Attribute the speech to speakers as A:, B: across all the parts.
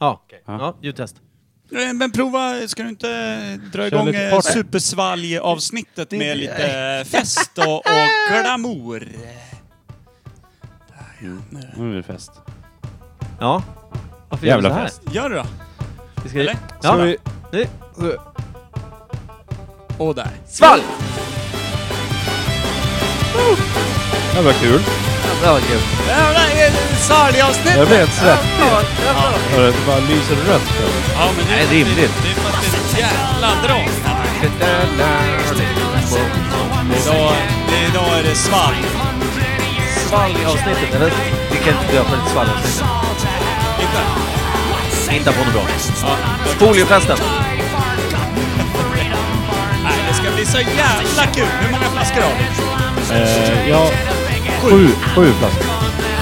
A: Ja, ja ljudtest.
B: Eh, Men prova, ska du inte dra
C: Kör
B: igång
C: lite
B: eh,
C: party.
B: supersvalg-avsnittet med lite eh, fest och, och glamour? Där, ja. Nu-
C: Nu är det fest.
A: Ja. Varför
C: Jävla
A: gör vi så
C: fest.
B: Gör det då.
A: här? Vi ska...
B: Eller?
A: Ja.
C: Ska vi...
A: Nu.
B: Och där.
A: Svalg!
C: Ja, vad kul.
A: Ja, det var kul.
B: Jävlar, är det ett Sarli-avsnitt!
C: Jag blir helt svettig.
A: Ja, det var bra.
C: Hörru, Det bara lyser rött. här.
B: Ja, men
A: Nej, rimligt.
B: Det är för att det är ett jävla drag. Idag, idag är det svalg.
A: Svalg i avsnittet, eller? Vi kan inte döpa det till svalg i avsnittet.
B: Inte?
A: Hitta på något bra.
B: Ja.
A: Foliefesten.
B: Nej, det ska bli så jävla kul. Hur många flaskor har vi?
C: Eh, ja, sju, sju flaskor.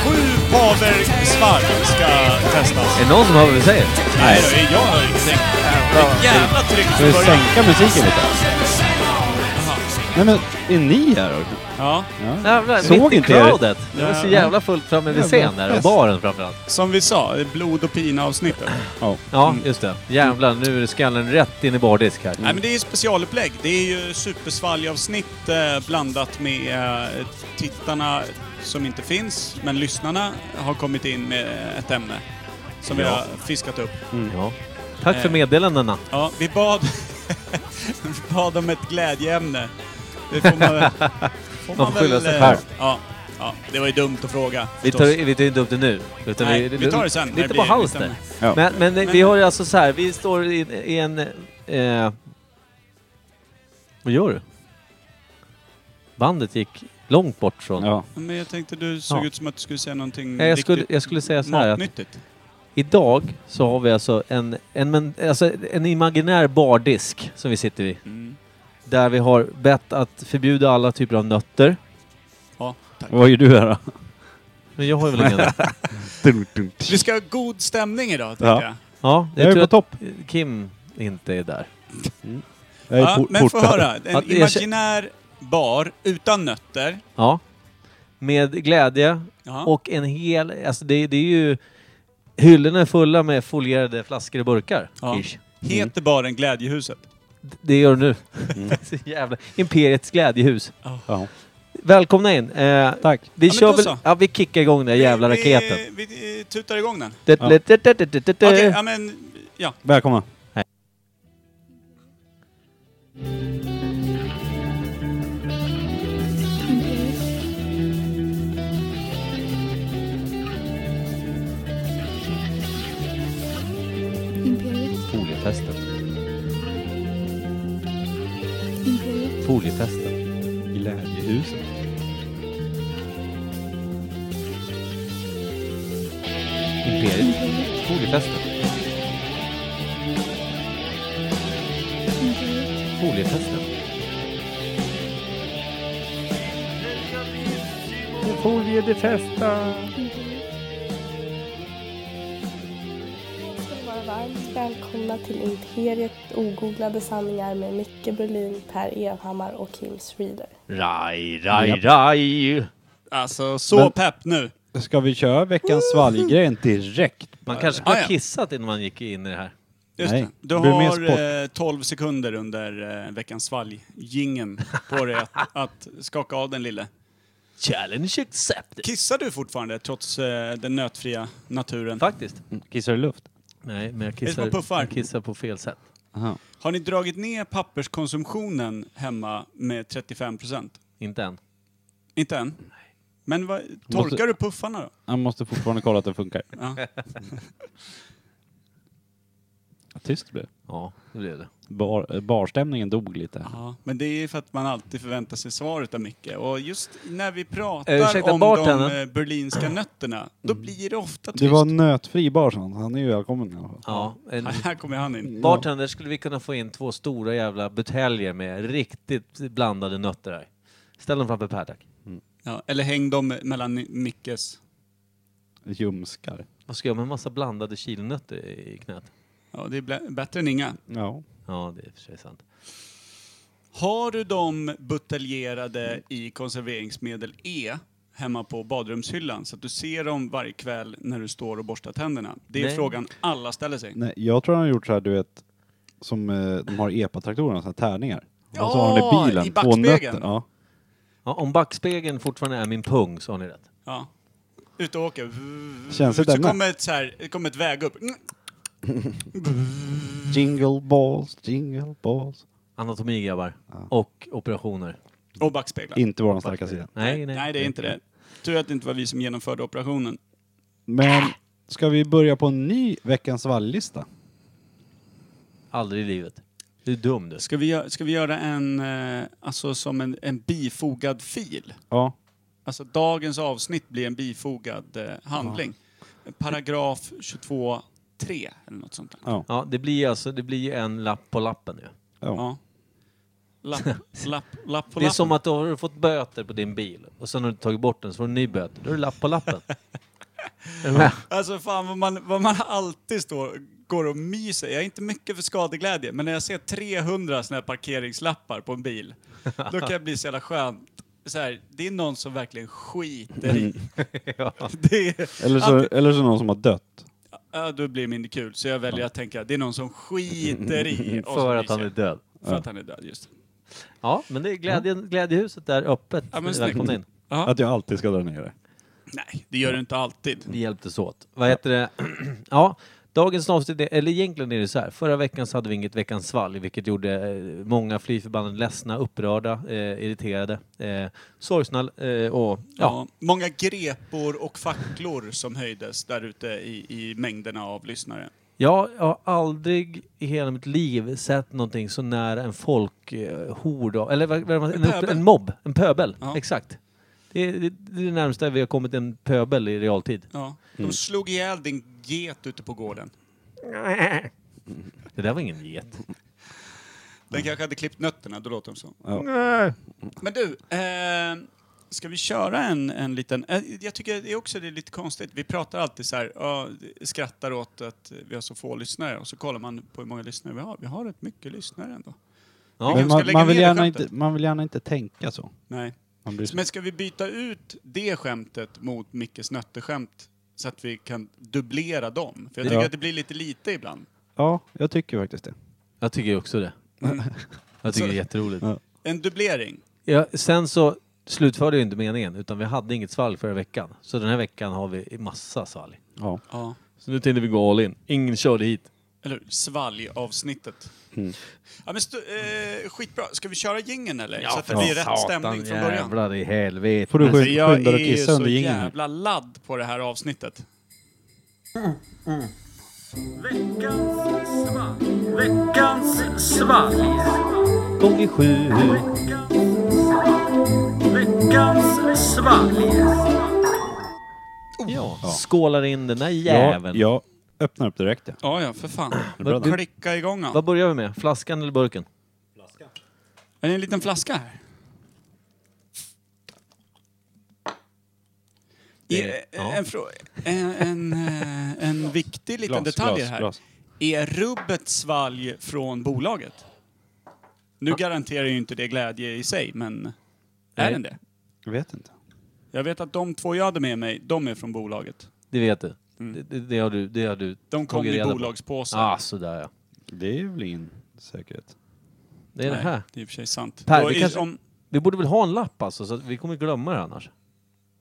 B: Sju paver svalg ska testas.
A: Är det någon som hör vad vi säger?
B: Nej, då är jag har inte tänkt. Vilket jävla tryck
C: Ska vi
B: från början.
C: sänka musiken lite? Nej men, är ni här? också?
B: Ja.
A: Jävlar,
C: Såg
A: mitt i
C: inte er.
A: crowdet. Det var så jävla fullt framme vid
C: Jävla
A: scenen där, och
C: fest.
A: baren framförallt.
B: Som vi sa, det är blod och pina-avsnittet.
C: Ja.
A: Ja, just det. Mm. Jävlar, nu är skallen rätt in i bardisk här.
B: Nej men det är ju specialupplägg. Det är ju supersvalgavsnitt eh, blandat med eh, tittarna som inte finns, men lyssnarna har kommit in med ett ämne som vi har fiskat upp.
A: Ja. Tack för
B: Eh.
A: meddelandena.
B: Ja, vi bad, vi bad om ett glädjeämne. Det får man väl... Får
A: Man får skylla sig
B: eh,
A: själv.
B: Ja, ja, det var ju dumt att fråga.
A: Vi
B: förstås.
A: tar, vi tar inte upp det nu. Utan
B: Nej, vi tar det sen, när det
A: Lite på
B: blir
A: halster.
B: bestämt.
C: Ja.
A: Men, men,
B: Men-
A: vi har ju alltså så här, vi står i, i en... Eh, vad gör du? Bandet gick långt bort från...
C: ja.
B: Men jag tänkte du såg
A: Ja.
B: ut som att du skulle säga någonting
A: Nej, Jag, skulle,
B: riktigt
A: jag skulle säga så här att
B: matnyttigt.
A: idag så har vi alltså en, en, men, alltså en imaginär bardisk som vi sitter vid.
B: Mm.
A: Där vi har bett att förbjuda alla typer av nötter.
B: Ja, tack.
C: Vad gör du här då?
A: Men jag har ju väl ingen nöt.
C: Dun, dun,
B: Vi
C: tsch.
B: ska ha god stämning idag, tänkte
C: Ja.
B: jag.
A: Ja, jag,
C: Jag är
A: tror
C: på
A: att
C: topp.
A: Kim inte är där.
C: Jag är
B: Ja,
C: for-
B: men få
C: fortare.
B: höra. En
A: Att erkä-
B: imaginär bar utan nötter.
A: Ja. Med glädje
B: Ja.
A: Och en hel, alltså det, det är ju... Hyllorna är fulla med folierade flaskor och burkar.
B: Ja.
A: Ish.
C: Mm.
B: Heter baren Glädjehuset?
A: D- Det gör du nu. Så jävla. Imperiets glädjehus.
C: Ja.
A: Välkomna in. Eh,
C: Tack.
A: vi
B: Ja, men
A: kör
B: då så.
A: väl... Ja, vi kickar igång den jävla
B: Vi-
A: raketen.
B: Vi, vi eh, tutar igång den.
A: Det- det- det- det- det- det-
B: Okej,
A: det.
B: ja men... Ja.
C: Välkomna.
D: Imperiet,
A: Foliefesten.
D: Imperiet,
A: Foliefesten.
C: Glädjehuset.
A: Imperiet.
D: Imperiet,
A: Foliefesten.
D: Imperiet,
A: Foliefesten. Foliefesten.
D: Imperiet.
E: ska ni vara varmt välkomna till Imperiet ogooglade sanningar med Micke Berlin, Per Evhammar och Kim Schreeder.
A: Raj, raj, raj.
B: Alltså, så
C: Men-
B: pepp nu.
C: Ska vi köra veckans svalggren direkt?
A: Man kanske kunde
B: Ah,
A: ha
B: ja.
A: kissat innan man gick in i det här.
B: Just
C: Nej,
B: det. Du
C: det blir mer sport.
B: har eh, 12 sekunder under eh, veckans svalg gingen på dig att, att skaka av den lille.
A: Challenge accepted.
B: Kissar du fortfarande trots eh, den nötfria naturen?
A: Faktiskt.
F: Mm.
C: Kissar du luft?
A: Nej, men jag
B: det som
A: kissar,
B: puffar?
A: jag kissar på fel sätt.
C: Aha.
B: Har ni dragit ner papperskonsumtionen hemma med 35 procent?
A: Inte än.
B: Inte än? Men vad, torkar
C: Måste-
B: du puffarna då?
C: Jag måste fortfarande kolla att det funkar.
B: Ja.
C: Tyst blev det.
A: Ja, det blev det.
C: Bar, eh, barstämningen dog lite.
B: ja. Men det är för att man alltid förväntar sig svaret av Micke. Och just när vi pratar
A: Eh, ursäkta,
B: om
A: bartendern? Mm.
B: de eh, berlinska nötterna, då blir det ofta tyst.
C: Det var nötfri bar sa han. Han är ju välkommen i alla fall.
A: Ja, en
B: Här kommer han in.
A: bartender skulle vi kunna få in två stora jävla buteljer med riktigt blandade nötter här. Ställ dem framför Per tack.
B: Ja, eller häng dem mellan Mickes.
C: Ljumskar.
A: Vad ska jag med en massa blandade kilnötter i knät?
B: Ja, det är blä- bättre än inga.
C: Ja.
A: Ja, det är i och för sig sant.
B: Har du dem buteljerade i konserveringsmedel E hemma på badrumshyllan så att du ser dem varje kväll när du står och borstar tänderna? Det är
A: Nej.
B: frågan alla ställer sig.
F: Nej, jag tror han har gjort så här, du vet, som eh, de har i epatraktorerna, såna här tärningar. och så har han i bilen,
B: i
F: två nötter.
B: backspegeln.
F: Ja.
A: Ja, om backspegeln fortfarande är min pung så har ni rätt.
B: Ja. Ute och åker.
F: Känns det
B: så
F: denna?
B: kommer ett, så här, det kommer ett väg upp. Mm.
F: Jingle balls, jingle balls.
A: Anatomi grabbar. Och operationer.
B: Och backspeglar.
F: Inte våran starka sida.
A: Nej, nej.
B: Nej, det är inte det. Tur att det inte var vi som genomförde operationen.
F: Men ska vi börja på en ny veckans vallista?
A: Aldrig i livet. Du är dum du.
B: Ska vi, gö- ska vi göra en, eh, alltså som en, en bifogad fil?
F: Ja.
B: Alltså dagens avsnitt blir en bifogad eh, handling. Paragraf 22.3 eller något sånt där.
F: Ja.
A: Ja, det blir alltså det blir ju en lapp på lappen ju.
B: Ja. Lapp, lapp, lapp på
A: Det är
B: lappen.
A: som att du har fått böter på din bil och sen har du tagit bort den så får du en ny böter. Då är det lapp på lappen. Är du med?
B: Alltså fan vad man, vad man alltid står, går och myser. Jag är inte mycket för skadeglädje, men när jag ser 300 såna här parkeringslappar på en bil, då kan jag bli så jävla skönt. Så här, det är någon som verkligen skiter i. det är,
F: Eller, så, eller så någon som har dött.
B: ja, då blir det mindre kul, så jag väljer att tänka det är någon som skiter i. och så
A: För att
B: myser
A: han är
B: jag.
A: död.
B: För att han är död, just
A: Ja, men det är glädjen, glädjehuset där öppet.
B: Ja, men snyggt.
A: Välkomna in.
B: ja.
F: Att jag alltid ska dra ner det.
B: Nej, det gör du inte alltid.
A: Vi hjälptes åt. Vad heter det? ja, dagens avsnitt, är- eller egentligen är det så här. Förra veckan så hade vi inget Veckans svalg, vilket gjorde eh, många fly förbannat ledsna, upprörda, eh, irriterade, eh, sorgsna eh, och ja,
B: Ja. Många grepor och facklor som höjdes där ute i, i mängderna av lyssnare.
A: Jag har aldrig i hela mitt liv sett någonting så nära en folkhord, av- eller vad, vad man, en,
B: pöbel.
A: en, mobb, en pöbel.
B: Ja.
A: Exakt. Det är det, det är det närmsta vi har kommit en pöbel i realtid.
B: Ja. De
F: Mm.
B: slog ihjäl din get ute på gården.
A: Det där var ingen get.
B: Den
F: Mm.
B: kanske hade klippt nötterna, då låter de så.
F: Ja.
B: Men du, eh, ska vi köra en, en liten... Eh, jag tycker det är också det är lite konstigt. Vi pratar alltid så här, ja, skrattar åt att vi har så få lyssnare och så kollar man på hur många lyssnare vi har. Vi har rätt mycket lyssnare ändå.
A: Ja.
F: Men
B: kanske
F: man,
B: ska lägga
F: man, vill
B: ner det
F: gärna
B: skämtet.
F: inte, man vill gärna inte tänka så.
B: Nej.
F: Man blir så.
B: Men ska vi byta ut det skämtet mot Mickes nötteskämt så att vi kan dubblera dem? För jag tycker
F: Ja.
B: att det blir lite lite ibland.
F: Ja, jag tycker faktiskt det.
A: Jag tycker också det. Jag tycker det är jätteroligt.
F: Ja.
B: En dubblering.
A: Ja, sen så slutförde jag inte meningen, utan vi hade inget svalg förra veckan. Så den här veckan har vi massa svalg.
F: Ja.
B: Ja.
A: Så nu tänkte vi gå all in. Ingen körde hit.
B: Eller hur? Svalg-avsnittet. Ja, men stu- eh, skitbra. Ska vi köra jingeln eller? så att det blir rätt stämning från början.
A: Jävlar i helvete.
F: Får du
B: Alltså,
F: skyn-
B: jag
F: skynda dig
B: är
F: och
B: ju
F: kissa
B: så
F: under jingeln här.
B: jävla ladd på det här avsnittet.
A: Gånger sju. Ja, skålar in den där
F: Jag,
A: jäveln.
F: jag öppnar upp direkt. Ja.
B: Ja, ja, för fan.
F: Är det bra då?
B: Klicka igång då.
A: Vad börjar vi med? Flaskan eller burken?
B: Är det en liten flaska här?
A: Det-
B: Är-
A: ja.
B: eh, En, frå- en, en, eh, en viktig liten
F: Glas,
B: detalj
F: glas,
B: här.
F: glas.
B: Är rubbet svalg från bolaget? Nu garanterar ju inte det glädje i sig, men är
A: Nej.
B: den det?
F: Jag vet inte.
B: Jag vet att de två jag hade med mig, de är från bolaget.
A: Det vet du. Det, det, det har du. Det har du
B: De kom
A: tagit
B: i
A: reda på.
B: bolagspåsen.
A: Ah, sådär ja.
F: Det är väl ingen säkerhet.
A: Det är det här.
B: det är i och för sig sant.
A: Per,
B: Då
A: vi
B: är-
A: kanske-
B: om,
A: Vi borde väl ha en lapp alltså, så att vi kommer glömma det annars.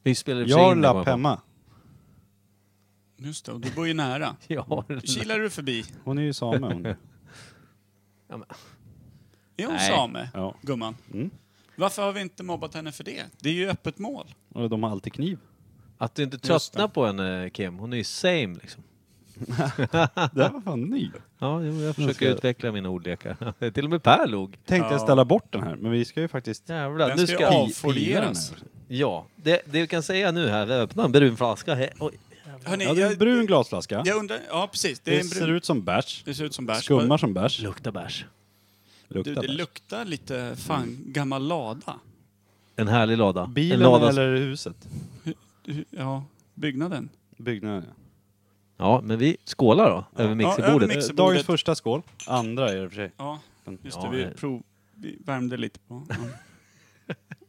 A: Vi spelar i och för
F: Jag
A: sig
F: har
A: in
F: en
A: det, kommer jag
F: lapp
A: på.
F: hemma.
B: just det, och du bor ju nära.
A: Jag har en lapp.
B: Kilar du förbi?
F: Hon är ju same hon.
B: Är hon
A: Nej. Mm.
B: same,
F: Ja.
B: gumman? Varför har vi inte mobbat henne för det? Det är ju öppet mål.
F: Och de har alltid kniv.
A: Att du inte
B: Just
A: tröttnar på henne Kim, hon är ju same liksom.
F: Det här var fan ny.
A: Ja, jo, jag
F: ska
A: försöker
F: jag-
A: utveckla mina ordlekar. Till och med Per log.
F: Tänkte jag ställa bort den här, men vi ska ju faktiskt...
A: Jävlar,
B: Den
A: nu
B: ska ju
A: ska...
B: av- Avfolieras.
F: pila den här.
A: Ja, det, det vi kan säga nu här, vi öppnar en brun flaska. här. Oj.
B: Hörrni,
F: Ja, det är en
B: jag,
F: brun glasflaska.
B: jag undrar... Ja, precis. Det,
F: Det,
B: är en
F: ser
B: brun,
F: ut som bärs.
B: det ser ut som bärs.
F: Skummar som bärs.
A: Luktar bärs.
F: Luktar
B: Du, det
F: bärs.
B: luktar lite fan gammal lada.
A: En härlig lada.
F: Bilen
A: en lada
F: eller huset?
B: Hur- Ja, byggnaden.
F: Byggnaden. ja.
A: Ja, men vi skålar då, över
B: över
A: mixerbordet.
B: mix-
F: Eh,
B: Mixerbordet.
F: Dagens första skål. Andra är det i och för sig.
B: Ja, just det.
A: Ja,
B: Vi,
A: här.
B: prov, vi värmde lite på. Ja.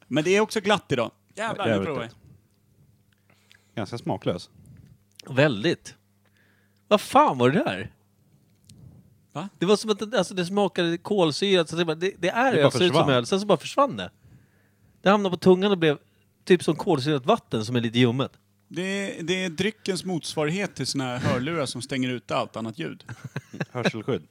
B: Men det är också glatt idag. Jävlar, nu
F: Jävligt
B: provar vi.
F: glatt. Ganska smaklös.
A: Väldigt. Vad fan var det där?
B: Va?
A: Det var som att det- alltså, det smakade kolsyrat. Så det, bara- det, det är
F: Det bara
A: öl, ser ut som
F: försvann.
A: öl, sen så bara försvann det. Det hamnade på tungan och blev typ som kolsyrat vatten som är lite ljummet.
B: Det är, det är dryckens motsvarighet till såna här hörlurar som stänger ut allt annat ljud.
F: Hörselskydd.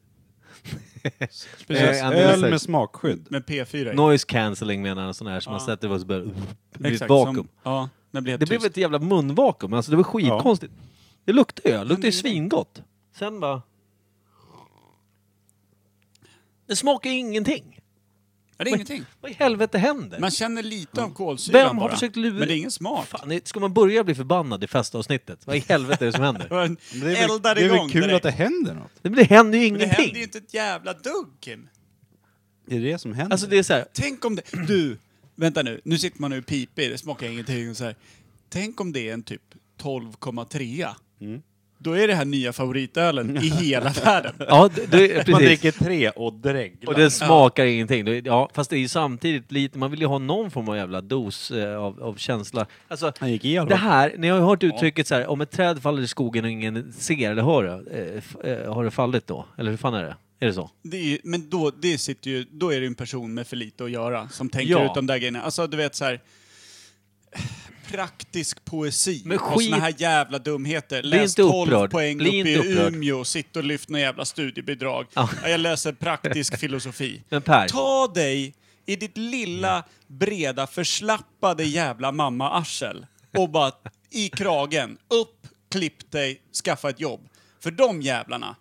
A: Eh,
F: Precis.
A: Andreas
F: Öl
A: säger-
F: med smakskydd.
B: Med P4 i.
A: Noise cancelling menar han, sån här som man sätter på och så börjar det blir ett vakuum.
B: Som, ja, när blir
A: Det
B: det
A: blev
B: tyst.
A: ett jävla munvakuum, alltså det var skitkonstigt. Det luktade öl, luktade ju svingott. Sen bara... Det smakar ju ingenting.
B: Ja, det är ingenting.
A: Vad i helvete händer?
B: Man känner lite av kolsyran
A: Vem har
B: bara.
A: försökt lura-
B: Men det är ingen smak.
A: Fan, det- ska man börja bli förbannad i festavsnittet? Vad i helvete är det som händer?
B: Men
F: Men Det är väl,
B: Eldar
F: det är
B: igång
F: väl kul
B: direkt.
F: att det händer något.
A: Det, det händer ju
B: Men det
A: ingenting.
B: händer ju inte ett jävla dugg, Kim.
F: Det är det som händer.
A: Alltså det är så här,
B: Tänk om det... Du, vänta nu. Nu sitter man nu och piper, det smakar ingenting och så här. Tänk om det är en typ 12,3.
A: Mm.
B: Då är det här nya favoritölen i hela världen.
A: ja, det, det,
F: Man
A: precis.
F: dricker tre och dreglar.
A: Och den smakar ingenting. Det- Ja, fast det är ju samtidigt lite, man vill ju ha någon form av jävla dos eh, av, av känsla. Alltså,
F: Han gick i alla
A: det
F: fall.
A: här, ni har ju hört uttrycket så här, om ett träd faller i skogen och ingen ser eller hör det, eh, f- eh, har det fallit då? Eller hur fan är det? Är det så?
B: Det är, ju- men då, det sitter ju, då är det ju en person med för lite att göra som tänker
A: Ja.
B: ut de där grejerna. Alltså du vet så här. Praktisk poesi
A: Men
B: och
A: skit-
B: såna här jävla dumheter. Läs
A: inte
B: 12
A: upprörd.
B: poäng
A: Bli
B: uppe
A: inte
B: i
A: upprörd.
B: Umeå, sitt och lyft några jävla studiebidrag.
A: Ja.
B: Ja, Jag läser praktisk filosofi.
A: Men Per.
B: Ta dig i ditt lilla, breda, förslappade jävla mamma-arsel och bara i kragen, upp, klipp dig, skaffa ett jobb. För de jävlarna,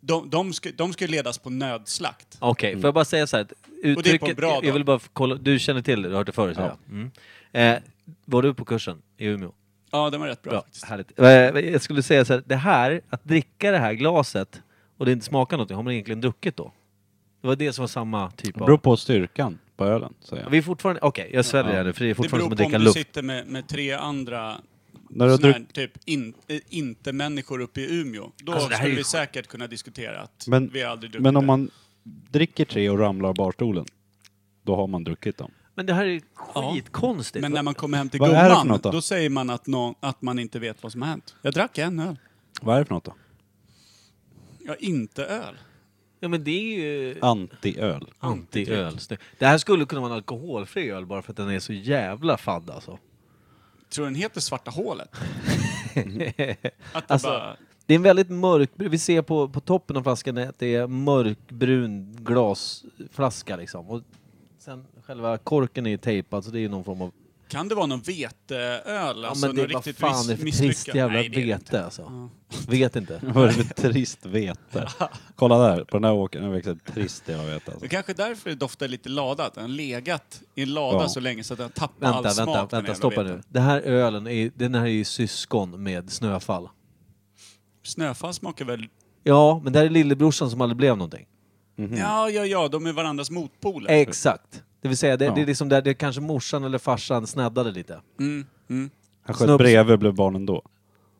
B: de, de, ska, de ska ju ledas på nödslakt.
A: Okej, får jag bara säga så här, att
B: Mm. Och det är på en
A: uttrycket,
B: bra dag.
A: jag vill bara kolla, du känner till det, du har hört det förut? Ja. Mm. Eh, var du på kursen i Umeå?
B: Ja, den var rätt bra, faktiskt.
A: Härligt. Eh, Jag skulle säga så här, det här, att dricka det här glaset och det inte smakar någonting, har man egentligen druckit då? Det var det som var samma typ
F: Det beror
A: av...
F: på styrkan på ölen, säger jag.
A: Vi är fortfarande, okej jag sväljer det här nu för det är
B: Det
A: fortfarande
B: beror
A: som att
B: på om
A: dricka
B: du
A: luft.
B: sitter med, med tre andra
F: När du har
B: såna här,
F: druck-
B: typ in, eh, inte-människor uppe i Umeå. Då
A: Alltså, det här är
B: skulle
A: ju
B: vi
A: sjuk-
B: säkert kunna diskutera att
F: Men,
B: vi har aldrig druckit
F: men om
B: det.
F: man dricker tre och ramlar av barstolen, då har man druckit dem.
A: Men det här är ju skitkonstigt.
B: Men när man kommer hem till
F: Vad är det för
B: gumman,
F: något
B: då?
F: då?
B: säger man att, nå- att man inte vet vad som har hänt. Jag drack en öl.
F: Vad är det för något då?
B: Ja, inte öl.
A: Ja men det är ju
F: Anti-öl.
A: anti-öl. Snyggt. Det här skulle kunna vara en alkoholfri öl bara för att den är så jävla fadd alltså.
B: Tror den heter Svarta hålet? Mm. att det
A: Alltså,
B: bara...
A: Det är en väldigt mörk, vi ser på, på toppen av flaskan att det är mörkbrun glasflaska liksom. Och sen själva korken är ju tejpad så det är ju någon form av...
B: Kan det vara någon veteöl?
A: Ja
B: Alltså,
A: men det
B: någon
A: är vad
B: riktigt
A: fan
B: miss-
A: det är för trist
B: misslyckad?
A: jävla
B: Nej, det är det inte.
A: vete alltså. Vet inte.
F: Vad är det för trist vete? Kolla där, på den här åkern. Den växer trist jävla vete.
B: Det
F: Alltså.
B: kanske är därför det doftar lite lada, att den har legat i en lada
F: Ja.
B: så länge så att den har tappat
A: Vänta,
B: all
A: vänta,
B: smak. den
A: vänta,
B: jävla
A: stoppa
B: veten.
A: nu. Den här ölen, är, den här är ju syskon med Snöfall.
B: Snöfall smakar väl...
A: Ja, men det här är lillebrorsan som aldrig blev någonting. Mhm.
B: Ja, ja, ja, de är varandras motpoler.
A: Exakt. Det vill säga, det,
F: Ja.
A: det är liksom där det kanske morsan eller farsan snaddade lite.
B: Mm, mm.
F: Han
A: Snubbs-
F: sköt bredvid blev barnen då.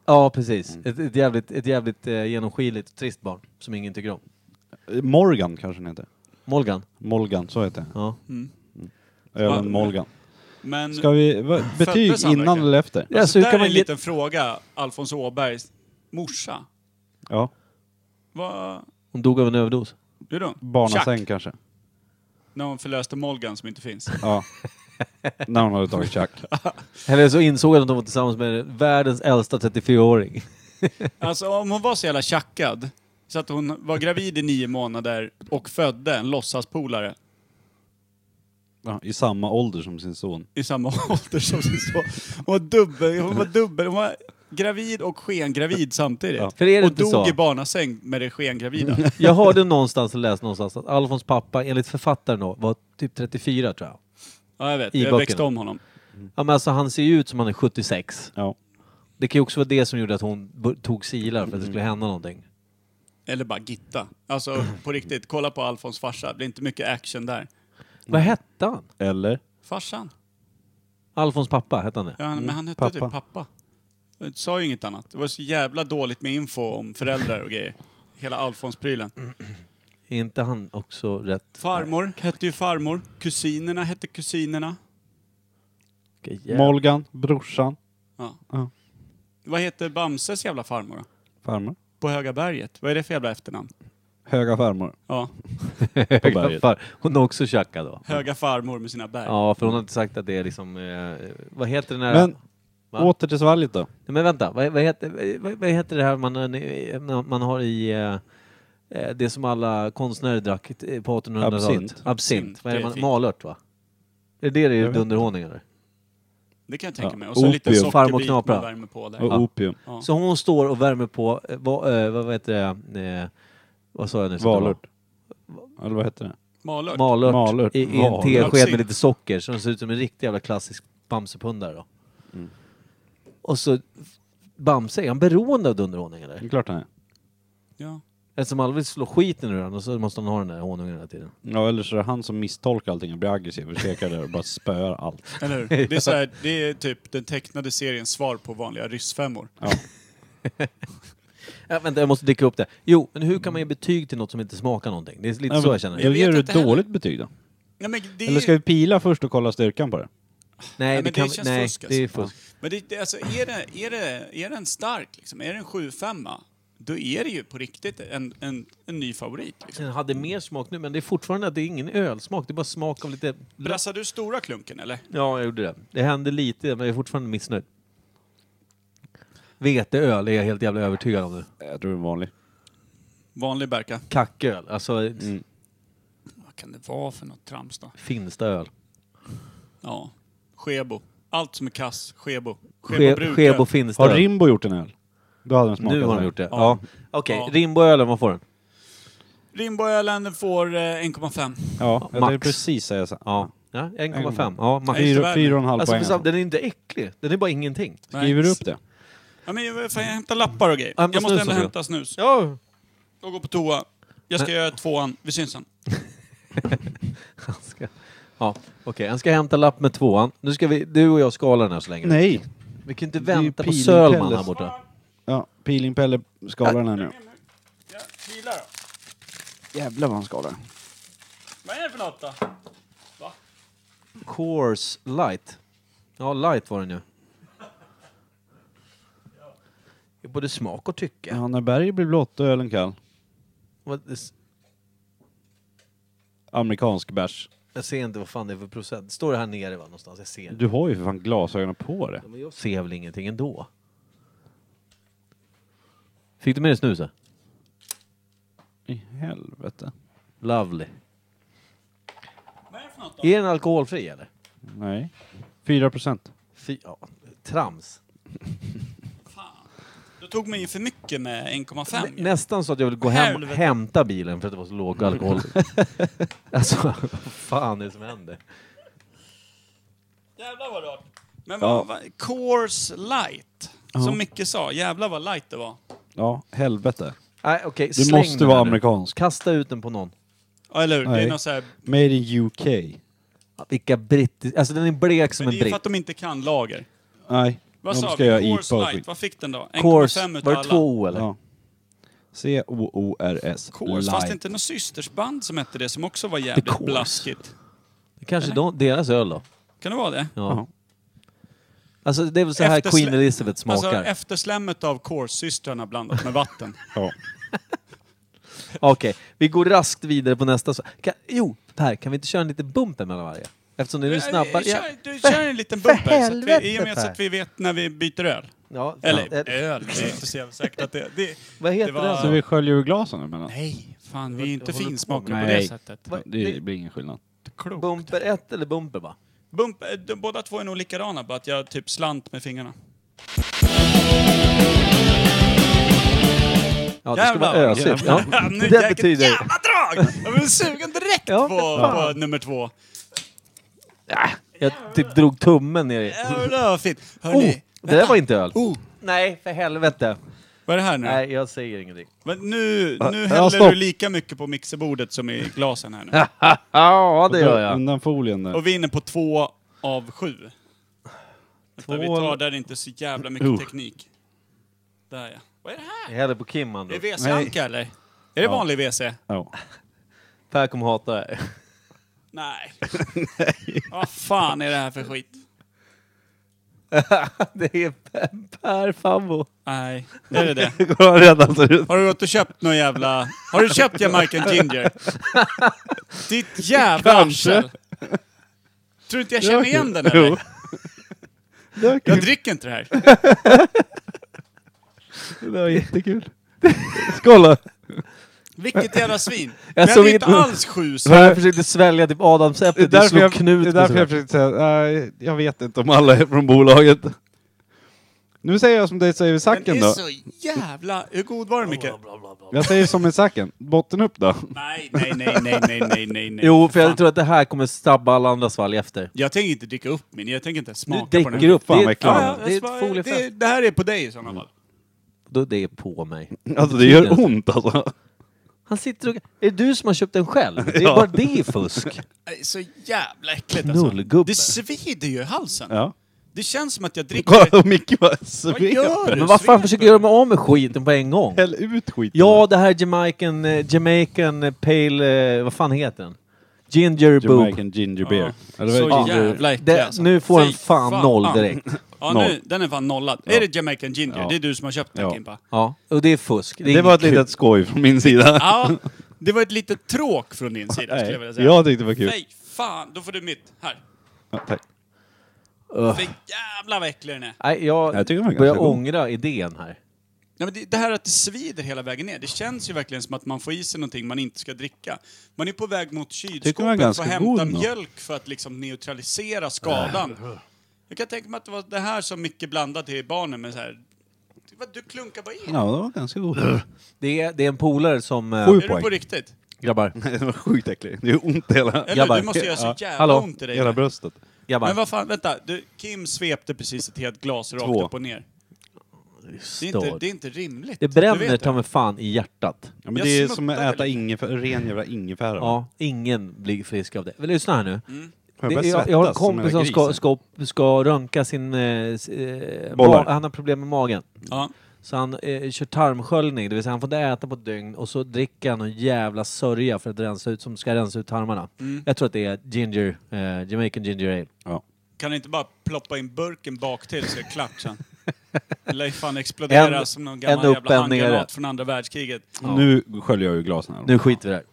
A: Ja, precis.
B: Mm.
A: Ett, ett jävligt, ett jävligt eh, genomskinligt, trist barn som ingen tycker om.
F: Eh, Morgan kanske den heter.
A: Molgan.
F: Molgan, så heter den.
A: Ja.
B: Mm. Va?
F: Ölen Molgan.
B: Men...
F: Ska vi, va, betyg
B: han
F: innan
B: verkligen?
F: eller efter?
A: Ja,
B: Alltså,
A: så hur
B: där
A: kan
B: är
A: man
B: en
A: ge-
B: liten fråga, Alfons Åbergs morsa.
F: Ja,
B: Vad...
A: Hon dog av en överdos.
B: Hur då?
F: barnasäng
B: Tjack,
F: kanske.
B: När hon förlöste Molgan som inte finns.
F: Ja. När hon hade tagit tjack.
A: Eller så insåg hon att de var tillsammans med världens äldsta 34-åring.
B: Alltså om hon var så jävla tjackad, så att hon var gravid i nio månader och födde en låtsaspolare
F: Ja, I samma ålder som sin son.
B: i samma ålder som sin son. Hon var dubbel, hon var dubbel, hon var gravid och skengravid samtidigt.
F: Ja.
A: För är det
B: och
A: inte
B: dog
A: så?
B: i barnasäng med det skengravida.
A: Jag hörde någonstans, och läste någonstans, att Alfons pappa, enligt författaren då, var typ 34 tror jag.
B: Ja, jag vet.
A: I
B: jag
A: böckerna.
B: växte om honom.
A: Ja men alltså han ser ju ut som han är 76.
F: Ja.
A: Det kan ju också vara det som gjorde att hon bo- tog silar för att det skulle hända någonting.
B: Eller bara Gitta. Alltså på riktigt, kolla på Alfons farsa. Det blir inte mycket action där.
A: Vad hette han?
F: Eller?
B: Farsan?
A: Alfons pappa, hette han det?
B: Ja, men han hette
F: pappa.
B: typ pappa. Jag sa ju inget annat. Det var så jävla dåligt med info om föräldrar och grejer. Hela Alfons-prylen.
A: Är inte han också rätt...
B: Farmor hette ju farmor. Kusinerna hette kusinerna.
A: Vilka jävla-
F: Molgan, brorsan.
B: Ja.
F: Ja.
B: Vad heter Bamses jävla farmor då?
F: Farmor.
B: På Höga berget? Vad är det för jävla efternamn?
F: Höga farmor.
B: Ja,
C: berget.
A: Far- Hon är också tjacka då.
B: Höga farmor med sina berg.
A: Ja, för hon har inte sagt att det är liksom... Eh, vad heter den här...
F: Men
A: Va?
F: åter till svalget då.
A: Nej, men vänta, vad, vad, heter, vad, vad heter det här man, eh, man har i... Eh, eh, det som alla konstnärer drack eh, på 1800-talet?
F: Absint.
A: Absint. Vad är
B: Det
A: det
B: är
A: man,
B: fint.
A: malört va? Är det det det
F: Jag
A: är
F: vet
A: dunderhonung eller?
B: Det kan jag tänka
F: Ja.
B: mig. Och så en liten
F: Opium.
A: Farmor
B: sockerbit man
A: knapra.
B: värmer på där.
F: Och opium.
B: Ja.
A: Så hon står och värmer på, eh, vad, eh, vad heter det, eh, vad sa jag nu? som det var?
F: Valört. Eller vad heter det?
B: Malört.
A: Malört,
F: Malört.
A: i, i en
F: Malört.
A: tesked
B: Absint.
A: med lite socker så den ser ut som en riktig jävla klassisk Bamsepundare då. Och så Bamse, är han beroende av dunderhonung
F: Det
A: eller?
F: är klart han är.
B: ja.
A: Eftersom alla vill slå skiten ur honom och så måste han ha den där honungen hela tiden.
F: Ja, eller så är det han som misstolkar allting och blir aggressiv och stekar där och bara spöar allt.
B: Eller hur? Det är, så här, det är typ den tecknade seriens svar på vanliga ryssfemmor.
F: Ja.
A: Äh, vänta, jag måste dricka upp det. Jo, men hur kan man ge betyg till något som inte smakar någonting? Det är lite så jag känner.
F: Då
B: vet
F: ger du ett
B: inte heller.
F: dåligt betyg då.
B: Nej, men det,
F: Eller
B: är-
F: ska vi pila först och kolla styrkan på det?
A: nej,
B: men
A: det,
B: det
A: kan,
B: känns
A: nej,
B: fusk,
A: det är
B: alltså.
A: fusk.
B: men det, det, alltså, är, det, är, det, är den stark, liksom? är den 7-5, då är det ju på riktigt en, en, en ny favorit. Liksom.
A: Den hade mer smak nu, men det är fortfarande att det är ingen ölsmak. Det är bara smak av lite...
B: Brassar du stora klunken, eller?
A: Ja, jag gjorde det. Det hände lite, men jag är fortfarande missnöjd. Veteöl är jag helt jävla övertygad om nu.
F: Jag tror det är vanlig.
B: Vanlig Berka.
A: Kacköl, alltså
B: Vad kan det vara för något trams då?
A: finsta öl.
B: Ja. Skebo. Allt som är kass, Skebo.
A: Ske-
B: brukar-
A: Skebo finsta
F: Har
A: öl.
F: Rimbo gjort en öl? Då hade den smakat.
A: Nu har
F: så
A: de
F: här.
A: gjort det. Ja.
B: Ja.
A: Okej,
B: Ja.
A: Rimboölen, vad får den?
B: Rimboölen får eh, 1,5.
F: Ja, jag
A: Max.
F: tänkte precis säga så.
A: Ja, ja 1,5. Ja, max.
B: Nej,
F: Fyra,
B: tyvärr.
F: fyra och en halv
A: Alltså,
F: poäng.
A: för sam- den är inte äcklig. Den är bara ingenting.
F: Skriver du upp det?
B: Ja, men jag, fan, jag hämtar lappar och grejer.
A: Hämta
B: jag måste
A: snus
B: ändå
A: också.
B: hämta snus.
A: Ja.
B: Jag går på toa. Jag ska göra tvåan. Vi syns sen.
A: Han ska, ja, okej. Han ska hämta lapp med tvåan. Nu ska vi, du och jag skala den här så länge.
F: Nej!
A: Vi kan inte
F: Det är ju
A: vänta på
F: Piling
A: Sörman
F: Pelles.
A: här borta.
F: Ja, Peeling-Pelle skalar den här nu.
B: Ja, kila då.
F: Jävlar vad han skalar.
B: Vad är det för något då?
A: Course light. Ja, light var den ju. Det är både smak och tycke.
F: Ja, när berget blir blått och ölen kall.
A: Vad- det s-
F: Amerikansk bärs.
A: Jag ser inte vad fan det är för procent. Står det här nere va, någonstans? Jag ser inte.
F: Du har ju för fan glasögonen på det.
A: Ja, Men jag ser väl ingenting ändå. Fick du med dig snuset?
F: I helvete.
A: Lovely.
B: Vad är det för något då?
A: Är den alkoholfri eller?
F: Nej. Fyra procent.
A: Fy, ja, trams.
B: Du tog mig ju för mycket med 1,5. ju.
A: Nästan så att jag vill gå hem och
B: Helvete.
A: hämta bilen för att det var så låg alkohol. alltså, vad fan är det som händer?
B: Jävlar vad rart. Men vad, vad, Coors light. Som Micke sa, jävlar vad light det var.
F: Ja, helvete.
A: Nej, okej,
F: Du
A: släng
F: måste
A: den
F: vara
A: här nu.
F: amerikansk.
A: Kasta ut den på någon.
B: Ja, eller hur? Det
F: Nej.
B: är något så här,
F: Made in UK.
A: Ja, Vilka brittiska... Alltså den är blek som
B: men
A: en
B: det är ju för att
A: britt.
B: de inte kan lager.
F: Nej,
B: Vad
F: de
B: sa
F: ska göra
B: vi?
F: IPA
B: Coors
F: och
B: light,
F: skit.
B: vad fick den då?
A: Course,
B: 1,5
A: var
B: utav
A: det
B: alla.
A: två O eller?
F: Ja. C-O-O-R-S.
B: Coors,
F: Light.
B: fanns det inte något systersband som hette det som också var jävligt
A: Coors.
B: blaskigt?
A: Det Kanske de, deras öl då?
B: Kan det vara det?
A: Ja. Alltså det är väl så här
B: Eftersle-
A: Queen Elizabeth
B: Alltså
A: smakar?
B: efterslämmet av Coors-systrarna blandat med vatten.
F: Ja.
A: Okej, vi går raskt vidare på nästa. så- Kan, jo, här, kan vi inte köra en liten bumper mellan varje? Eftersom det är snabbare. Ja,
B: Kör, du kör en liten bumper så att vi, i och med
A: helvete,
B: så att vi vet när vi byter öl.
A: ja,
B: Eller
A: ja, eh,
B: öl, det är inte så jävla säkert att det... det
A: Vad heter
B: det var-
A: den?
F: Så vi sköljer ur glasen nu mellan?
B: nej, fan vi är inte
A: Vad håller du på
B: finsmakare
F: med?
B: på det
F: Nej.
B: sättet.
A: Vad-
F: Det blir ingen skillnad.
B: Klokt.
A: Bumper 1 eller bumper va?
B: Bump, eh, de, båda två är nog likadana, bara att jag typ slant med fingrarna.
A: Ja, det ska vara
B: Jävlar.
A: ösigt. Ja.
B: nu,
A: Det
B: jäkligt
A: betyder...
B: jävla drag! Jag blev sugen direkt
A: Ja,
B: på,
A: fan.
B: på nummer två.
A: Jag typ drog tummen ner i...
B: Jävlar vad fint.
A: Oh,
B: Hörni,
A: det där var inte öl.
B: oh,
A: Nej, för helvete.
B: vad är det här nu?
A: Nej, jag säger ingenting.
B: Men nu, nu
F: Ja,
B: häller
F: stopp.
B: du lika mycket på mixerbordet som i glasen här nu.
A: Ja, det gör jag.
F: Undan folien där.
B: Och vi är inne på två av sju. Vänta, vi
A: Två-
B: tar där det inte är så jävla mycket
F: Uh.
B: teknik. Där ja. Vad är det här?
A: Jag häller på Kim andra.
B: Är det WC-anka eller? Är det vanlig WC?
F: Ja.
A: Per kommer hata det.
B: Nej. Vad fan är det här för skit?
A: det är Per- Per Fambo.
B: Nej, är det det?
F: Går han redan så ut?
B: Har du gått och köpt någon jävla... Har du köpt Jamaican Ginger? Ditt jävla
F: Kanske.
B: arsel! Tror du inte jag känner igen den eller?
F: Det
B: Jag dricker inte det här.
F: var jättekul. Skål
B: Vilket jävla svin!
A: Jag
B: Jag
A: såg
B: hade inte
A: inte-
B: alls sju så.
A: Jag försökte svälja typ
F: Det är
A: adamsäpplet, det
F: därför
A: slog
F: jag,
A: knut
F: det är
A: på
F: därför
A: sådär.
F: jag försökte säga, nej, jag vet inte om alla är från bolaget. Nu säger jag som dig säger i
B: Den
F: sacken
B: är
F: då.
B: så jävla... Hur god var den Micke?
F: Jag säger som i sacken. Botten upp då.
B: Nej, nej, nej, nej, nej, nej, nej, nej.
A: Jo, för
B: Fan.
A: jag tror att det här kommer stabba alla andra svalg efter.
B: Jag tänker inte dricka upp min, jag tänker inte
A: Du
B: smaka på den.
A: däcker upp.
F: Fan,
A: det,
F: vad
A: är,
F: äckligt. Ja,
A: det är ett
B: det, det,
A: foliefält.
B: det här är på dig i sådana fall.
A: Då det är på mig.
F: Alltså det gör ont alltså.
A: Han sitter och... Är det du som har köpt den själv? Det är
F: Ja.
A: bara det är fusk.
B: Nej, Så jävla äckligt alltså.
A: Knullgubbe.
B: Det svider ju i halsen.
F: Ja.
B: Det känns som att jag
F: Kolla
B: dricker...
F: hur Micke bara
B: Vad gör
F: sveper.
B: du?
A: Men vad fan försöker
B: Sveper.
A: göra mig av med skiten på en gång?
F: Häll ut skiten.
A: Ja, det här är Jamaican, eh, Jamaican eh, Pale... eh, Vad fan heter den? Ginger Boob.
F: Jamaican ginger beer.
B: Ja.
F: Eller vad
B: Så
F: är det? ginger?
B: jävla äcklig
A: Det,
B: alltså.
A: nu får den
B: Fy
A: fan noll direkt.
B: Ja,
F: Noll.
B: nu, den är fan nollad. Är det Jamaican Ginger?
F: Ja.
B: Det är du som har köpt den
F: Ja.
B: Kimpa.
A: Ja, och det är fusk. Det, är
F: Det var
A: inget
F: ett litet skoj från min sida.
B: Ja, det var ett litet tråk från din sida skulle jag vilja
F: Nej,
B: säga.
F: jag tyckte det var kul.
B: Nej, fan. Då får du mitt. Här.
F: Ja, tack.
A: Ugh.
B: För jävlar vad äcklig den är.
A: Nej, jag,
F: Jag tycker den var
A: börjar
F: ganska god.
A: ångra idén här.
B: Nej, men det, det här att det svider hela vägen ner, det känns ju verkligen som att man får i sig någonting man inte ska dricka. Man är på väg mot
F: Tycker man är
B: kylskåpet för
F: ganska
B: att hämta
F: god då.
B: mjölk för att liksom neutralisera skadan. Jag kan tänka mig att det var det här som Micke blandade till barnen med så här. Du- vad- Du klunkar bara i.
F: Ja, det var ganska god.
A: Det är, det är en polare som... eh,
F: Sju
B: Är du
F: poäng.
B: på riktigt?
A: Grabbar,
F: Nej, Det var sjukt äckligt. Det gör ont i hela,
B: Eller
A: Grabbar.
B: du måste göra så
F: Ja.
B: jävla
A: Hallå.
B: ont i dig.
F: hela bröstet.
B: Men
A: grabbar.
B: vad fan, vänta. Du, Kim svepte precis ett helt glas rakt
F: Två.
B: upp och ner. Det är, inte,
A: Stör.
B: det är inte rimligt.
A: Det
B: Du
A: bränner
B: vet
A: ta mig fan i hjärtat.
F: Ja, men
B: Jag
F: det är som
B: smuttar
F: att äta ingefär, ren jävla ingefära.
A: Ja, ingen blir frisk av det. Men lyssna här nu.
F: Får
A: Det,
F: börja
A: jag, jag har en
F: svettas
A: kompis som
F: jävla
A: ska,
F: gris?
A: ska, ska röntga sin... Eh, s- eh,
F: Bollar.
A: ma- han har problem med magen.
B: Ja.
A: Så han eh, kör tarmsköljning, det vill säga han får inte äta på ett dygn och så dricker han en jävla sörja för att rensa ut, som ska rensa ut tarmarna. Jag tror att det är ginger, eh, Jamaican ginger ale.
F: Ja.
B: Kan du inte bara ploppa in burken bak till så är det klart sen? Lär ju fan explodera
A: En-
B: som någon
A: en
B: gammal
A: upp, en
B: jävla
A: nere.
B: handgranat från andra världskriget.
F: Nu sköljer jag ju glasen här.
A: Nu skiter vi i det här.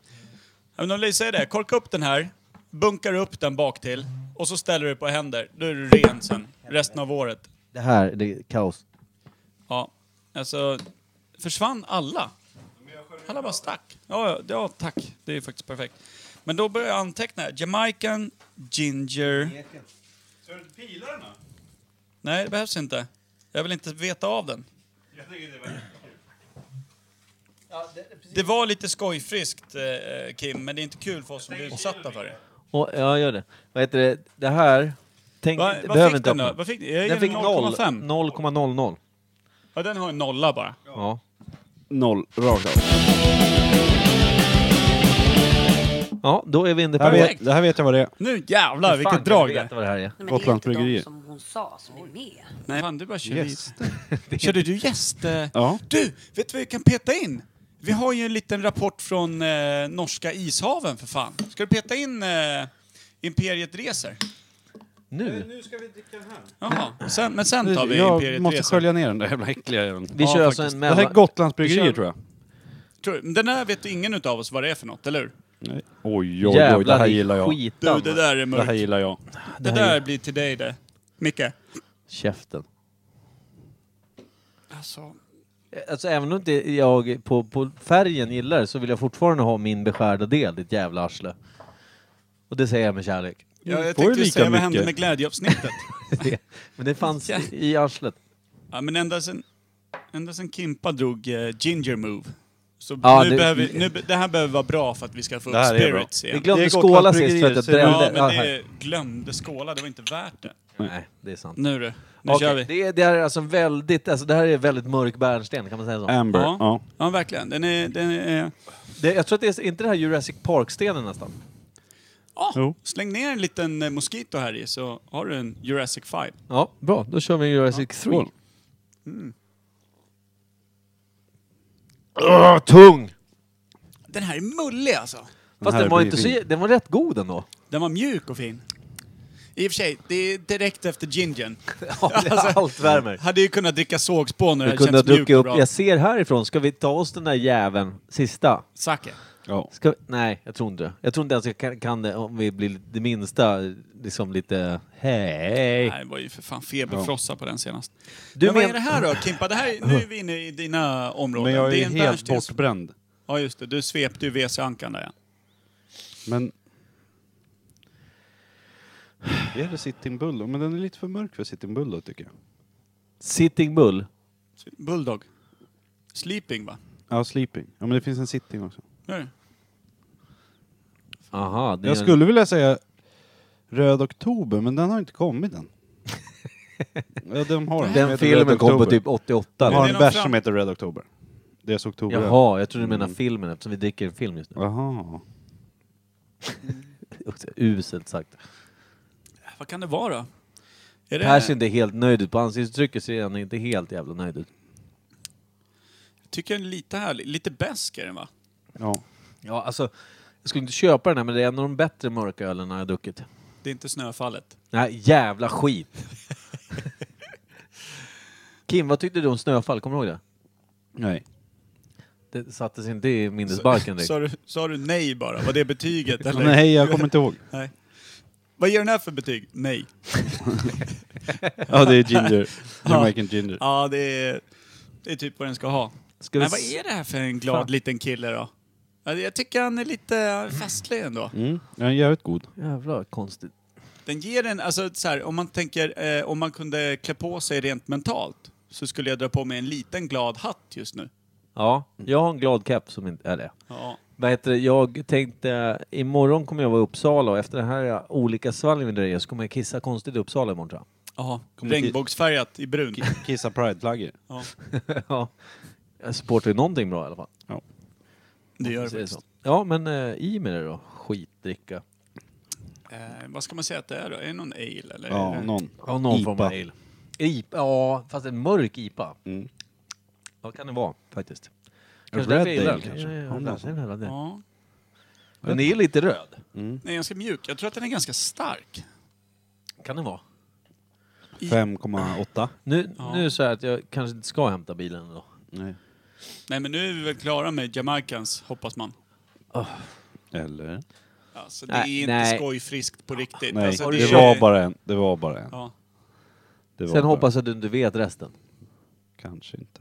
B: Ja, Men om Lisa säger det, korka upp den här, bunkar upp den bak till och så ställer du på händer. Då är du ren sen, resten av året.
A: Det här, det är kaos.
B: Ja, alltså försvann alla? Alla bara stack. Ja, ja, ja, tack. Det är faktiskt perfekt. Men då börjar jag anteckna. här. Jamaican, ginger...
G: Ska du inte pila den då?
B: Nej, det behövs inte. Jag vill inte veta av den.
G: Jag tycker det var jättekul.
B: Det var lite skojfriskt, eh, Kim, men det är inte kul för oss som blir utsatta för det.
A: Och, ja, gör det. Vad heter det? Det här... Tänk,
B: Va,
A: det
B: vad
A: behöver
B: fick
A: inte
B: den då?
A: öppna.
B: Vad fick, jag
A: Den
B: den
A: fick
B: 0,5.
A: 0,00.
B: Ja, den har en nolla bara.
A: Ja.
F: Noll, rakt av.
A: ja, då är vi inne
F: Det
A: på...
F: här,
B: Perfekt.
F: vet, det här vet jag vad det är.
B: Nu jävlar
A: Fan,
B: vilket
A: kan
B: drag
A: jag
B: det
A: veta vad det här är.
H: Nej, men
F: Gotlands
H: det är inte
F: bryggerier.
H: de som hon sa som är med.
B: Nej, fan du bara kör
F: Yes.
B: vid. Körde du gäst? eh?
F: Ja.
B: Du, vet du vad vi kan peta in? Vi har ju en liten rapport från eh, norska ishaven för fan. Ska du peta in eh, Imperiet Reser?
A: Nu?
G: Nu ska vi dricka den här.
B: Jaha, sen, men sen tar vi
F: Jag
B: Imperiet
F: måste
B: Reser.
F: skölja ner den där jävla äckliga jäveln.
A: Vi
B: Ja,
A: kör alltså
B: faktiskt.
A: en
F: Det här är
A: mellan...
F: Gotlands bryggerier
A: kör-
F: tror jag.
B: Tror- Den här vet ingen utav oss vad det är för något, eller hur?
F: Nej. Oj, oj, oj, det
A: Jävlar,
F: här gillar jag.
B: Du,
A: skitan.
B: det där är
F: Det här
B: mörkt.
F: gillar jag.
B: Det där blir till dig det. Micke.
A: Käften.
B: Alltså,
A: Alltså även om inte jag på, på färgen gillar det så vill jag fortfarande ha min beskärda del, ditt jävla arsle. Och det säger jag med kärlek.
B: Ja, jag
F: får ju
B: tänkte just
F: lika
B: säga, vad hände
F: mycket.
B: med glädjeavsnittet?
A: Det- Men det fanns i arslet.
B: ja, men ända sen, ända sen Kimpa drog eh, Ginger Move. Så
A: Ja,
B: nu
A: det-
B: det, behöver, vi- nu, be- det här behöver vara bra för att vi ska få
F: Det
B: upp
F: här är bra.
B: spirits
A: Vi
B: igen.
F: Det
A: glömde
F: är
A: skåla
F: Gotlands
A: sist för att det
F: bryggerier, så-
B: Ja,
A: brände.
B: men
A: Ja, här.
B: det glömde skåla, det var inte värt det.
A: Nej, det är sant.
B: Nu du, nu
A: Okej,
B: kör vi.
A: Det, är, det här är alltså en väldigt, alltså det här är en väldigt mörk bärnsten, kan man säga så?
F: Amber.
B: Ja.
F: Ja.
B: Ja. verkligen. Den är, den är,
A: Det, jag tror att det är inte det här Jurassic Park-stenen nästan.
B: ja,
F: Jo.
B: släng ner en liten eh, Mosquito här i så har du en Jurassic 5.
A: Ja, bra. Då kör vi Jurassic 3.
F: Skål.
A: Mm. Åh, tung!
B: Den här är mullig alltså.
A: Fast
F: här
A: den var,
F: blir
A: inte så,
F: fin.
A: den var rätt god ändå.
B: Den var mjuk och fin. I och för sig, det är direkt efter gingen.
A: Allt värmer.
B: Hade ju kunnat dricka sågspån när det
A: Du
B: hade
A: kunde ha
B: känts mjukt
A: druckit
B: och
A: upp.
B: bra.
A: Jag ser härifrån, ska vi ta oss den där jäveln, sista?
B: Sake.
F: Ja.
A: Ska vi? Nej, jag tror inte det. Jag tror inte ens jag kan, kan det om vi blir det minsta liksom lite hej.
B: Nej, det var ju för fan feberfrossa på den senast.
A: Du
B: men vad
A: men-
B: är det här då, Kimpa? Det här, nu är vi inne i dina områden.
F: Men jag
B: det
F: är
B: en
F: helt
B: bärs till-
F: bortbränd.
B: Ja, just det. Du svepte ju WC-ankan där, ja.
F: Men... Vi hade Sitting Bull, men den är lite för mörk för Sitting Bull då, tycker jag.
A: Sitting Bull.
B: Bulldog. Sleeping, va?
F: Ja, Sleeping. Ja, men det finns en Sitting också.
B: Gör det?
A: Aha, det är
F: Jag
A: en-
F: skulle vilja säga Röd Oktober, men den har inte kommit än. ja, de har den.
A: Den
F: heter Röd
A: filmen kom på
F: Oktober.
A: typ 88.
F: De
A: eller?
F: har
B: Det är
F: en
B: någon
F: bärs
B: fram-
F: som heter Röd Oktober. Deras oktober.
A: Jaha, jag tror du menar filmen eftersom vi dricker en film just nu.
F: Jaha.
A: Uselt sagt.
B: Vad kan det vara då? Är det,
A: Per ser inte helt nöjd ut. På ansiktsuttrycket ser han inte helt jävla nöjd ut.
B: tycker jag är lite härlig. Lite besk är den, va?
F: Ja.
A: Ja, alltså, jag skulle inte köpa den här men det är en av de bättre mörka ölen jag har druckit.
B: Det är inte snöfallet.
A: Nej, jävla skit! Kim, vad tyckte du om Snöfall? Kommer du ihåg det?
F: Nej.
A: Det sattes inte i minnesbalken direkt.
B: Sa du, sa du nej bara? Var det betyget? Eller?
F: Nej, jag kommer inte ihåg.
B: nej. Vad ger den här för betyg? Nej.
F: Ja, det är Ginger. Jamaican Ginger.
B: Ja, det är, det är typ vad den ska ha.
A: Ska vi
B: Men vad
A: s-
B: är det här för en glad
A: Fan.
B: liten kille då? Ja, Jag tycker han är lite festlig ändå.
F: Mm. Den är jävligt god.
A: Jävla konstigt.
B: Den ger en, alltså så här, om man tänker, eh, om man kunde klä på sig rent mentalt så skulle jag dra på mig en liten glad hatt just nu.
A: Ja, jag har en glad keps som inte är det.
B: Ja.
A: Vad heter det? Jag tänkte, imorgon kommer jag vara i Uppsala och efter den här olika svalgen vi drejer så kommer jag kissa konstigt i Uppsala imorgon tror
B: Jaha,
F: Kommer till-
B: regnbågsfärgat i brun.
F: Kissa Pride-flaggor.
B: Ja,
A: jag. ja. Jag supportar ju någonting bra i alla fall.
B: det gör det
A: Säger
B: faktiskt.
A: så. Ja, men eh, i med det då. Skitdricka.
B: Eh, vad ska man säga att det är då? Är det någon ale eller? är
F: Ja,
B: det-
F: någon.
A: Eh, Ja, någon
F: IPA.
A: form av ale. IPA, ja, fast en mörk IPA.
F: Mm.
A: Vad kan det vara faktiskt?
F: Red
A: därför jag gillar
F: ale,
A: den.
F: kanske.
A: Ja, ja,
F: Har de
A: ja,
F: någon sån?
A: den här, den.
B: Ja.
A: Den är lite röd.
B: Den är ganska mjuk. Jag tror att den är ganska stark.
A: Kan det vara.
F: 5,8.
A: Nu,
B: Ja.
A: nu så här att jag kanske inte ska hämta bilen då.
F: Nej.
B: Nej men nu är vi väl klara med Jamaicans, hoppas man.
F: Eller?
B: Alltså det
A: Nej,
B: är inte
A: nej.
B: skojfriskt på riktigt.
F: Nej,
B: alltså,
F: det var bara en. Det var bara en.
B: Ja.
F: Det var
A: Sen
F: bara-
A: hoppas jag att du inte vet resten.
F: Kanske inte.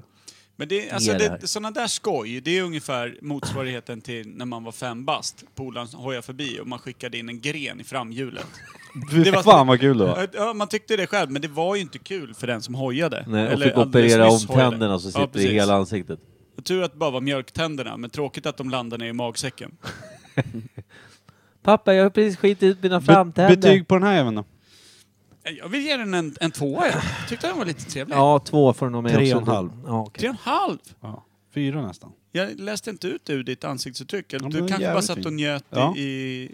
B: Men det, alltså
A: Ner
B: det,
A: där.
B: sådana där skoj, det är ungefär motsvarigheten till när man var fem bast. Polaren hojade förbi och man skickade in en gren i framhjulet.
F: Fy
B: var-
F: fan vad kul det var.
B: Ja, man tyckte det själv, men det var ju inte kul för den som hojade.
A: Nej, och
B: Eller
A: fick
B: alldeles
A: operera om
B: nyss hojade.
A: tänderna så
B: Ja,
A: sitter det i
B: precis.
A: hela ansiktet.
B: Och Tur att det bara var mjölktänderna, men tråkigt att de landade ner i magsäcken.
A: Pappa, jag har precis skitit ut mina
F: Be-
A: framtänder.
F: betyg på den här även då?
B: Jag vill ge den en, en tvåa, jag tyckte den var lite trevlig.
A: Ja, två får du nog med
F: Tre
A: också.
F: och en halv.
A: Ja, okej.
B: Tre och en halv!
F: Ja. Fyra nästan.
B: Jag läste inte ut ur ditt ansiktsuttryck. Eller
F: men
B: Du
F: det är
B: kanske bara
F: jävligt
B: satt och
F: fint.
B: njöt
F: Ja.
B: i,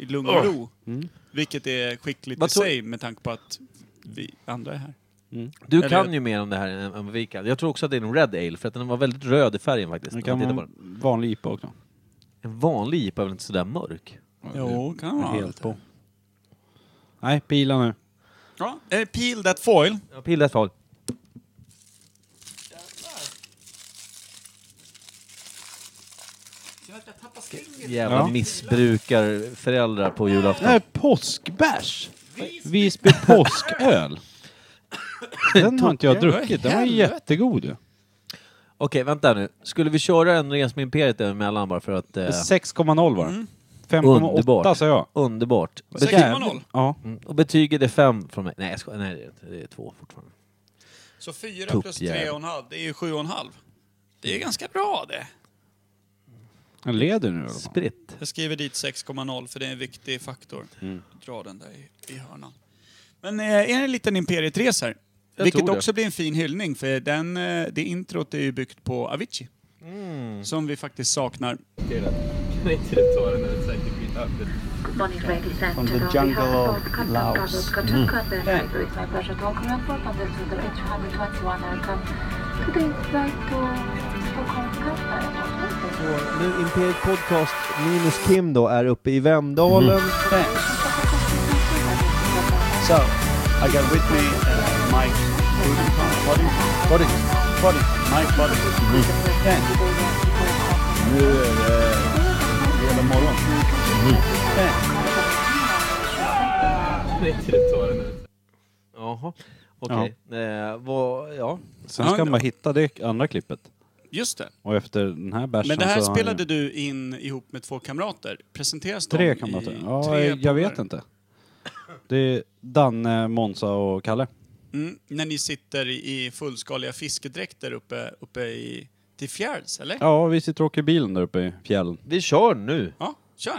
B: i lugn och ro.
F: Mm.
B: Vilket är skickligt
A: Vad
B: i
A: tror-
B: sig med tanke på att vi andra är här.
A: Du
B: Eller-
A: kan ju mer om det här än än vad vi kan. Jag tror också att det är en Red Ale, för att den var väldigt röd i färgen faktiskt.
F: Det
A: när man
F: kan
A: tittar
F: vara
A: på den.
F: en vanlig IPA också.
A: En vanlig IPA är väl inte sådär mörk?
B: Jo, kan vara.
F: Helt på. Nej, pila nu.
B: Ja, eh, peel that foil.
A: Jag pillar ett tag. Jävla
F: Ja.
A: missbrukar föräldrar på julafton.
F: Nej, påskbärs! Visby påsköl. Den har inte jag druckit. Den var jättegod ju.
A: Okej, vänta nu. Skulle vi köra en Res med Imperiet emellan bara för att... Eh,
F: 6,0 var den. 5,8
A: underbart.
F: sa jag.
A: Underbart.
B: Mm. Sex-
A: Bety-
B: 6,0?
F: Ja.
A: mm, och betyget är fem från mig. Nej, jag skojar. Nej, det är inte. Det är två fortfarande.
B: Så 4
A: Tupp
B: plus
A: jävel.
B: 3,5, det är ju 7,5. Det är ganska bra det.
F: Den leder nu i alla fall.
A: Spritt.
B: Jag skriver dit 6,0 för det är en viktig faktor.
I: Mm.
B: Dra den där i, i hörnan. Men eh, är det en liten Imperiet här?
A: Jag
B: Vilket
A: tror det.
B: också blir en fin hyllning för den, eh, det introt är ju byggt på Avicii.
I: Mm.
B: Som vi faktiskt saknar.
J: From the jungle of Laos. Mm.
A: Nu Imperiet Podcast minus Kim då är uppe i Vemdalen.
J: Mm.
F: So, I got with me uh, Mike Body. Body. Body. Mike Body. Ten. Nu är det hela morgon. Ten.
A: Jaha. Okej. Eh, vad, ja.
I: Sen
B: Ja,
I: ska man bara hitta det andra klippet.
B: Just det.
I: Och efter den här bärsen
B: Men det här
I: så har
B: spelade
I: jag...
B: du in ihop med två kamrater. Presenteras de
I: Tre
B: i
I: kamrater. Ja,
B: tre
I: jag vet
B: poddar?
I: inte. Det är Danne, Monza och Kalle.
B: Mm, när ni sitter i i fullskaliga fiskedräkter uppe, uppe i, till fjärds, eller? Ja,
I: Ja, vi sitter och åker bilen där uppe i fjällen.
A: Vi kör nu.
B: kör!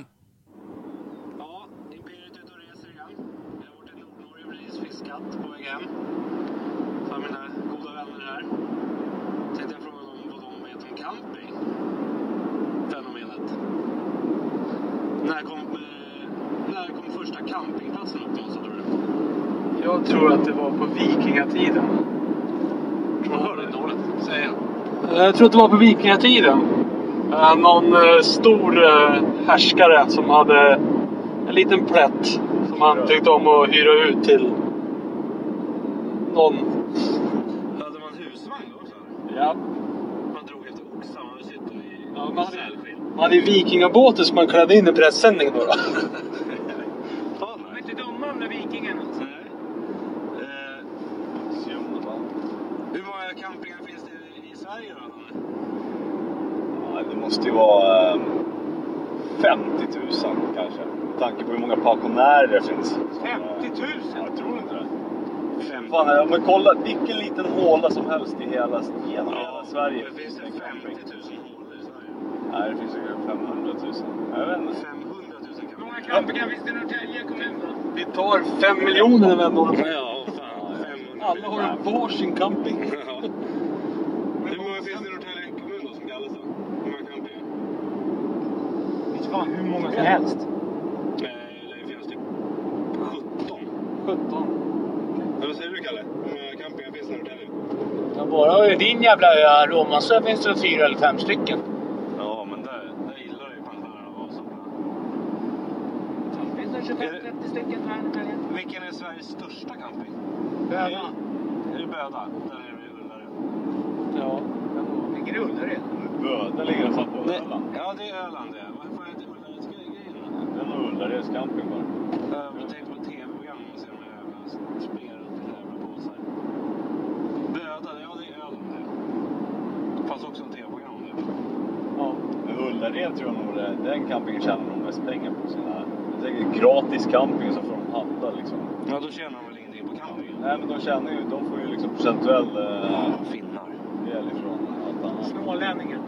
J: Ja, Imperiet ut och reser igen. Jag har varit i Nordnorge och precis fiskat på väg hem. För mina goda vänner här. Tänkte jag fråga dem vad de vet om camping. Fenomenet. När kom, eh, när kom första campingplatsen upp någonstans tror du? Jag tror att det var på vikingatiden. Från Hörnedalen, säger jag. Eh, Jag tror att det var på vikingatiden. Eh, Någon eh, stor eh, härskare som hade en liten plätt som han tyckte om att hyra ut till någon.
K: Hade man husvagn också?
J: Ja.
K: Man drog efter oxar, man sitter i
J: Ja, man hade- Man hade ju vikingabåten som man klädde in i pressändning då. då.
K: De är inte dumma de där vikingarna. Nej. Eh, Hur många campingar finns det i Sverige då?
F: Ja, Det måste ju vara eh, 50 000 kanske. Med tanke på hur många pensionärer det finns.
K: 50 000?
F: Jag tror inte det. Fan, om vi kollar vilken liten håla som helst i hela, genom hela Sverige.
K: Det finns det 50 000 hål i Sverige.
F: Nej, det finns säkert 500 000. Jag vet inte.
K: 500 000 campingar.
J: många campingar finns det i Norrtälje kommun då?
F: Vi tar 5 miljoner vändor.
K: Ja, fan. 500
J: Alla har ju varsin camping.
K: Hur många finns det i Norrtälje kommun då som kallas då? Hur många campingar?
J: Fan, hur många som helst.
K: Eh, det finns typ 17.
J: 17.
K: Eller vad säger du Kalle? Hur många campingar finns det i Norrtälje?
J: Ja, bara i din jävla ö Romansö finns det fyra eller fem stycken.
K: Ja, men där, där gillar ju pensionärerna att vara som
J: Det finns det 25-30 stycken här i Norrtälje.
K: Vilken är Sveriges största camping?
J: Böda.
K: Är det Böda? Där är det Ullared.
J: Ja. Ligger det Ullared?
F: Böda ligger fan på
K: Nej.
F: Öland.
K: Ja, det är Öland det. Vad fan heter Ullaredsgrejen?
F: Det är nog Ullareds camping bara.
K: Jag tänkte på tv-program och se de här jävla springa runt i jävla påsar. Böda, ja det är Öland det. Det fanns också en tv-program om det.
F: Men Ullared tror jag nog det Den campingen tjänar de mest pengar på. Sina, jag tänker gratis camping så får de handla liksom.
K: Ja, då tjänar de väl ingenting på campingen?
F: Nej men de tjänar ju, de får ju liksom procentuell eh,
K: finnar.
F: del ifrån allt annat.
J: Smålänningen.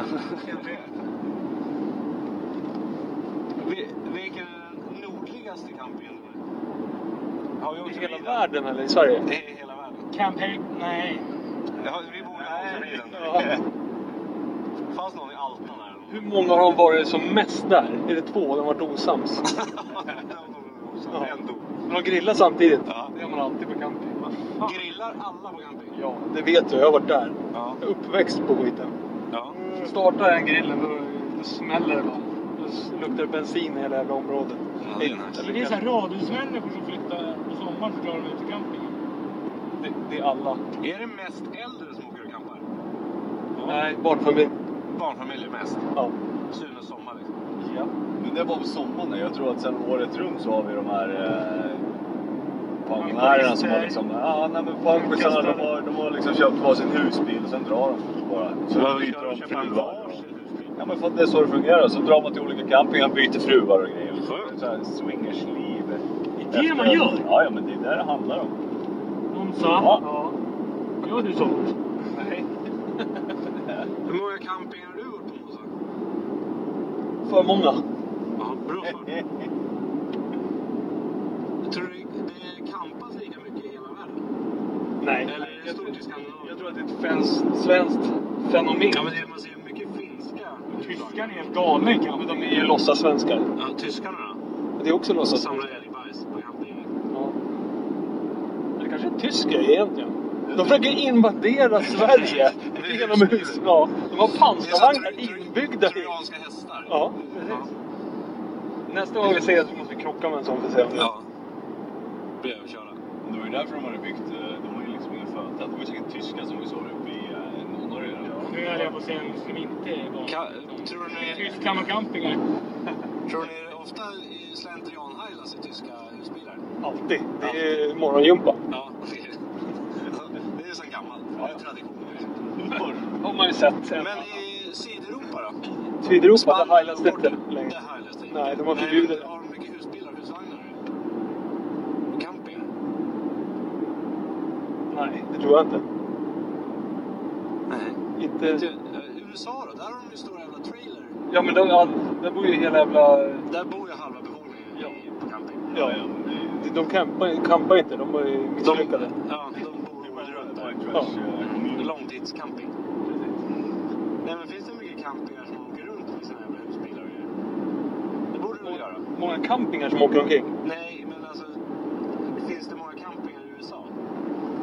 K: Vi- Vilken är den nordligaste campingen? Har vi också bilen?
J: eller i Sverige?
K: Det är hela världen.
J: Camp Hilton? Nej.
K: Ja, vi borde ha åkt
J: Ja.
K: Fanns någon i Alta där? eller något?
J: Hur många har de varit som mest där? Är det två? De har varit osams.
K: Ja. Ändå.
J: Men de grillar samtidigt.
K: Ja.
J: Det gör man alltid på camping.
K: Grillar alla på camping?
J: Ja, det vet du. Jag har varit där.
K: Ja.
J: Jag är uppväxt på skiten.
K: ja.
J: Startar den grillen då, då smäller det bara. Då s- luktar det bensin i hela jävla området.
K: det är nice.
J: det är så här radhusmänniskor som flyttar på sommaren för att klara sig till camping. Det, det är alla.
K: Är det mest äldre som åker och campar?
J: Nej, barnfamilj.
K: Barnfamiljer mest?
J: Ja.
K: Sunes sommar liksom?
F: Men det var på sommaren. Jag tror att sen året runt så har vi de här eh, pensionärerna som har liksom... Ja, nej men pensionärerna de har, de har liksom köpt varsin husbil och sen drar de bara. Så byter de fruar. Ja men för att det är så det fungerar. Så drar man till olika campingar, byter fruar och grejer. Så här swingersliv.
J: Det är det man gör.
F: Ja, ja men det är det det handlar om.
J: De sa.
F: Ja.
J: Gör du sånt?
K: Hur många campingar har du gjort på Mosa?
J: För många.
K: Ja, bra för. Tror du det campas lika mycket i hela världen?
J: Nej.
K: Eller är det stort i Skandinavien?
J: Jag tror att det är ett fens- svenskt fenomen.
K: Ja, men det, man ser ju mycket finska.
J: Tyskarna är helt galna i camping. De är ju låtsassvenskar.
K: Ja, tyskarna då?
J: Det är också
K: Samlar
J: låtsassvenskar.
K: älgbajs på campingen.
J: Ja. Det kanske är tysk grej egentligen. De försöker invadera Sverige genom hus. Ja, de har pansarvagnar inbyggda i.
K: Trojanska hästar.
J: Ja, precis. Nästa gång vi ses så måste vi krocka med en sån för att se om det
K: Blir överkörda.
L: Det var ju därför de hade byggt, eh, de har ju liksom inga födelsedagar. Det var ju säkert tyskar som vi såg uppe i eh, Norge.
J: Nu höll jag på att säga något som inte är vanligt. Tror ni... Tyskland och campingar.
G: Tror ni det ofta i slentrianhajlas i tyska husbilar?
J: Alltid. Det är morgongympa.
G: Ja, det är- det är så gammalt. Det är tradition.
J: Har man ju sett.
G: Men i Sydeuropa då?
J: Sydeuropa,
G: Spanien,
J: där hajlas det inte
G: Portugal,
J: längre.
G: Där hajlas det inte.
J: Nej, de har förbjudit
G: men Har de mycket husbilar och husvagnar? Och Camping?
J: Nej, det tror jag inte.
G: Nej.
J: Inte...
G: Eh, USA då? Där har de ju stora jävla trailer.
J: Ja, men de, ja, där bor ju hela jävla...
G: Där bor ju halva befolkningen i- på camping.
J: Ja, de, de campar, campar inte. De var ju misslyckade.
G: Ja, de bor året runt där.
J: Ja.
G: Långtidscamping. Nej, men finns det mycket campingar som åker runt med sina jävla husbilar och grejer? Det borde de väl göra?
J: Många campingar som åker omkring.
G: Nej, men alltså... Finns det många campingar i USA?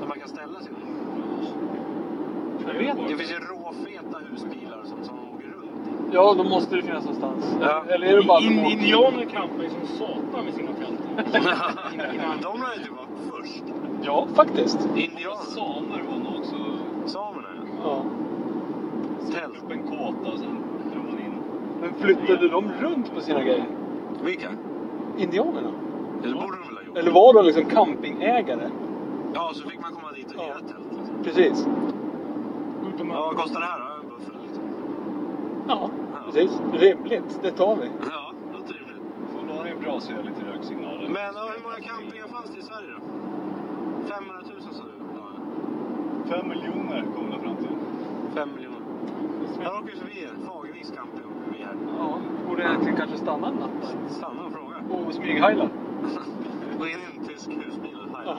G: Där man kan ställa sig?
J: Jag vet inte.
G: Det finns ju råfeta husbilar och sånt som åker runt.
J: Ja, då måste det finnas någonstans.
G: Ja.
J: Eller är det bara...
G: In-
J: indianer campar ju som satan med sina tält.
G: De lär ju vara först.
J: ja, faktiskt.
G: Indianer.
L: Samer var nog också...
G: Samerna, ja.
J: Ja.
G: Tält.
L: Upp en kåta och sen drog man in.
J: Men flyttade de runt på sina grejer?
G: Vilka?
J: Indianerna?
G: Det borde de väl ha gjort?
J: Eller var de liksom campingägare?
G: Ja, så fick man komma dit och hyra tält. liksom.
J: Precis.
G: Ja, vad kostar det här då? En buffel liksom.
J: Ja, precis. Rimligt. Det tar vi.
G: Ja, låter rimligt.
L: Får ha en brasa och lite röksignaler.
G: Men ja, hur många campingar fanns det i Sverige då? 500 000 sa du? Ja,
L: Fem miljoner kom det fram till.
G: 5 miljoner. Här åker ju förbi en Fagerviks camping åker förbi här.
J: Ja, borde egentligen kanske stanna en natt där.
G: Stanna och fråga.
J: Och smyghajla.
G: Gå in i en tysk husbil och hajla.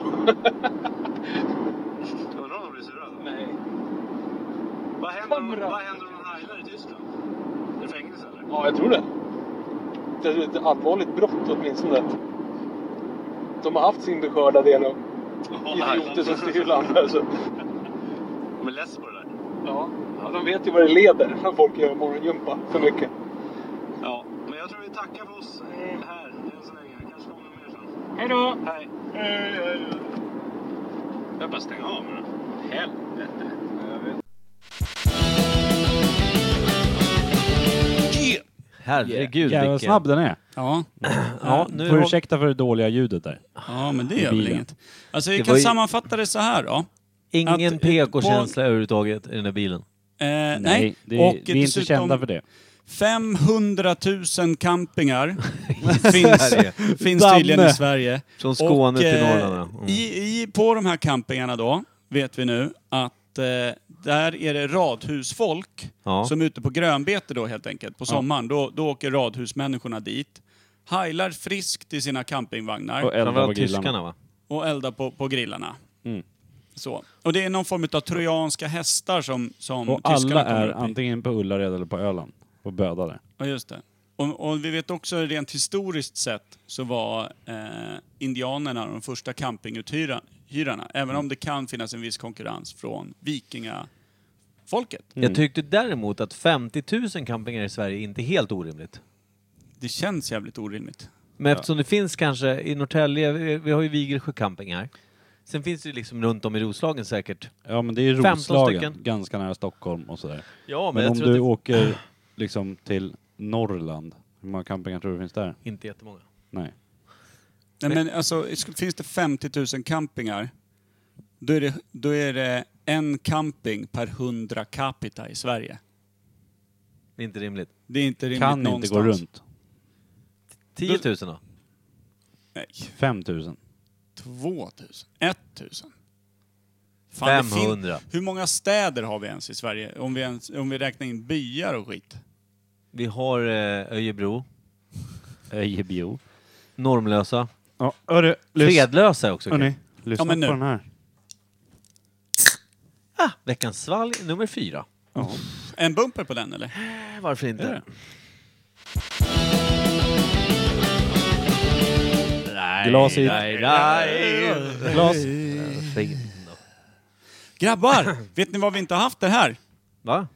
G: Undrar om de blir sura då?
J: Nej.
G: Vad händer, om,
J: Kamera.
G: vad händer om de hajlar i Tyskland? Är det fängelse eller?
J: Ja, jag tror det. Det är ett allvarligt brott åtminstone. De har haft sin beskörda del av idioter som styr landet. Alltså.
G: De är less på det där.
J: Ja. ja, de vet ju vad det leder när folk gör morgongympa för mycket.
G: Ja. Men jag tror vi tackar för oss eh, här än så länge. Kanske kommer det mer sen.
J: Hej då!
G: Hej. Hej, hej, hej. Jag bara stänga av med det. Helvete.
A: Herregud
F: Jävlar
A: Micke.
F: snabb den är.
B: Ja.
A: Ja, nu
F: Får
A: har...
F: ursäkta för det dåliga ljudet där.
B: ja, men det gör väl
F: Bilen.
B: inget. Alltså, vi
A: Det
B: kan
A: var ju-
B: sammanfatta det så här då. Eh,
A: Ingen
B: att-
A: PK-känsla överhuvudtaget i den här bilen.
B: Eh, nej,
F: det, vi är inte
B: dessutom
F: kända för det.
B: 500 000 campingar
A: Sverige.
B: finns, finns tydligen
F: Danne.
B: i Sverige.
A: Från Skåne till
B: eh,
A: Norrland. ja. Mm.
B: I, i, på de här campingarna då, vet vi nu, att eh, där är det radhusfolk
A: Ja.
B: som är ute på grönbete då helt enkelt, på sommaren. Då, då åker radhusmänniskorna dit, hajlar friskt i sina campingvagnar
F: Och
B: och,
F: elva på
A: Framförallt
F: grillarna.
A: tyskarna va?
B: eldar på, på grillarna.
F: Mm.
B: Så. Och det är någon form av trojanska hästar som, som
F: Och
B: Mm, tyskarna
F: alla
B: kommer
F: är
B: upp i.
F: antingen på Ullared eller på Öland. På bödare.
B: Ja, just det. Och, och vi vet också rent historiskt sett så var eh, indianerna de första campinguthyrarna. Även om det kan finnas en viss konkurrens från vikingafolket.
A: Jag tyckte däremot att 50 000 campingar i Sverige är inte är helt orimligt.
B: Det känns jävligt orimligt.
A: Men eftersom det finns kanske i Norrtälje, vi- vi har ju Vigelsjö camping här. Sen finns det ju liksom runt om i Roslagen säkert.
F: Ja men det är
A: 15
F: Roslagen,
A: stycken.
F: ganska nära Stockholm och sådär.
A: Ja, men,
F: Men
A: jag
F: om
A: tror att
F: du
A: det
F: åker liksom till Norrland, hur många campingar tror du finns där?
A: inte är jättemånga.
F: Nej.
B: Nej, men alltså, sk- finns det 50 000 campingar, då är, det, då är det en camping per 100 capita i Sverige.
A: Det är inte rimligt.
B: Det är inte rimligt
F: Kan inte
B: någonstans.
F: gå runt.
A: 10 000 då?
B: Nej,
F: 5000.
B: 2000, 1000. Fan, det fin-
A: 500.
B: Hur många städer har vi ens i Sverige? Om vi, ens, om vi räknar in byar och skit.
A: Vi har eh, Öjebro,
F: Öjebio.
A: Normlösa,
F: Ja, hörru, lyssna,
A: Fredlösa är också kul.
F: hörni, lyssna
B: Ja, men nu.
F: på den här.
A: Ah, veckans svalg nummer fyra.
B: En bumper på den eller?
A: Eh, Varför inte?
B: Är det?
A: Nej,
F: Glas hit.
A: nej, nej.
F: Glas.
B: Grabbar! vet ni vad vi inte har haft det här?
A: Va?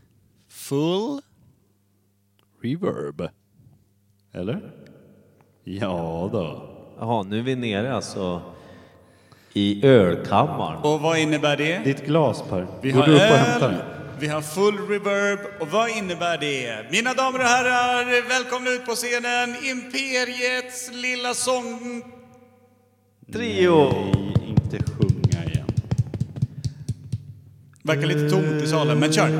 B: Full...
F: Reverb. Eller? Ja då.
A: Jaha, nu är vi nere alltså. I ölkammaren.
B: Och vad innebär det?
M: Ditt glas Per.
B: Vi
M: Går
B: har
M: du upp och hämtar
B: öl,
M: det?
B: vi har full reverb och vad innebär det? Mina damer och herrar, välkomna ut på scenen Imperiets lilla sång...
A: Trio!
F: Nej, inte sjunga igen.
B: Verkar lite tomt i salen, men kör!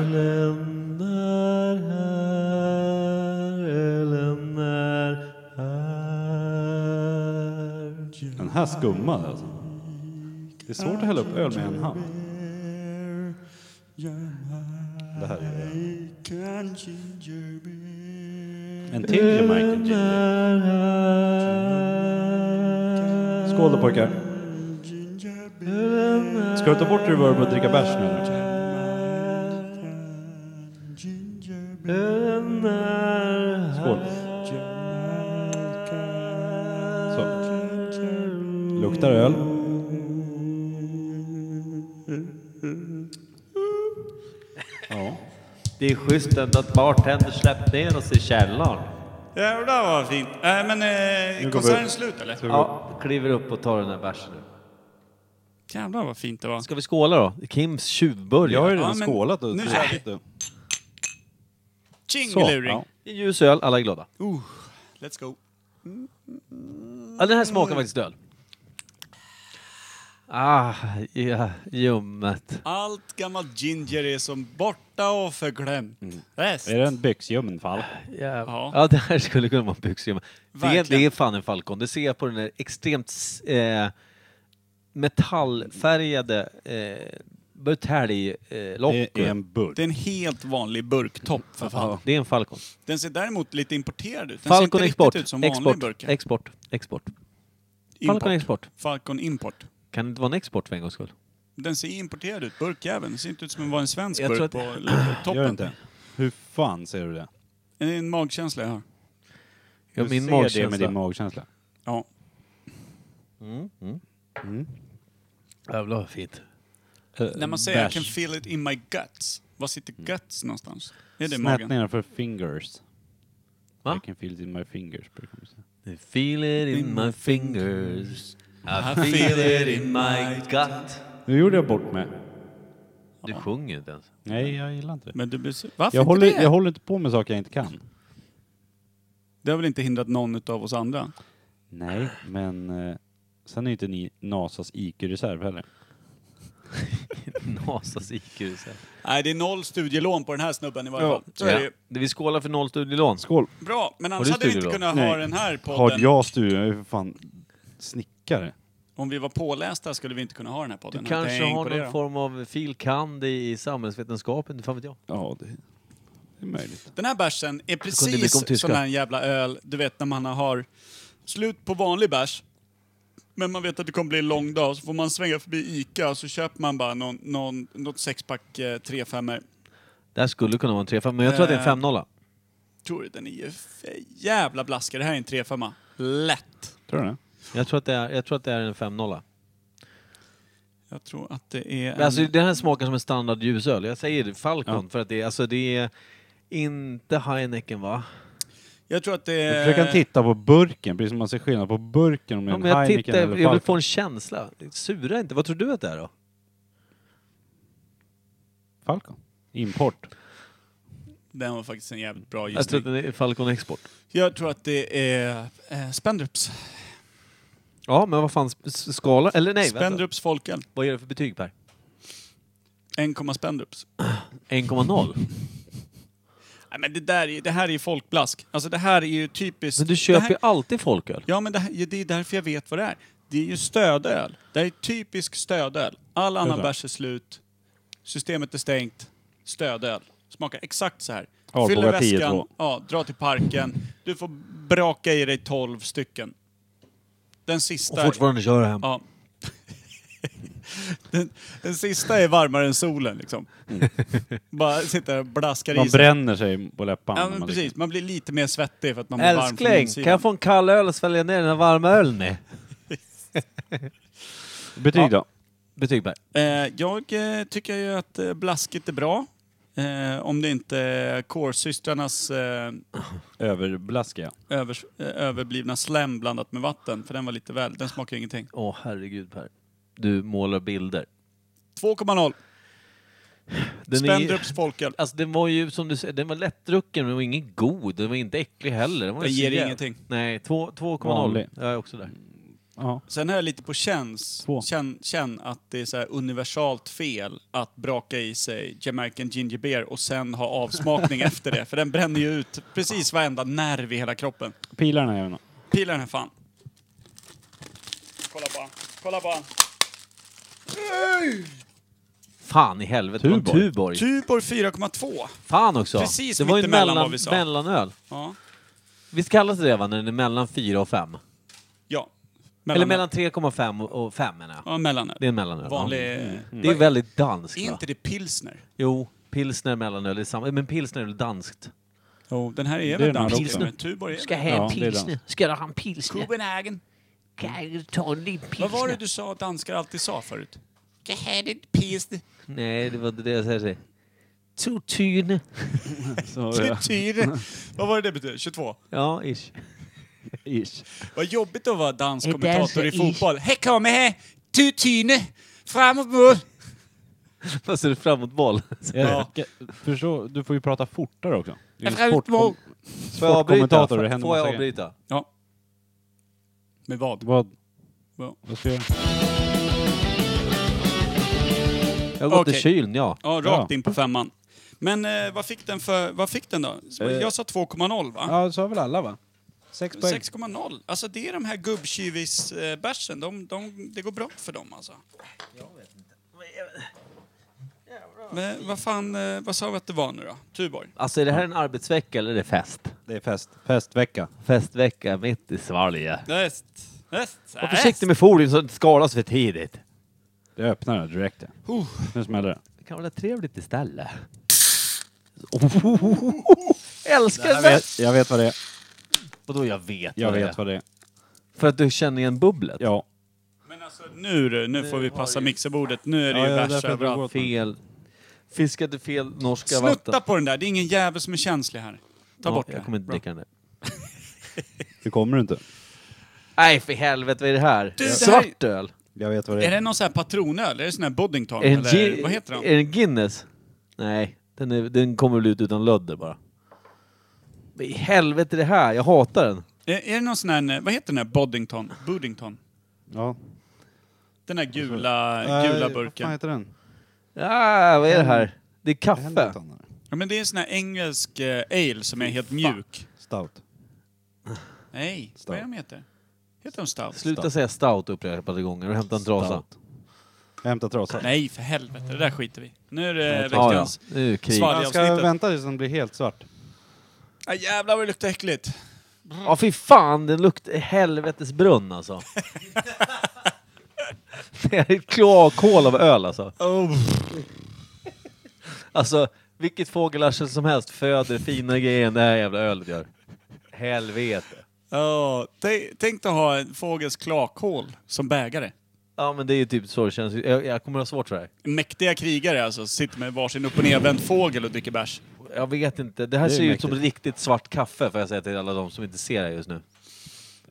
M: Den här skummar alltså. Det är svårt att hälla upp öl med en hand. Det här är
F: En till Jamaica
M: Skål då pojkar. Ska du ta bort reverb och dricka bärs nu? Skål. Så. Luktar öl.
A: Ja. Det är schysst ändå att bartender släppt ner oss i källaren.
B: Jävlar vad fint! Äh, men
A: Nu går
B: eh,
A: vi
B: konserten
A: upp.
B: slut eller?
A: Ja, kliver upp och tar den där bärsen nu.
B: Jävlar vad fint det var.
A: Ska vi skåla då? Kims tjuvburgare.
B: Jag har ju redan Ja, men skålat och nu kör vi.
A: vi.
B: Tjingeluring!
A: Det är ljus öl, alla är glada.
B: Uh, let's go!
A: Ja, den här smakar faktiskt öl. Ah, ja, ljummet.
B: Allt gammalt ginger är som borta och förglömt.
A: Mm.
B: Rest.
F: Är det en byxljummen fall?
A: Ja. ja, det här skulle kunna vara byxljummen. Det, är- det är fan en Falcon. Det ser jag på den där extremt eh, metallfärgade eh, buteljlocket.
B: Det är en Det är en helt vanlig burktopp för fan.
A: Det är en Falcon.
B: Den ser däremot lite importerad ut. Den ser inte
A: Falcon
B: riktigt
A: export.
B: ut som vanliga
A: Export.
B: burkar.
A: Export. Export.
B: Import.
A: Falcon export.
B: Falcon import.
A: Kan det inte vara en export för en gångs skull?
B: Den ser importerad ut, burkjäveln. Den ser inte ut som en var en svensk
A: Jag
B: burk
A: tror att-
B: på l- toppen.
F: Gör det inte? Hur fan ser du det?
B: Det är en magkänsla jag har.
F: Du
A: min
F: ser
A: magkänsla.
F: det med din magkänsla.
B: Ja.
A: Jävlar vad fint.
B: När man säger I can feel it in my guts. Var sitter guts någonstans? Är det
F: Snett
B: magen?
F: nedanför fingers. I can feel it in my fingers, brukar man säga.
A: I feel it in my fingers. I
F: I
A: feel it in my gut.
F: Nu gjorde jag bort mig.
A: Du sjunger inte ens.
F: Nej, jag gillar inte det.
B: Men du blir sur. Varför
F: jag
B: inte
F: håller,
B: det?
F: Jag håller inte på med saker jag inte kan.
B: Det har väl inte hindrat någon av oss andra?
F: Nej, men eh, sen är ju inte ni NASAs IQ-reserv heller.
A: Nasas IQ. så här.
B: Nej, det är noll studielån på den här snubben i varje fall. Så är det
A: Ja.
B: ju.
A: Vi skålar för noll studielån.
F: Skål.
B: Bra, men
A: Har
B: annars
A: du
B: hade vi inte
A: studielån?
B: kunnat ha den här
F: Har
B: podden.
F: jag studier? Jag är för fan snickare.
B: Om vi var pålästa skulle vi inte kunna ha den här
A: Du
B: podden.
A: kanske
B: Tänk
A: har
B: på det
A: någon
B: då.
A: form av fil. kand i samhällsvetenskapen, inte fan vet jag.
F: Ja, det, är möjligt.
B: Den här bärsen är
A: kunde mycket om
B: precis
A: tyska.
B: sån här jävla öl, du vet när man har slut på vanlig bärs, men man vet att det kommer bli en lång dag, så får man svänga förbi ICA och så köper man bara någon, någon, något sexpack eh, 3-5
A: Det här skulle kunna vara en 3 men jag tror att det är en
B: Eh.
A: 5 0
B: Tror du den är ju f- jävla blaskig? Det här är en 3-5 Lätt!
F: Tror du det?
A: Jag tror att det är, jag tror att det är en 5 0
B: Jag tror att det är en...
A: Alltså den här smakar som en standard ljusöl. Jag säger Falcon för att det, är- alltså, det är inte Heineken va?
B: jag tror att det
F: Då
B: är...
F: försöker han titta på burken, precis som man ser skillnad på burken om det
A: Eh. Ja,
F: är en
A: men jag,
F: Heineken
A: tittar,
F: eller
A: jag vill
F: Falcon.
A: få en känsla. Sura inte. Vad tror du att det är då?
F: Falcon. Import.
B: Den var faktiskt en jävligt bra
A: Jag tror
B: gissning.
A: att det är Falcon Export.
B: Jag tror att det är eh, Spendrups.
A: Ja, men vad fan, s- s- skala? Eller nej, vänta.
B: Spendrups folköl.
A: Vad ger du för betyg Per?
B: 1, Spendrups.
A: 1,0?
B: Nej, men det, där är, det här är ju folkblask. Alltså det här är ju typiskt...
A: Men du
B: det
A: köper
B: här,
A: ju alltid folköl.
B: Ja, men det, här, det är därför jag vet vad det är. Det är ju stödöl. Det här är typisk stödöl. All annan
F: Vänta.
B: bärs är slut. Systemet är stängt. Stödöl. Smakar exakt så här.
F: Ja,
B: Fyller
F: vågar 10
B: väskan,
F: två.
B: ja, dra till parken. Du får braka i dig 12 stycken. Den sista...
A: Och fortfarande köra hem.
B: Ja. den, den sista är varmare än solen liksom. Bara sitter och blaskar
F: Man
B: i sig.
F: bränner sig på läpparna.
B: Ja,
F: när
B: men
F: man
B: precis. Man blir lite mer svettig för att man blir varm från
A: Älskling,
B: insidan.
A: kan jag få en kall öl och svälja ner den här varma ölen i?
F: dricker. Betyg då?
A: Betyg Per.
B: Eh, jag eh, tycker ju att eh, blasket är bra. Eh, om det inte är kårsystrarnas eh,
F: Överblaskiga.
B: övers- eh, överblivna slem blandat med vatten, för den var lite väl... Den smakar ingenting.
A: Åh herregud Per. du målar bilder.
B: 2,0.
A: Den är-
B: Spendrups folköl.
A: Alltså den var ju som du säger, den var lättdrucken men den var ingen god. Den var inte äcklig heller. Den, var
B: Den
A: så
B: ger
A: jävla-
B: ingenting.
A: Nej, två- 2,0.
B: Vanlig.
A: Jag är också där.
B: Sen är jag lite på känns, känn, känn att det är så här universalt fel att braka i sig Jamaican ginger beer och sen ha avsmakning efter det. För den bränner ju ut precis varenda nerv i hela kroppen.
F: Pilarna gör något.
B: Pila den här fan. Kolla på han. Kolla på han.
A: Fan i helvete. det var Tuborg.
B: Tuborg 4,2.
A: Fan också.
B: Precis
A: det var ju en
B: mittemellan
A: mellan,
B: vad vi sa.
A: mellanöl.
B: Ja.
A: Visst kallas det det va, när den är mellan 4 och 5?
B: Ja.
A: Eller mellan 3,5 och och 5 menar jag.
B: Ja, mellanöl.
A: Det är en mellanöl. va?
B: Vanlig-
A: Mm.
B: Mm.
A: Det är väldigt danskt
B: Är
A: va?
B: inte det pilsner?
A: Jo, pilsner, mellanöl, det är samma. Men pilsner är väl danskt?
B: Jo, den här är väl dansk. men Tuborg är
A: Ska
B: väl-
A: ha en pilsner. Ska du ha en pilsner?
B: Copenhagen.
A: Ta en liten
B: Vad var det du sa att danskar alltid sa förut? Det här är ett pilsner.
A: Nej, det var inte det jag säger. Tortyne.
B: Tytyr. Vad var det det betyder? 22?
A: Ja, ish.
F: Ish.
B: Vad jobbigt att vara dansk
A: Är alltså
B: kommentator i
A: dansk-
B: fotboll. Här kommer här! Tutyne! Framåt mål!
A: Fast är det framåtboll?
F: Ja. Förstå, du får ju prata fortare också. Du är
B: Ett rätt
F: ju
B: mål.
F: sportkom- sportkommentator. Det händer
A: Får
F: massa
A: jag
F: grejer.
A: avbryta?
B: Ja. Med vad?
F: Vad?
B: Vad?
F: Vad ska jag göra?
A: Jag har gått
B: Okej.
A: i kylen, ja.
B: Ja, rakt in på femman. Men eh, vad, fick den för, vad fick den då?
A: Eh.
B: Jag sa 2,0 va?
F: Ja, det sa väl alla va? Sex poäng.
B: 6,0. Alltså det är de här gubbkyvis-bärsen. De, de, det går bra för dem alltså. Men vad fan, eh, vad sa vi att det var nu då? Tuborg?
A: Alltså är det här en arbetsvecka eller är det fest?
F: Det är fest. Festvecka.
A: Festvecka mitt i Svalge.
B: Näst. Näst.
A: Var försiktig med folien så det inte skalas för tidigt.
F: Det öppnar jag direkt. ja.
B: Oh.
F: Nu smäller det.
A: Det kan vara lite trevligt istället. Älskar
F: Jag vet, jag vet vad det är.
A: Vadå jag vet
F: Jag
A: vad det
F: vet
A: är?
F: vad det är.
A: För att du känner igen bubblet?
F: Ja.
B: alltså, Nu du, nu får vi passa mixerbordet. Nu är det
A: Ja,
B: ju
A: ja,
B: bärs
A: därför har du
B: överallt.
A: gått med. Fel. Fiskade fel norska vatten.
B: Snutta på den där, det är ingen jävel som är känslig här. Ta
A: Ja,
B: bort
A: jag
B: det.
A: kommer inte
B: Bra.
A: dricka den där.
F: Det kommer du inte.
A: Nej för helvete, vad är det här?
B: Du, det här-
A: Svart öl?
F: Jag vet vad
B: Är det någon sån här patronöl? Är det sån här Boddington?
A: Är det en,
B: Eller
A: gin-
B: vad heter den?
A: är det en Guinness? Nej, den, är, den kommer väl ut utan lödder bara. Vad i helvete är det här? Jag hatar den.
B: Är, är det någon sån här, eh, vad heter den här Boddington? Boddington?
F: Ja.
B: Den här gula, gula burken.
F: Eh, Vad heter den?
A: Ah, vad är det här? Det är kaffe.
B: Ja, men det är en sån här engelsk eh, ale som är helt mjuk.
F: Stout.
B: Nej, vad är de heter? Heter de stout?
A: Sluta säga stout upprepade gånger och hämta en trasa.
F: Jag hämtar trasan.
B: Nej, för helvete. Det där skiter vi Nu är det
A: Ja, ja.
B: veckans
A: Nu är det krig.
F: Jag ska
B: svalgavsnittet.
F: vänta tills den blir helt svart.
B: Ah, jävlar vad det luktar äckligt.
A: Ja fy fan, den luktar helvetes brunn alltså. det är ett kloakhål av öl alltså.
B: Oh.
A: Alltså, vilket fågelarsel som helst föder finare grejer än det här jävla ölet gör. Helvete.
B: Ja, tänk- tänk att ha en fågels klakhål som bägare.
A: Ja men det är ju typ så det känns. Jag, jag kommer ha svårt för det här.
B: Mäktiga krigare alltså, sitter med varsin upp och nervänd fågel och dricker bärs.
A: Jag vet inte. Det här
F: Det är
A: ser ut
F: mäktigt.
A: som riktigt svart kaffe får jag säga till alla de som inte ser det här just nu.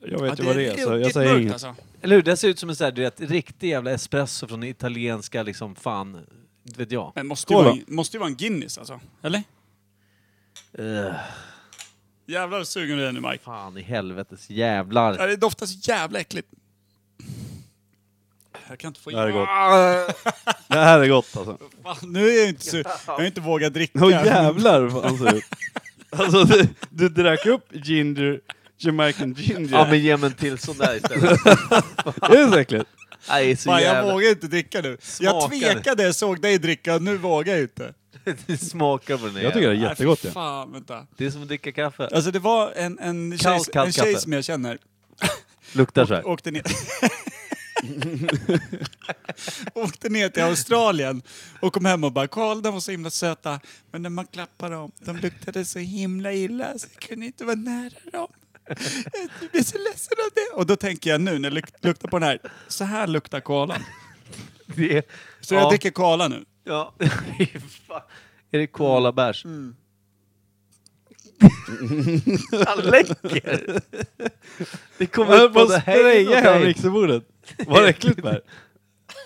F: Jag vet
B: Ja,
F: ju vad det är, så jag
B: ruggigt
F: säger
B: mörkt,
F: inget.
B: Alltså.
A: Eller hur? Det ser ut som en sån här, du vet, riktig jävla espresso från den italienska liksom fan, inte vet jag.
B: Men måste ju,
F: Skål
B: vara,
F: då.
B: måste ju vara en Guinness alltså, eller?
A: Uh,
B: Jävlar vad sugen du är nu Mike.
A: fan i helvetes jävlar.
B: Ja, Det doftar så jävla äckligt. Jag kan inte få
F: Det här är gott.
B: Ah,
F: Det här är gott alltså.
B: fan, nu är jag inte sugen. Jag har inte vågat dricka.
F: Åh jävlar vad han ser ut. Alltså du, du drack upp ginger, Jamaican ginger.
A: Ja men ge mig en till sån där istället.
F: Är det så äckligt?
A: Nej, det är så
B: Fan, jag
A: jävla...
B: vågar inte dricka nu. Jag
A: Smakar det.
B: tvekade, jag såg dig dricka, nu vågar jag inte.
A: Det smakar på den här
F: Jag tycker det är
B: Nej,
F: jättegott
B: fy
F: ja.
B: Fan, vänta.
A: Det är som att dricka kaffe.
B: Alltså det var en, en, tjej,
A: Kallt, kallt
B: en tjej
A: kaffe.
B: som jag känner
A: Luktar så här.
B: åkte ner... åkte ner till Australien och kom hem och bara Karl, de var så himla söta, men när man klappade dem, de luktade så himla illa så jag kunde inte vara nära dem. Jag blir så ledsen av det. Och då tänker jag nu när jag luk- luktar på den här, så här luktar kolan.
A: Det är...
B: Så
A: ja.
B: jag dricker kola nu.
A: Ja. Fy fan. är det koalabärs? Mm. Han läcker! Det kommer upp
F: Jag
A: både
F: bara
A: hej och
F: sprayade hela
A: hej.
F: mixerbordet. Vad äckligt det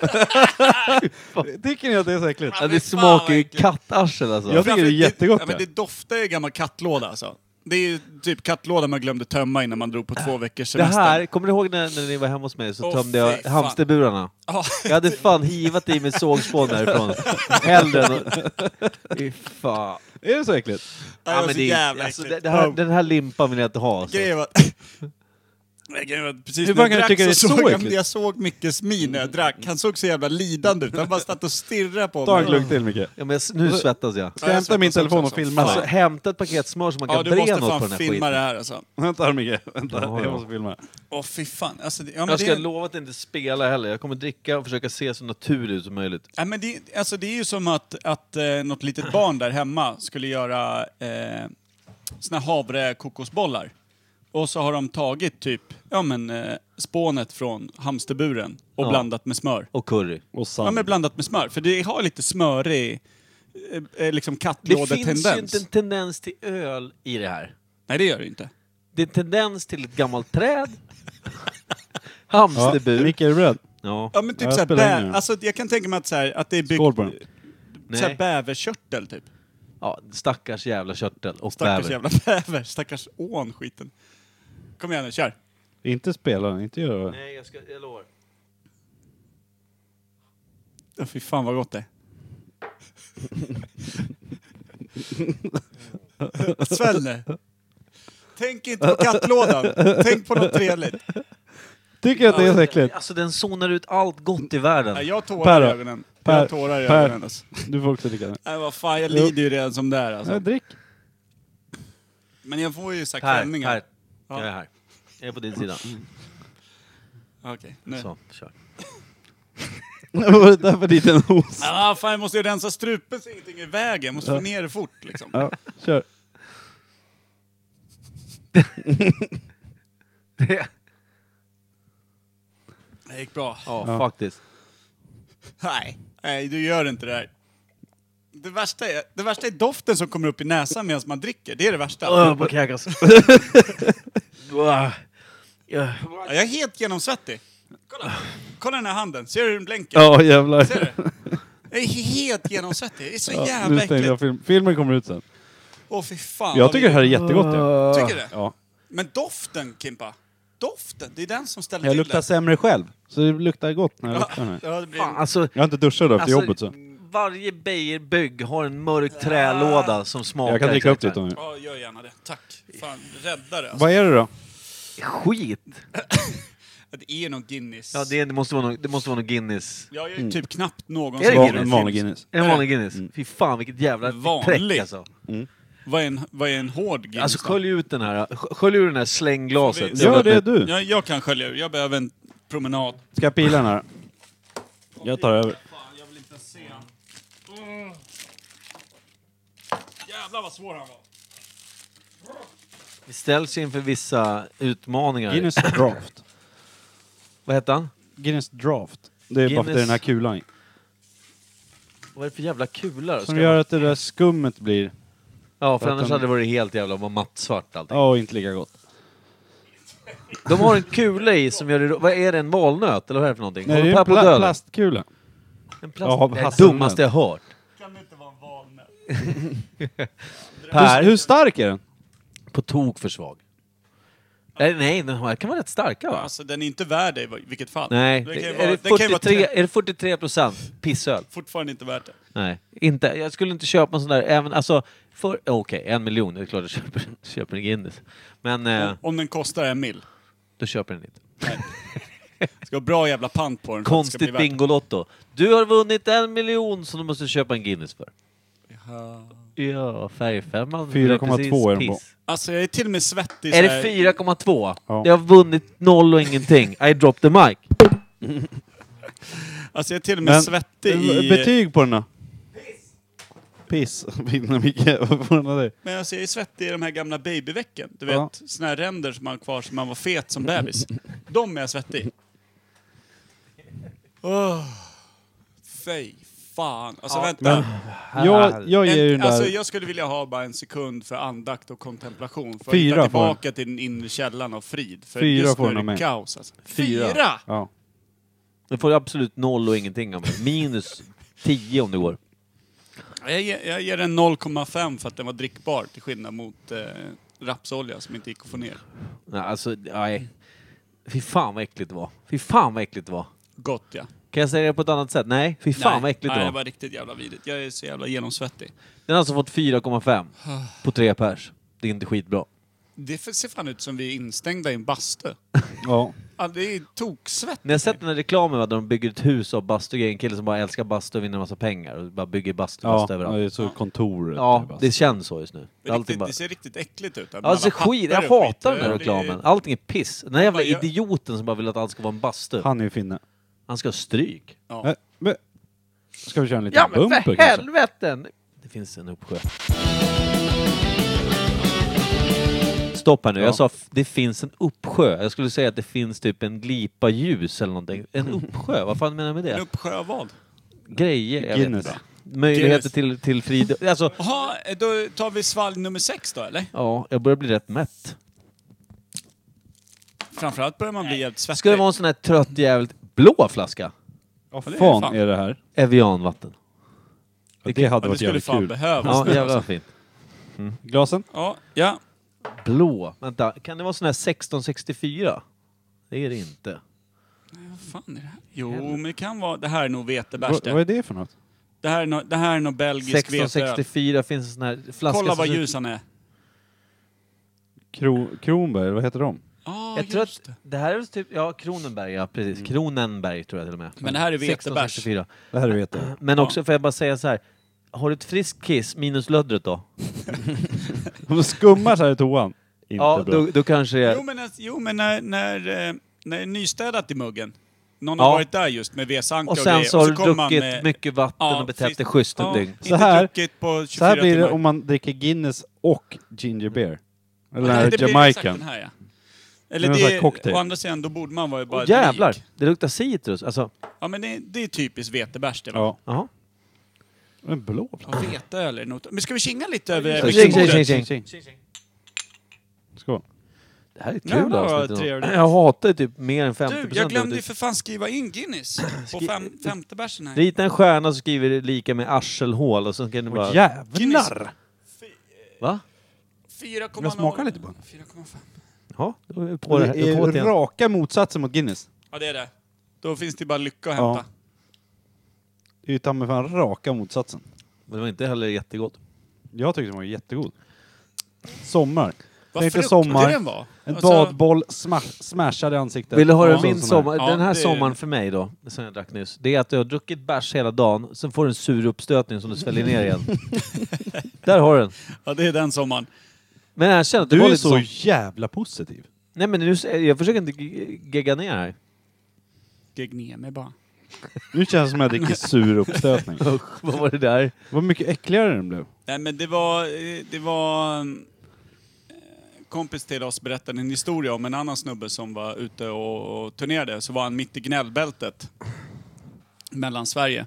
F: här. Tycker ni att det är så äckligt?
A: Ja, det smakar ju kattarsel alltså.
F: Jag tycker det är jättegott.
B: Ja, men det doftar ju gammal kattlåda alltså. Det är ju typ kattlåda man glömde tömma innan man drog på två veckors
A: Det
B: semester.
A: här, kommer du ihåg när, när ni var hemma hos mig så
B: Åh,
A: tömde
B: fy
A: jag
B: fan.
A: hamsterburarna?
B: Ja.
A: Jag hade fan hivat i mig sågspån därifrån. Hellre än att- Fy fan.
F: Är det så äckligt?
B: Ja, det var så
A: är-
B: jävla
A: alltså, det,
B: äckligt.
A: det här,
B: Oh.
A: Den här limpan vill jag inte ha. Alltså.
B: Grejen var... Grejen var att Precis
A: Hur
B: när
A: fan kan du
B: jag drack
A: tycka det är
B: så
A: så
B: såg jag,
A: äckligt?
B: jag såg Mickes min när jag drack. Han såg så jävla lidande ut. Han bara satt och stirrade på mig.
F: Ta en glugg till Micke.
A: Ja, men nu svettas jag.
F: Ska jag hämta min telefon och filma
A: Alltså,
F: dig?
A: hämta ett paket smör så man
B: Ja,
A: kan
B: du
A: bre
B: måste
A: något på
B: fan
A: den här
B: filma
A: skiten.
B: det här alltså.
F: Vänta här Micke, vänta.
A: Ja, ja.
F: Jag måste filma.
B: Åh fy fan. Alltså, det, ja, men
A: jag
B: det
A: ska
B: är en-
A: lova att inte spela heller. Jag kommer dricka och försöka se så naturligt ut som möjligt.
B: Ja, men det, alltså det är ju som att, att eh, något litet barn där hemma skulle göra eh, såna här havrekokosbollar. Och så har de tagit typ ja, men, eh, spånet från hamsterburen och
A: Ja.
B: blandat med smör.
A: Och curry.
F: Och
B: Ja, men blandat med smör. För det har lite smörig eh, eh, liksom
A: Det finns
B: kattlådetendens.
A: ju inte en tendens till öl i det här.
B: Nej, det gör det inte.
A: Det är en tendens till ett gammalt träd. Hamsterbur.
F: Micke, är du beredd?
A: Ja.
B: Ja, men typ
F: Jag
B: såhär,
F: spelar in
B: bä-
F: nu.
B: alltså, jag kan tänka mig att, såhär, att det är byggt
F: Skål på den.
B: såhär,
A: Nej.
B: bäverkörtel typ.
A: ja, stackars jävla körtel och
B: Stackars
A: bäver.
B: jävla bäver. Stackars ån skiten. Kom igen nu, kör.
F: Inte spela den, inte göra det.
A: Nej, jag, ska, jag lovar.
B: Ja, fy fan vad gott det är. Svälj nu. Tänk inte på kattlådan. Tänk på något trevligt.
F: Tycker att det är så äckligt?
A: Alltså den zonar ut allt gott i världen.
B: Nej, jag har tårar
F: Per
B: i
F: då?
B: ögonen. jag har
F: Per,
B: tårar i
F: Per.
B: ögonen. Alltså.
F: Du får också dricka den.
B: Nej, vad fan, jag lider ju redan som det är alltså.
F: Nej, drick.
B: Men jag får ju så här
A: Här,
B: kvällningar.
A: här.
B: Ja.
A: Jag är här. Jag är på din sida. Mm,
B: Okej, nu.
A: Så, kör.
F: Var det därför dit en hos?
B: Ah, fan, jag måste ju rensa strupen så ingenting är i vägen. Jag måste få ner det fort liksom.
F: Ja, kör.
B: Det gick bra.
A: Ja, faktiskt.
B: Nej, nej, du gör inte det här. Det värsta, är, det värsta är doften som kommer upp i näsan medan man dricker. Det är det värsta.
A: Öh, på kräkas.
B: Ja, Jag är helt genomsvettig. Kolla. Kolla den här handen. Ser du hur den blänker?
F: Ja, jävlar.
B: Ser du? Jag är helt genomsvettig. Det är så
F: Ja,
B: jävla
F: nu stänger jag
B: äckligt.
F: film. Filmen kommer ut sen.
B: Åh fy fan.
F: Jag
B: vad
F: tycker det här är jättegott. Ja.
B: vidrigt. Tycker du det?
F: Ja.
B: Men doften, Kimpa. Doften, det är den som ställer
F: Jag
B: till
F: luktar
B: det.
F: sämre själv. Så det luktar gott när jag
B: Ja,
F: luktar den här.
B: ja, det blir...
A: Fan, alltså,
F: Jag har inte duschat efter
A: alltså,
F: jobbet så.
A: varje Beijerbygg har en mörk trälåda som smakar
F: Jag kan dricka upp
A: exakt
F: lite om jag
B: Ja, gör gärna det. Tack. Fan, rädda det. Alltså.
F: Vad är det då?
A: Skit!
B: Det är nog Guinness.
A: Ja, det, det, måste vara någon, det måste vara någon Guinness.
B: Jag gör ju typ knappt någon
A: Är det
F: Va-
A: Guinness?
F: En vanlig Guinness. Mm.
A: En vanlig Guinness. Fy fan vilket jävla
B: Vanlig.
A: träck alltså.
B: Vad är en, vad är en hård Guinness?
A: Alltså
B: då?
A: skölj ut den här, skölj ur den här slängglaset.
F: Gör det du.
B: jag, jag kan skölja ur. Jag behöver en promenad.
F: Ska jag pila den här? Jag tar över.
B: Fan, jag vill inte se han. Åh. Jävlar vad svår han var.
A: Vi ställs ju inför vissa utmaningar.
F: Guinness draft.
A: Vad hette han?
F: Guinness draft. Det är bara för att det är den här kulan i.
A: Vad är det för jävla kula då? Ska
F: Som
A: jag-
F: gör att det där skummet blir...
A: Ja, för
F: att
A: annars
F: den-
A: hade det varit helt jävla bara mattsvart allting.
F: Ja, inte lika gott.
A: De har en kula i som gör det... Vad är det? En valnöt? Eller vad är det för någonting?
F: Nej, det
A: Håller
F: är en
A: på att
F: pla
A: dö?
F: plastkula.
A: En
F: Ja,
A: plast... Det är det
F: hasselnöt.
A: dummaste jag hört.
B: Kan det inte vara en valnöt?
F: Hur, hur stark är den?
A: På tok för svag. Nej, nej, den här kan vara rätt starka va?
B: Alltså den är inte värd det i vilket fall.
A: Nej,
B: Det kan ju
A: är
B: vara-
A: det
B: det kan ju vara
A: 43,
B: tre-
A: är det 43 procent pissöl?
B: Fortfarande inte värt det.
A: Nej, inte. Jag skulle inte köpa en sån där, även alltså... för- Okej, en miljon, det är klart jag köper, köper en Guinness. Men eh,
B: Om den kostar en mil.
A: då köper jag den inte.
B: Ska ha bra jävla pant på den. för att det ska bli
A: Konstigt
B: värt det.
A: Bingolotto. Du har vunnit en miljon som du måste köpa en Guinness för. Ja, färgfemman.
F: 4,2 är den på.
B: Alltså jag är till och med svettig
A: Är
B: så
A: det
B: här-
A: 4,2?
F: Ja.
A: Jag har vunnit noll och ingenting. I dropped the mic.
B: Alltså jag är till och med
F: Men,
B: svettig i...
F: Betyg på den då? Piss. Piss. Vinner Micke. Vad får den av dig?
B: Men alltså jag är svettig i de här gamla babyvecken. Du vet,
F: Ja.
B: såna här ränder som man har kvar som man var fet som bebis. De är jag svettig i. Åh, Fy fan. Alltså vänta.
F: Jag, jag ger ju den
B: en, alltså
F: där...
B: jag skulle vilja ha bara en sekund för andakt och kontemplation. För
F: Fyra
B: att hitta
F: får den.
B: tillbaka till den inre källan av frid. För
F: Fyra
B: just
F: får
B: nu
F: den
B: är
F: av
B: det
F: mig.
B: kaos alltså. Fyra?
F: Ja.
A: Du får absolut noll och ingenting om det. Minus 10 om det går.
B: Jag, ge- jag ger den 0,5 för att den var drickbar till skillnad mot eh, rapsolja som inte gick att få ner.
A: Nej, alltså, nej. Fy fan vad äckligt det var. Fy fan vad äckligt det var.
B: Gott ja.
A: Kan jag säga det på ett annat sätt? Nej, fy fan
B: nej,
A: vad äckligt
B: nej,
A: det
B: det
A: var.
B: var riktigt jävla vidrigt. Jag är så jävla genomsvettig.
A: Den har alltså fått 4,5 på tre pers. Det är inte skitbra.
B: Det f- ser fan ut som vi är instängda i en bastu.
A: Ja.
B: Ja, det är toksvett.
A: Ni har sett den här reklamen va, där de bygger ett hus av bastu. Det är En kille som bara älskar bastu och vinner en massa pengar och bara bygger bastu,
F: Ja,
A: bastu överallt.
F: det är så kontoret. typ, alltså.
A: Ja,
F: är bara-
A: det känns så just nu.
B: Det, är
A: Allting
B: riktigt,
A: bara-
B: det ser riktigt äckligt ut.
A: Ja, det ser skit. Jag hatar den här reklamen. Allting är piss. Den här jävla
B: Vad gör-
A: idioten som bara vill att allt ska vara en bastu.
F: Han är ju finne.
A: Han ska ha stryk.
F: Nej, men- Ska vi köra en liten
A: Ja men
F: bumper
A: för
F: kanske?
A: helveten! Det finns en uppsjö. Stopp här nu. Jag sa f- det finns en uppsjö. Jag skulle säga att det finns typ en glipa ljus eller någonting. En uppsjö? Vad fan menar jag med
B: En
A: det?
B: uppsjö av vad?
A: Grejer? Jag
B: Guinness.
A: Vet inte. Möjligheter
B: Guinness.
A: till, till frid... Alltså,
B: Jaha, då tar vi svalg nummer sex då eller?
A: ja, jag börjar bli rätt mätt.
B: Framförallt börjar man bli jävligt svettig.
A: Ska det vara en sån här trött jävligt blå flaska?
B: Vad
F: fan är det här?
A: Evianvatten.
F: Ja, det hade
B: Ja, det
F: varit
B: skulle
F: jävligt
B: fan
F: kul.
B: behövas.
A: Ja, jävlar vad fint.
F: Glasen?
B: Ja, ja.
A: Blå. Vänta, kan det vara sån här 1664? Det är det inte.
B: Vad fan är det här? Jo, men det kan vara... Det här är nog vetebärs
F: Vad, vad är det för något?
B: Det här är nog, det här är nog belgisk veteöl.
A: 1664 finns en sån här flaska
B: Kolla vad
A: som-
B: ljus han är.
F: Kro, Kronberg, eller vad heter de?
B: Ah,
A: jag tror att det. här är väl typ, ja Kronenberg ja precis, Kronenberg tror jag till och med.
B: Mm. Men det här är vetebärs.
A: 1664.
F: Det här vet jag.
A: Men också får jag bara säga så här. har du ett friskt kiss minus löddret då?
F: De skummar så här i toan. Inte
A: ja,
F: bra.
A: då, då kanske det
B: Jo, men, när- jo, men när, när, eh, när det är nystädat i muggen. Någon
A: Ja.
B: har varit där just med vedsanka
A: Och
B: grejer,
A: sen så har du
B: kommer man
A: druckit
B: med-
A: mycket vatten
B: Ja,
A: och betett dig
B: precis.
A: schysst
B: Ja,
A: ett dygn.
B: inte
F: Så här,
B: druckit på 24
F: så här blir det
B: timmar.
F: om man dricker Guinness och ginger beer. Eller den
B: Nej,
F: här
B: det blir exakt
F: Jamaican.
B: den här, ja. Eller
F: Men en sån här
B: det,
F: cocktail.
B: å andra sidan, då borde man vara bara
A: Åh,
B: ett
A: jävlar,
B: lik.
A: det luktar citrus. Alltså,
B: Ja, men det, det är typiskt vetebärs det va?
F: Ja.
A: jaha.
F: En blå.
B: Ja, veteöl är något. Men ska vi kinga lite över
A: Tjing, tjing,
B: mixerbordet?
A: tjing, tjing.
F: Skål.
A: Det här är ett
B: Nej,
A: kul
B: men vad
A: avsnitt. ändå.
B: trevligt.
A: Jag hatar ju typ mer än 50%
B: Du, jag glömde ju
A: av det.
B: för fan skriva in Guinness på
A: Skri-
B: fem, femte bärsen här.
A: Rita en stjärna så skriver det lika med arselhål och sen kan du bara...
B: Guinness.
A: Va?
B: 4,0.
F: Jag smakar lite på den.
B: 4,5.
A: Ja, då är vi på det här.
F: Det
A: Då är vi på det
F: är
A: igen.
F: raka motsatsen mot Guinness.
B: Ja, det är det. Då finns det bara lycka att
F: Ja.
B: hämta.
F: Det är ju ta mig fan raka motsatsen.
A: Men det var inte heller jättegott.
F: Jag tyckte den var jättegod. Sommar.
B: Vad
F: Tänkte
B: fruktig
F: sommar.
B: den var.
F: En
B: Alltså-
F: badboll sma- smashad i ansiktet.
A: Vill du höra
F: Och så
A: min
F: sån här.
A: sommar?
B: Ja,
A: den här
B: det-
A: sommaren för mig då, som jag drack nyss, det är att du har druckit bärs hela dagen, sen får du en sur uppstötning som du sväljer ner igen. Där har du den.
B: Ja, det är den sommaren.
A: Men jag känner att det
F: Du
A: var
F: är
A: lite
F: så
A: så...
F: jävla positiv.
A: Nej men nu, eh, jag försöker inte ge- gegga ner här.
B: Gegg ner mig bara.
F: Nu känns det som att jag dricker sur uppstötning.
A: Usch, vad var det där?
F: Vad mycket äckligare den blev.
B: Nej, men det var... eh, Det var... mm, eh, kompis till oss berättade en historia om en annan snubbe som var ute och, och turnerade. Så var han mitt i gnällbältet. Mellan Sverige.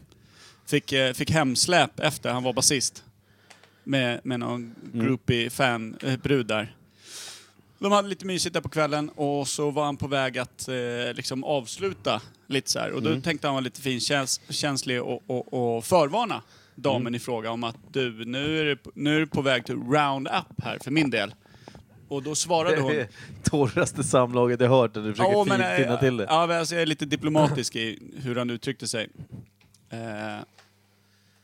B: Fick, eh, fick hemsläp efter, han var basist. Med, med någon groupie fan, eh, brud där. De hade lite mysigt där på kvällen och så var han på väg att eh, liksom avsluta lite så här. Och då tänkte han vara lite finkänslig och, och, och förvarna damen i fråga om att du, nu är, det, p- nu är du på väg till round up här för min del. Och då svarade hon...
A: Torraste samlaget jag hört, och du försöker
B: Ja, men, eh,
A: finna till det.
B: Ja, men alltså, jag är lite diplomatisk i hur han uttryckte sig. Eh,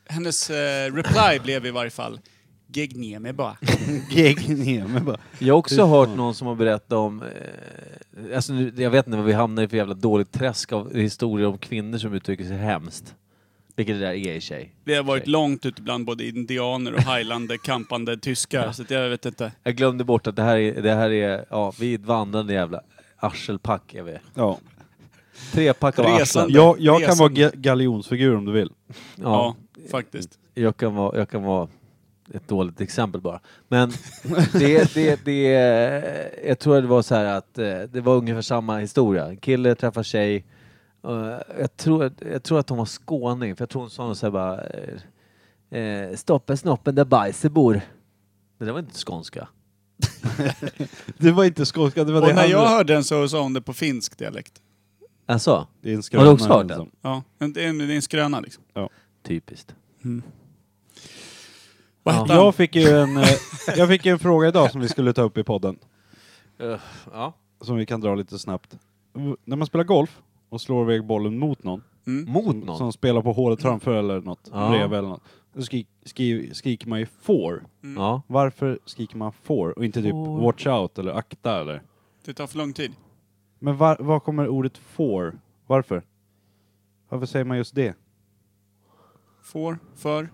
B: hennes eh, reply blev i varje fall Gegg ner mig bara.
F: Gegg ner mig bara.
A: Jag har också hört någon som har berättat om, eh, alltså nu, jag vet inte vad vi hamnar i för jävla dåligt träsk av historier om kvinnor som uttrycker sig hemskt. Vilket det där är i sig.
B: Vi har varit långt ute bland både indianer och highlander, kampande tyskar, så att jag vet inte.
A: Jag glömde bort att det här är, det här är ja, vi är ett vandrande jävla arselpack är vi.
F: Ja.
A: Trepack av
B: Resan.
A: arslen.
F: Jag, jag kan
B: Resan.
F: vara ga- galjonsfigur om du vill.
A: Ja,
B: Ja, faktiskt.
A: jag kan vara, jag kan vara ett dåligt exempel bara. Men det, det, det, jag tror det var så här att eh, det var ungefär samma historia. En kille träffar tjej. eh, Jag tror, jag tror att hon var skåning, för jag tror hon sa något så här bara eh, eh, Stoppa snoppen där bajset bor. Det där var inte skånska.
F: Det var inte skånska, det var det
B: Och när
F: han-
B: jag hörde den så sa hon det på finsk dialekt.
A: Alltså?
F: Det är en
A: Har du också hört den?
F: liksom.
B: Ja, en- det är en, det är en skröna liksom.
F: Ja.
A: Typiskt.
B: Vad hette han?
F: Jag fick ju en, eh, jag fick ju en fråga idag som vi skulle ta upp i podden.
A: ja.
F: Som vi kan dra lite snabbt. V- När man spelar golf och slår iväg bollen mot någon.
B: Mm.
A: Mot
F: som,
A: någon?
F: Som spelar på hålet framför eller något.
A: Ja.
F: Bredvid eller något. Då skri, skri, skriker man ju får.
B: Mm.
A: Ja.
F: Varför skriker man får och inte typ watch out eller akta eller?
B: Det tar för lång tid.
F: Men var, var kommer ordet får? Varför? Varför säger man just det?
B: Får, för.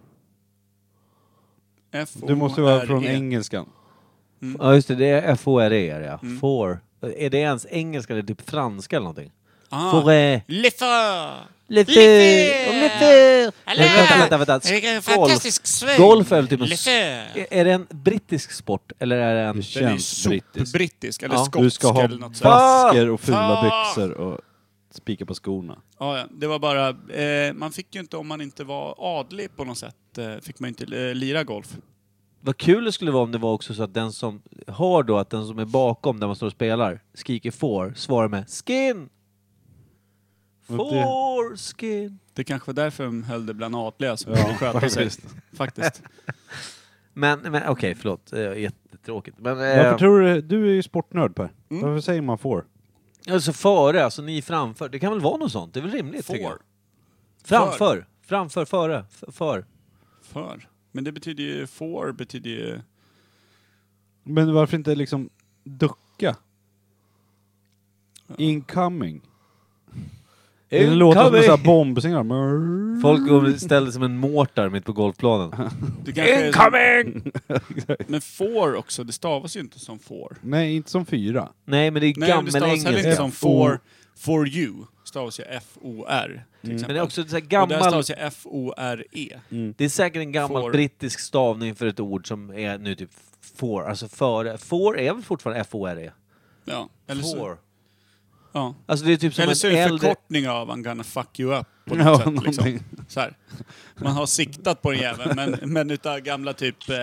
B: F
F: Du måste vara
B: O,
F: från
B: R, E.
F: engelskan.
A: Ja just det, det är FORE är det E, ja.
B: Mm.
A: For. Är det ens engelska eller typ franska eller någonting?
B: Ah.
A: Forêt.
B: Le för!
A: Le för! Le för! Vänta, vänta, vänta.
B: Vilken fantastisk
A: Golf,
B: sväng!
A: golf är väl typ en...
B: Le
A: s-
B: för!
A: Är- Är det en brittisk sport eller är det en... Det
B: Den är ju sopbrittisk, eller skotsk
F: Du ska ha
B: eller något sånt.
F: basker och fula
B: Ah!
F: byxor och spika på skorna.
B: Ja, ja. det var bara... Eh, man fick ju inte, om man inte var adlig på något sätt, eh, fick man ju inte eh, lira golf.
A: Vad kul det skulle vara om det var också så att den som har då, att den som är bakom där man står och spelar, skriker får, svarar med skin! Foreskin!
B: Det kanske var därför de höll det bland adliga som
A: Ja,
B: kunde sköta
A: faktiskt.
B: sig. Faktiskt.
A: Men, men okej, förlåt. Eh, Jättetråkigt. Men,
F: Varför
A: eh,
F: tror du, du är ju sportnörd Per.
B: Mm.
F: Varför säger man får?
A: Alltså före, alltså ni framför. Det kan väl vara något sånt? Det är väl rimligt? tycker jag.
B: Får.
A: Framför. Framför, före, f- för.
B: För. Men det betyder ju... For betyder ju...
F: Men varför inte liksom ducka? Incoming. Det låter som en sån här bombsignal. Mörr.
A: Folk går och ställer som en mårtar mitt på golfplanen.
B: Det kanske är så-
A: Incoming!
B: Men for också, det stavas ju inte som for.
F: Nej, inte som fyra.
A: Nej, men det är
B: Nej, och
A: gammal
B: det stavas heller inte
A: engelska.
B: som for, for you. Stavas ju F-O-R. till
A: Mm.
B: exempel.
A: Men det är också så här
B: Och där
A: gammal- Mm.
B: stavas ju F-O-R-E.
A: Det är säkert en gammal
B: For.
A: brittisk stavning för ett ord som är nu typ for, alltså före. For är väl fortfarande F-O-R-E?
B: Ja, eller så.
A: E? For.
B: Ja.
A: Alltså det är typ som
B: Eller
A: en
B: så är det
A: äldre-
B: förkortning av I'm gonna fuck you up på
F: Ja,
B: något sätt. Liksom.
F: någonting.
B: Så här. Man har siktat på den jäveln, men, men utav gamla typ... Eh,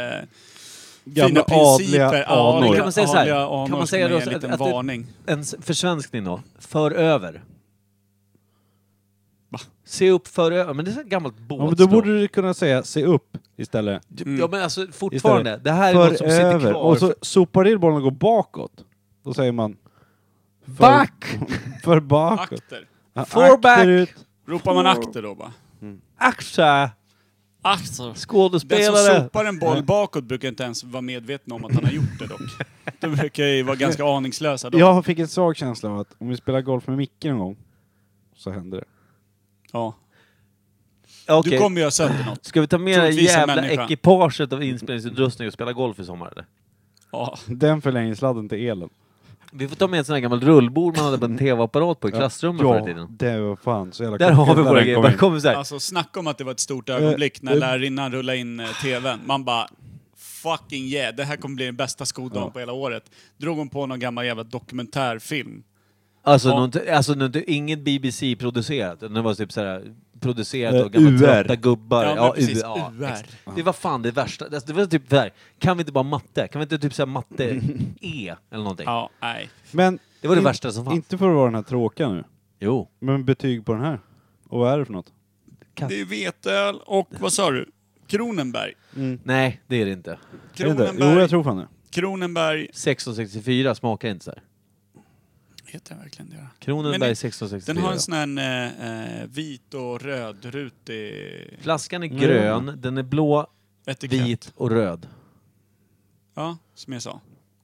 F: Gamla
B: fina principer.
F: adliga
B: Ja,
F: anor.
A: Kan man säga så
B: adliga
A: här?
B: anor
A: Kan man
B: ska
A: säga då
B: ge en
A: att,
B: liten
A: att
B: varning.
A: en s- försvenskning då? För över. Se upp för över. Men det är så här gammalt
F: Ja, men då
A: båtspråk.
F: borde du kunna säga se upp istället.
B: Mm.
A: Ja men alltså fortfarande. Det här är
F: För
A: något som sitter
F: över.
A: kvar.
F: Och så sopar in bollen och går bakåt. Då säger man... För,
A: Back!
F: För bakåt.
B: Akter.
F: Ja,
A: Forback.
F: akterut.
B: Ropar man
A: Mm.
B: akter då bara?
A: Akta!
B: Akter. Den som
A: Skådespelare!
B: sopar en boll bakåt brukar inte ens vara medveten om att han har gjort det dock. De brukar ju vara ganska aningslösa då.
F: Jag fick en svag känsla av att om vi spelar golf med Micke någon gång, så händer det.
B: Ja.
A: Okej.
B: Du kommer göra sönder något.
A: Ska vi ta med det
B: Troligtvis en
A: jävla
B: människa.
A: ekipaget av inspelningsutrustning och spela golf i sommar eller?
B: Ja.
F: Den förlänger sladden till elen.
A: Vi får ta med en sån här gammal rullbord man hade på en TV-apparat på i klassrummet förr i
F: Ja,
A: tiden.
F: det var fan så jävla
A: Där har
F: korkat
A: vi
F: när
A: våra
F: den
A: grejer.
F: kom
A: Bara
F: in.
A: kommer så här.
B: Alltså snacka om att det var ett stort ögonblick när
F: eh.
B: lärarinnan rullade in eh, TVn. Man bara fucking yeah, det här kommer bli den bästa skodagen på hela året. Drog hon på någon gammal jävla dokumentärfilm.
A: Alltså,
B: Ja.
A: någon, alltså någon, inget BBC-producerat, utan det var typ såhär producerat
F: Eh,
A: av gamla
F: UR.
A: trötta gubbar.
B: Ja, men precis,
A: ja,
B: UR.
A: ex- Det var fan det värsta. Alltså, Det var typ såhär, kan vi inte bara matte? Kan vi inte typ såhär matte-E E eller någonting?
B: Ja, nej.
F: Men
A: Det var det värsta som fanns.
F: Inte för att vara den här tråkiga nu,
A: Jo.
F: men betyg på den här. Och vad är det för något?
B: Det är veteöl och vad sa du? Kronenberg.
A: Nej, det är det inte.
F: Är det inte? Jo, jag tror fan det.
B: Kronenberg
A: 1664 smakar inte såhär.
B: heter den verkligen det.
A: Kronenberg
B: Men det-
A: 1664.
B: Den har en sån här eh, eh, vit och rödrutig
A: Flaskan
B: Mm.
A: är grön, den är blå,
B: etikett.
A: vit och röd.
B: Ja, som jag sa.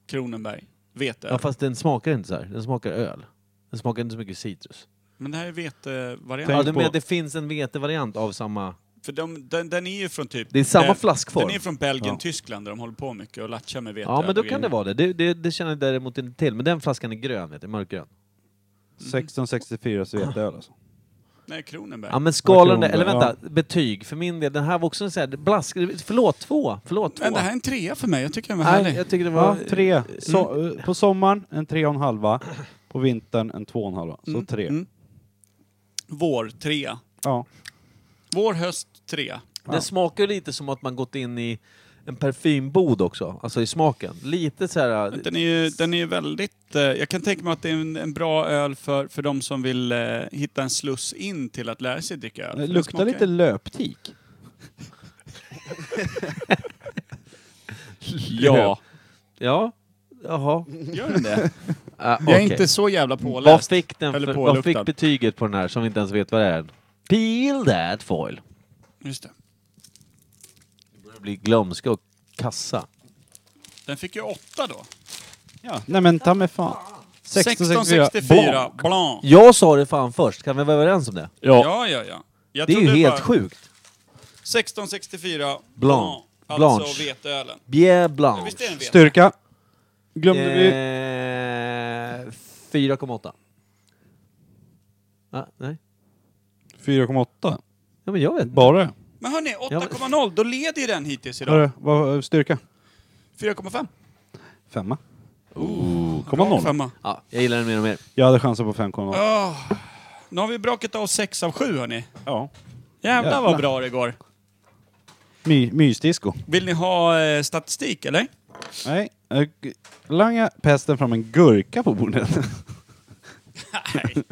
B: Kronenberg. Vete.
A: Ja, fast den smakar inte så här. Den smakar öl. Den smakar inte så mycket citrus.
B: Men det här är vetevariant.
A: Ja,
F: Tänk
A: du
F: på-
A: menar att det finns en vetevariant av samma...
B: För de, den, den är ju från typ...
A: Det är samma
B: Bel-
A: flaskform.
B: Den är från Belgien,
F: Ja.
B: Tyskland där de håller på mycket och latchar med vete.
A: Ja, men då kan det vara det. Det, det, det känner jag däremot inte till. Men den flaskan är grön, vet du, mörkgrön.
F: 1664 veteöl alltså.
B: Nej, Kronenberg.
A: Ja, men skalan där,
F: Kronenberg,
A: eller vänta, betyg. För min del, den här var också en sån här blask... Förlåt, två! Förlåt, två!
B: men det här är en trea för mig. Jag tycker den var
A: Nej,
B: härlig.
A: jag tycker det var...
F: Ja, tre.
B: Mm.
F: So eh, På sommaren en tre och en halva. På vintern en två och en halva. Så tre.
B: mm. Vår, trea.
F: Ja.
B: Vår, höst, trea.
A: Den smakar ju lite som att man gått in i en parfymbod också, alltså i smaken. Lite så här...
B: Den är ju, den är ju väldigt... eh, Jag kan tänka mig att det är en, en bra öl för, för de som vill eh, hitta en sluss in till att lära sig dricka öl.
F: Det
B: Den
F: luktar
B: smakar-
F: lite löptik.
B: Ja.
A: Ja. Jaha.
B: Gör den det?
A: Ah,
B: Jag är
A: okej.
B: inte så jävla påläst.
A: Vad fick, den
B: Eller
A: för, vad
B: påluktad.
A: fick betyget på den här som vi inte ens vet vad det är? Peel that foil.
B: Just det.
A: Det börjar bli glömska och kassa.
B: Den fick ju åtta då.
F: Nej men ta mig fan.
B: 1664 blanc.
A: Jag sa det fan först, kan vi vara överens om det?
B: ja, ja. ja. Jag
A: det är ju
B: trodde
A: helt
B: bara-
A: sjukt.
B: 1664
A: Blanc.
B: Alltså
A: Blanche.
B: veteölen.
A: Bière blanche.
B: Visst är den vete?
F: Styrka. Glömde
A: Eh,
F: vi...
A: 4,8. Ah, nej.
F: 4,8.
A: Ja men jag vet inte.
F: Bara det.
B: Men hörni, 8,0. Då leder ju den hittills
F: Vad är
B: idag.
F: det? Vad- Styrka.
B: 4,5.
F: Femma.
B: Bra
F: 5,0.
B: femma.
A: Ja, jag gillar den mer och mer.
F: Jag hade chansen på 5,0.
B: Åh, nu har vi brakat av 6 av 7 hörni.
F: Ja.
B: Jävlar vad
F: Jävlar.
B: bra det går.
F: My, mysdisco.
B: Vill ni ha eh, statistik eller?
F: Nej. eh, g- Langa pesten fram en gurka på bordet.
B: Nej.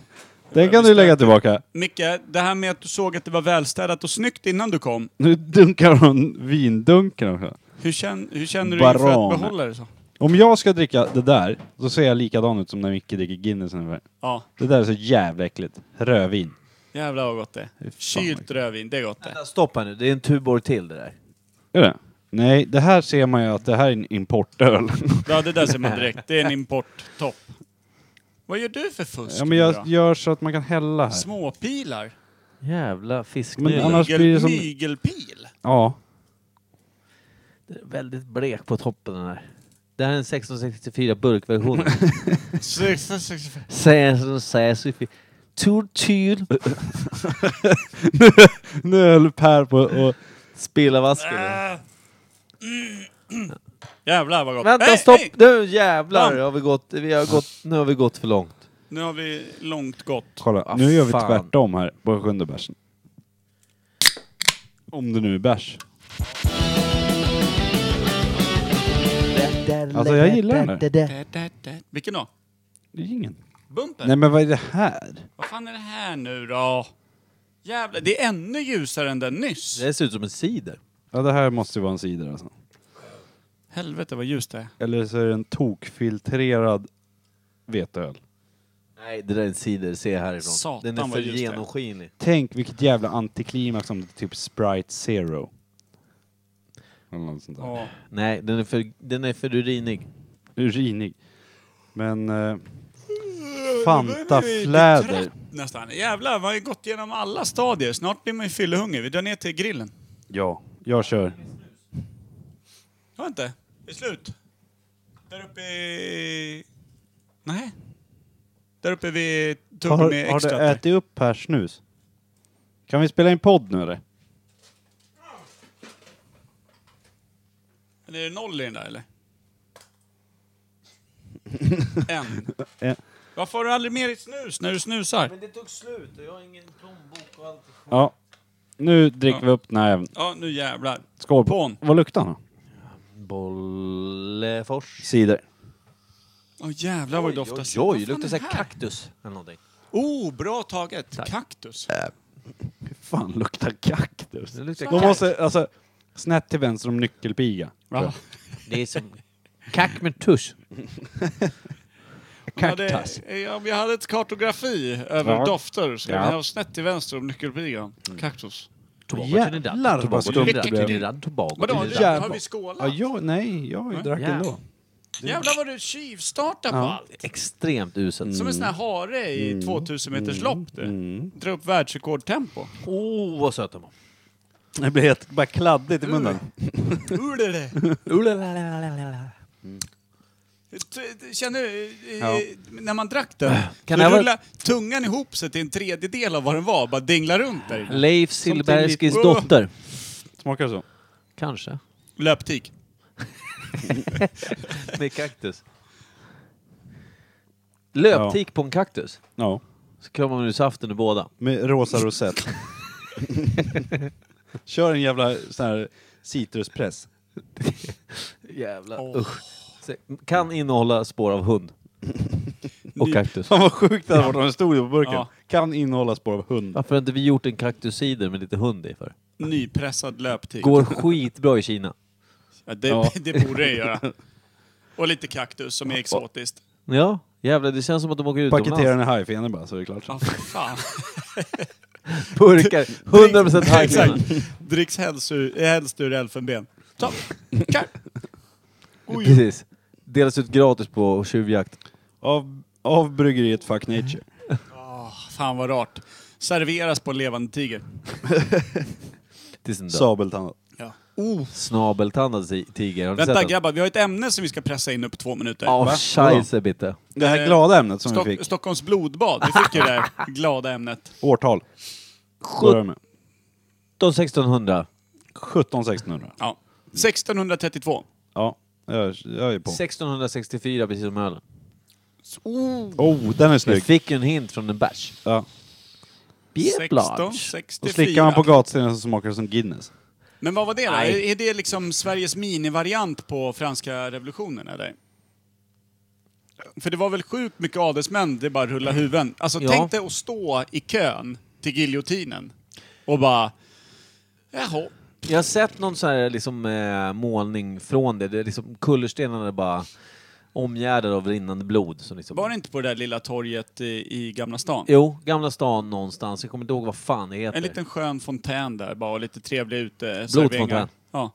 F: Den kan du lägga tillbaka.
B: Micke, det här med att du såg att det var välstädat och snyggt innan du kom.
F: Nu dunkar hon vindunkar också.
B: Hur, känn, hur känner du inför
F: Baran.
B: att behålla det så?
F: Om jag ska dricka det där, så ser jag likadan ut som när Micke dricker Guinness ungefär.
B: Ja,
F: Det där är så jävla äckligt. Rödvin.
B: jävlar vad gott det är. Kylt rödvin, det är gott det.
A: Vänta, Stopp här nu, det är en Tuborg till det där.
F: Är det? Nej, det här ser man ju att det här är en importöl.
B: Ja, det där ser man direkt. Det är en importtopp. Vad gör du för fusk
F: ja, men
B: nu
F: jag
B: då?
F: gör så att man kan hälla här.
B: Småpilar?
A: Jävla fisknyl.
F: Men annars blir det
B: Mygel,
F: som...
B: Mygelpil?
F: Ja.
A: Den är Väldigt blek på toppen den här. Det här är en 1664 burkversion.
B: 665.
A: Tortyr.
F: Nu höll Per på och...
A: Spilla vasken.
B: Äh. Mm. Jävlar vad gott.
A: Vänta,
B: Hej,
A: stopp!
B: hej!
A: Nu jävlar
B: Bam!
A: har vi gått, vi har gått, nu har vi gått för långt.
B: Nu har vi långt gått.
F: Kolla,
A: Ah,
F: nu gör vi
A: fan.
F: tvärtom här på sjunde bärsen. Om det nu är bärs. Alltså, jag gillar den här.
B: Da, da, da. Vilken då?
F: Det är ingen.
B: Bumper?
F: Nej men vad är det här?
B: Vad fan är det här nu då? Jävlar, det är ännu ljusare än den nyss.
A: Det ser ut som en cider.
F: Ja det här måste ju vara en cider alltså.
B: Helvete vad ljust det är.
F: Eller så är det en tokfiltrerad veteöl.
A: Nej, det där är en cider, se härifrån.
B: Satan,
A: den är
B: vad
A: för
B: ljust det är.
A: genomskinlig.
F: Tänk vilket jävla antiklimax om det är typ Sprite Zero. Eller något sånt där.
B: Ja.
A: Nej, den är för, den är för urinig.
F: Urinig. Men... Eh, Fanta fläder.
B: Nästan. Jävlar, man har ju gått igenom alla stadier. Snart blir man ju fyllehungrig. Vi drar ner till grillen.
F: Ja, jag kör.
B: Har inte? Det är slut. Där uppe i... Nej. Där uppe vid tuggen med
F: Har, har du
B: extra.
F: ätit upp här snus? Kan vi spela in podd nu eller?
B: Eller är det noll i den där eller? en.
F: Eh,
B: Varför har du aldrig mer i snus när du snusar?
A: det tog slut och jag har ingen plånbok och allt.
F: Ja. Nu dricker vi upp den här även.
B: Ja, nu jävlar.
F: Skål.
B: Pån.
F: Vad luktar den då?
A: Bollefors.
F: Cider.
B: Åh jävlar vad det doftar.
A: Oj,
B: Vad
A: oj,
B: fan
A: luktar
B: är
A: såhär
B: det här?
A: kaktus eller någonting.
B: Oh, bra taget. Kaktus.
F: Hur fan luktar kaktus?
A: Det luktar
F: De måste, alltså, snett till vänster om nyckelpiga.
B: Ja.
A: Det är som kack med tusch.
B: Ja, det- Ja, vi hade ett kartografi över
F: Ja.
B: dofter. Ska
F: Ja. Mm.
B: vi ha snett till vänster om nyckelpigan? Kaktus.
A: Tobago
F: Jävlar,
A: Trinidad,
F: vad
A: Tobago
F: skumt
A: Trinidad,
F: det blev.
A: Trinidad, Tobago
B: Vadå, har
A: Trinidad.
B: vi- har
F: jävlar.
B: vi
F: Ja,
B: skålat?
F: jag, nej, jag
B: Nej.
F: drack
A: Ja.
F: ändå.
B: Jävlar vad du tjuvstartar på allt.
A: Extremt uselt.
B: Som en sån här hare i
A: Mm.
B: 2000 meters lopp du. Drar upp världsrekordtempo.
A: Åh, oh, vad söt den var.
F: Det blev helt bara kladdigt i munnen.
B: Hur är det?
A: Ulalalalala.
B: T- t- Känner du, eh,
F: Ja.
B: när man drack den,
A: Kan
B: då
A: jag vara-
B: rullar tungan ihop sig till en tredjedel av vad den var, bara dinglar runt där inne.
A: Leif Silberskis
B: liten-
A: dotter.
F: Smakar det så?
A: Kanske.
B: Löptik.
A: Med kaktus. Löptik på en kaktus.
F: Ja.
A: Så kramar man ur saften ur båda.
F: Med rosa rosett. Kör en jävla sån här citruspress.
A: Jävlar, usch. Se- Kan innehålla spår av hund. Och kaktus.
F: Fan vad sjukt det hade varit om det stod det på burken.
A: Ja.
F: Kan innehålla spår av hund.
A: Varför har inte vi gjort en kaktuscider med lite hund i för?
B: Nypressad löptid.
A: Går skitbra i Kina.
B: Ja, det,
A: Ja.
B: det borde det göra. Och lite kaktus som är exotiskt.
A: Ja, jävlar det känns som att de åker utomlands.
F: Paketera den i hajfenor bara så är det klart.
B: Ja, för fan.
A: Burkar, 100%
B: Exakt.
A: hajfenor.
B: Dricks helst ur, eh, helst ur elfenben. Så, kör!
A: Precis. Delas ut gratis på tjuvjakt.
F: Av, av bryggeriet Fuck Nature.
B: Åh, fan vad rart. Serveras på en levande tiger.
A: Tills den dör.
F: Sabeltandad.
B: Ja.
A: Snabeltandad si- tiger. Har ni
B: Vänta
A: sett den?
B: grabbar, vi har ett ämne som vi ska pressa in nu på två minuter.
A: Ja,
B: Va?
A: scheisse bitte.
F: Det här
B: Eh,
F: glada ämnet som vi
B: Stock-
F: fick.
B: Stockholms blodbad, vi fick ju det här glada ämnet.
F: Årtal. Börjar med.
A: 1600.
F: 17 1600.
B: Ja. 1632.
F: Ja, jag, jag är på.
A: 1664 precis som ölen.
F: Oh, den är
A: Vi
F: snygg.
A: fick ju en hint från en bärs.
F: Ja.
A: Beer large.
B: 1664.
F: Och slickar man på gatstenen så smakar det som Guinness.
B: Men vad var det då? Är,
A: Nej.
B: är det liksom Sveriges minivariant på franska revolutionen eller? För det var väl sjukt mycket adelsmän, det bara
F: Mm.
B: rulla huvuden. Alltså
A: Ja.
B: tänk dig att stå i kön till giljotinen och bara... Jaha.
A: Jag har sett någon sån här liksom, eh, målning från det. det är liksom, kullerstenarna är bara omgärdade av rinnande blod. Som liksom.
B: Var det inte på det där lilla torget i, i Gamla stan?
A: Jo, Gamla stan någonstans. Jag kommer inte ihåg vad fan det heter.
B: En liten skön fontän där bara och lite trevliga uteserveringar.
A: Blodfontän.
B: Ja.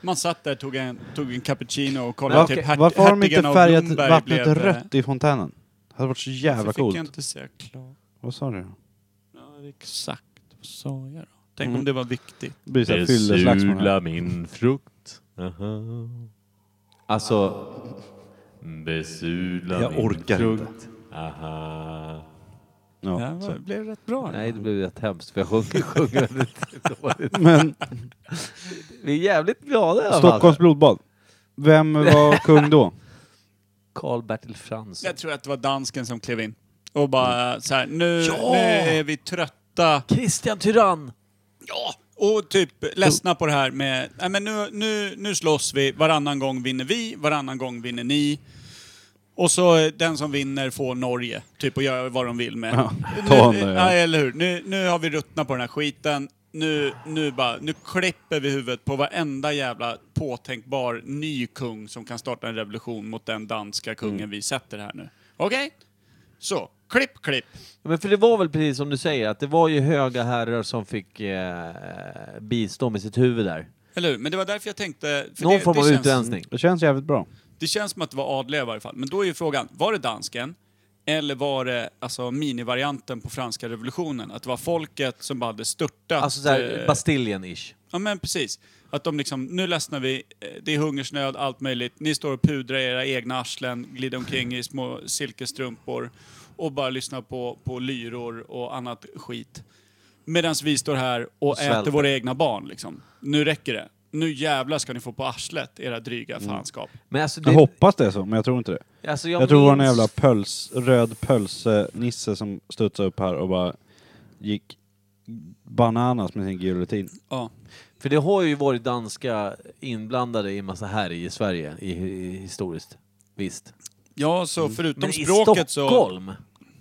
B: Man satt där, tog en, tog en cappuccino och kollade
F: Varför,
B: typ hert,
F: varför har de inte
B: hertigen av
F: färgat
B: Blomberg
F: vattnet
B: blev, eh,
F: rött i fontänen? Det hade varit så jävla
B: varför
F: coolt.
B: fick jag inte säga klart?
F: Vad sa du?
B: Ja, exakt. Vad sa jag då? Tänk om det var viktigt.
F: Det blir så här fylleslagsmål här.
A: min frukt. Alltså... Besudla
F: Jag min orkar frukt.
A: Aha.
B: Det här
F: Ja,
B: var,
F: så.
B: blev rätt bra.
A: Nej, det blev rätt hemskt för jag sjunger, sjunger väldigt dåligt.
F: Men
A: Vi är jävligt glada i alla fall.
F: Stockholms blodbad. Vem var kung då?
A: Karl-Bertil Fransson.
B: Jag tror att det var dansken som klev in. Och bara så här, nu,
A: Ja!
B: nu är vi trötta.
A: Christian Tyrann!
B: Ja! Och typ ledsna på det här med, nej men nu, nu, nu slåss vi, varannan gång vinner vi, varannan gång vinner ni. Och så eh, den som vinner får Norge, typ och gör vad de vill med.
F: Ja,
B: Nu-
F: ta Norge,
A: eh,
F: ja.
B: Nej, eller hur. Nu, nu har vi ruttnat på den här skiten. Nu, nu, bara, nu klipper vi huvudet på varenda jävla påtänkbar ny kung som kan starta en revolution mot den danska kungen
A: Mm.
B: vi sätter här nu. Okej? Så, klipp, klipp.
A: Ja, Men för det var väl precis som du säger, att det var ju höga herrar som fick eh, bistå med sitt huvud där.
B: Eller hur? Men det var därför jag tänkte... för
A: Någon
B: det,
A: form
B: det
A: av
B: känns-
A: utrensning.
F: Det känns jävligt bra.
B: Det känns som att det var adliga i varje fall. Men då är ju frågan, var det dansken? Eller var det alltså, minivarianten på franska revolutionen? Att det var folket som bara hade störtat...
A: Alltså
B: eh,
A: såhär Bastiljen-ish.
B: Ja men precis. Att de liksom, nu ledsnar vi, eh, det är hungersnöd, allt möjligt. Ni står och pudrar era egna arslen, glider omkring i små silkesstrumpor och bara lyssnar på, på lyror och annat skit. Medan vi står här och,
A: svälter.
B: äter våra egna barn liksom. Nu räcker det. Nu jävlar ska ni få på arslet, era dryga fanskap.
A: Men alltså, det,
F: Jag hoppas det är så, men jag tror inte det.
A: alltså
F: Jag, tror det var en
A: minns-
F: jävla pöls, röd pölse-nisse som studsade upp här och bara gick bananas med sin giljotin.
B: Ja.
A: För det har ju varit danska inblandade i en massa härj i Sverige i, i, historiskt. Visst.
B: Ja, så förutom
A: Mm. Men i
B: språket så...
A: Stockholm?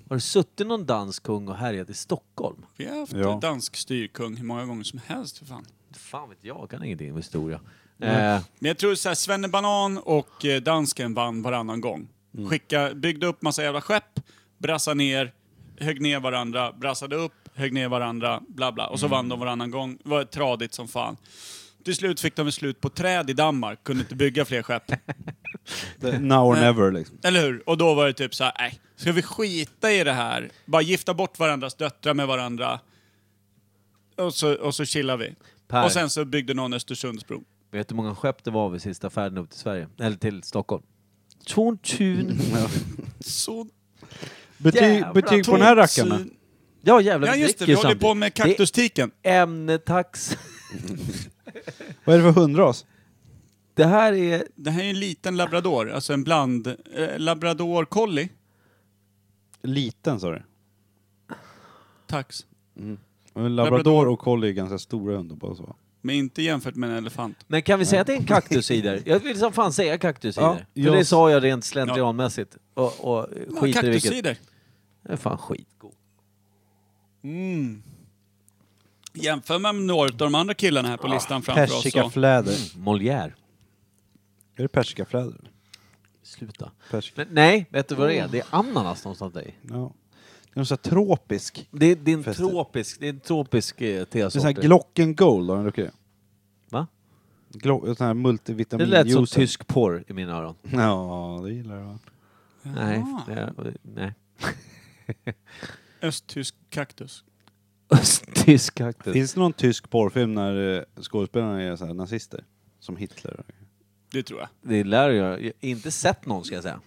A: Har det suttit någon dansk kung och härjat i Stockholm?
B: Vi har haft
F: Ja.
B: dansk styrkung hur många gånger som helst för fan.
A: Fan vet jag, jag kan ingenting om historia. Eh,
B: Men jag tror såhär, Svenne Banan och eh, dansken vann varannan gång.
A: Mm.
B: Skicka, byggde upp massa jävla skepp, brassade ner, högg ner varandra, brassade upp, högg ner varandra, bla bla. Och så
A: Mm.
B: vann de varannan gång. Det var tradigt som fan. Till slut fick de slut på träd i Danmark, kunde inte bygga fler skepp.
F: The Now or never liksom.
B: Eller hur? Och då var det typ så här, nej, ska vi skita i det här? Bara gifta bort varandras döttrar med varandra. Och så, och så chillar vi.
A: Per.
B: Och sen så byggde någon Östersundsbro.
A: vet du hur många skepp det var vid sista färden upp till Sverige? Eller till Stockholm? 2000.
B: Så...
F: Betyg,
A: Jävlar,
F: betyg på den här rackaren då?
B: Syn-
A: Ja jävlar,
B: Ja just det,
A: dricker
B: vi håller
A: samtidigt.
B: på med kaktustiken.
A: Det är ämnetax.
F: Vad är det för hundras?
A: Det här är...
B: Det här är en liten labrador, alltså en bland... Eh, labrador collie.
F: Liten sa du?
B: Tax.
F: Men Labrador och collie är ganska stora hundar bara så.
B: Men inte jämfört med en elefant.
A: Men kan vi säga att det är en kaktusider? Jag vill som fan säga kaktusider.
B: Ja,
A: För
B: jag-
A: det sa jag rent slentrianmässigt. Och, och skiter i vilket.
B: kaktusider.
A: Det är fan skitgod.
B: Mm. Jämför man med några av de andra killarna här på
A: Ah,
B: listan framför oss. så-
F: Persikafläder.
A: Mm. Molière.
F: Är det persikafläder?
A: Sluta.
F: Persika.
A: Men, nej, vet du vad det är? Det är ananas någonstans där i.
F: Ja. Det är en sån här tropisk.
A: Det är, det är en tropisk, det är en tropisk eh,
F: Det är sån
A: tesort.
F: här Glocken Gold, har du druckit det?
A: Va?
F: Glo- sån här
A: Det
F: multivitamin
A: lät som
F: juice.
A: tysk porr i mina öron.
F: Ja, det gillar jag.
A: Nej, det, nej.
B: Östtysk kaktus.
A: Östtysk kaktus.
F: Finns det någon tysk porrfilm när eh, skådespelarna är så här nazister? Som Hitler?
B: Det tror jag.
A: Det lär jag göra. Jag har inte sett någon ska jag säga.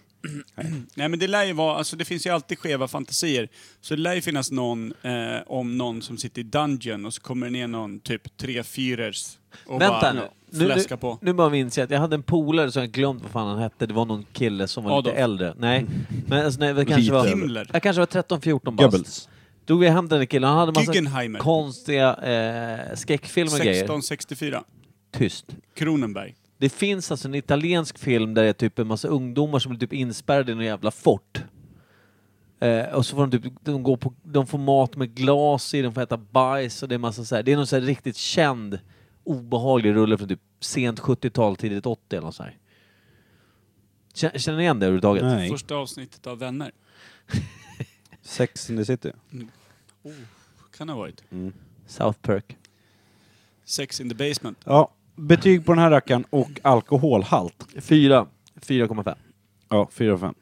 B: Nej men det lär ju vara, alltså det finns ju alltid skeva fantasier. Så det lär ju finnas någon eh, om någon som sitter i dungeon och så kommer det ner någon typ tre fyrers och
A: Vänta
B: bara
A: nu. Nu,
B: fläskar
A: nu,
B: på.
A: nu bara minns jag att jag hade en polare som jag glömt vad fan han hette. Det var någon kille som var
B: Adolf.
A: lite äldre. Nej, men alltså, nej, det kanske var...
B: Himmler.
A: Jag kanske var 13-14 bast.
B: Goebbels.
A: Tog vi hem den där killen. Han hade massa
B: Guggenheimer.
A: konstiga eh, skräckfilmer och grejer.
B: 1664.
A: Tyst.
B: Kronenberg.
A: Det finns alltså en italiensk film där det är typ en massa ungdomar som blir typ inspärrade i någon jävla fort. Eh, och så får de typ, de, går på, de får mat med glas i, de får äta bajs och det är massa så här. Det är någon så här riktigt känd obehaglig rulle från typ sent 70-tal, tidigt 80 eller något så här. Kä- Känner ni igen det överhuvudtaget?
B: Första avsnittet av Vänner.
F: Sex in the city?
B: Oh, kan det ha varit.
A: South Perk.
B: Sex in the basement.
F: Ja, betyg på den här rackaren och alkoholhalt?
A: Fyra. 4,5.
F: Ja, fyra och fem.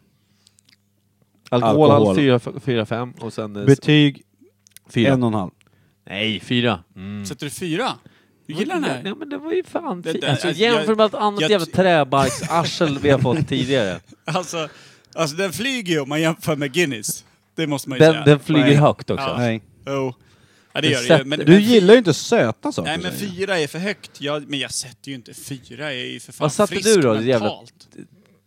A: Alkohol,
F: Alkohol.
A: 4-5 och sen... eh,
F: Betyg?
A: Fyra.
F: En och en halv.
A: Nej, fyra. Mm.
B: Sätter du fyra? Du gillar den här?
A: Nej men det var ju fan
B: Det-
A: fint.
B: det-
A: Alltså,
B: alltså,
A: jämför
B: jag-
A: med allt annat
B: jag-
A: jävla träbarksarsel vi har fått tidigare.
B: Alltså, alltså den flyger ju om man jämför med Guinness. Det måste man ju
A: Den-
B: säga.
A: den flyger högt också.
B: Ja.
A: Nej.
B: Jo. Ja, det
F: Du
B: gör det ju.
F: sätter-
B: Men,
F: du gillar ju inte söta saker.
B: Nej men
F: säger jag.
B: fyra är för högt. Jag, men jag sätter ju inte fyra. Jag är ju för fan
A: Vad satte
B: frisk
A: du då? Det jävla
B: mentalt.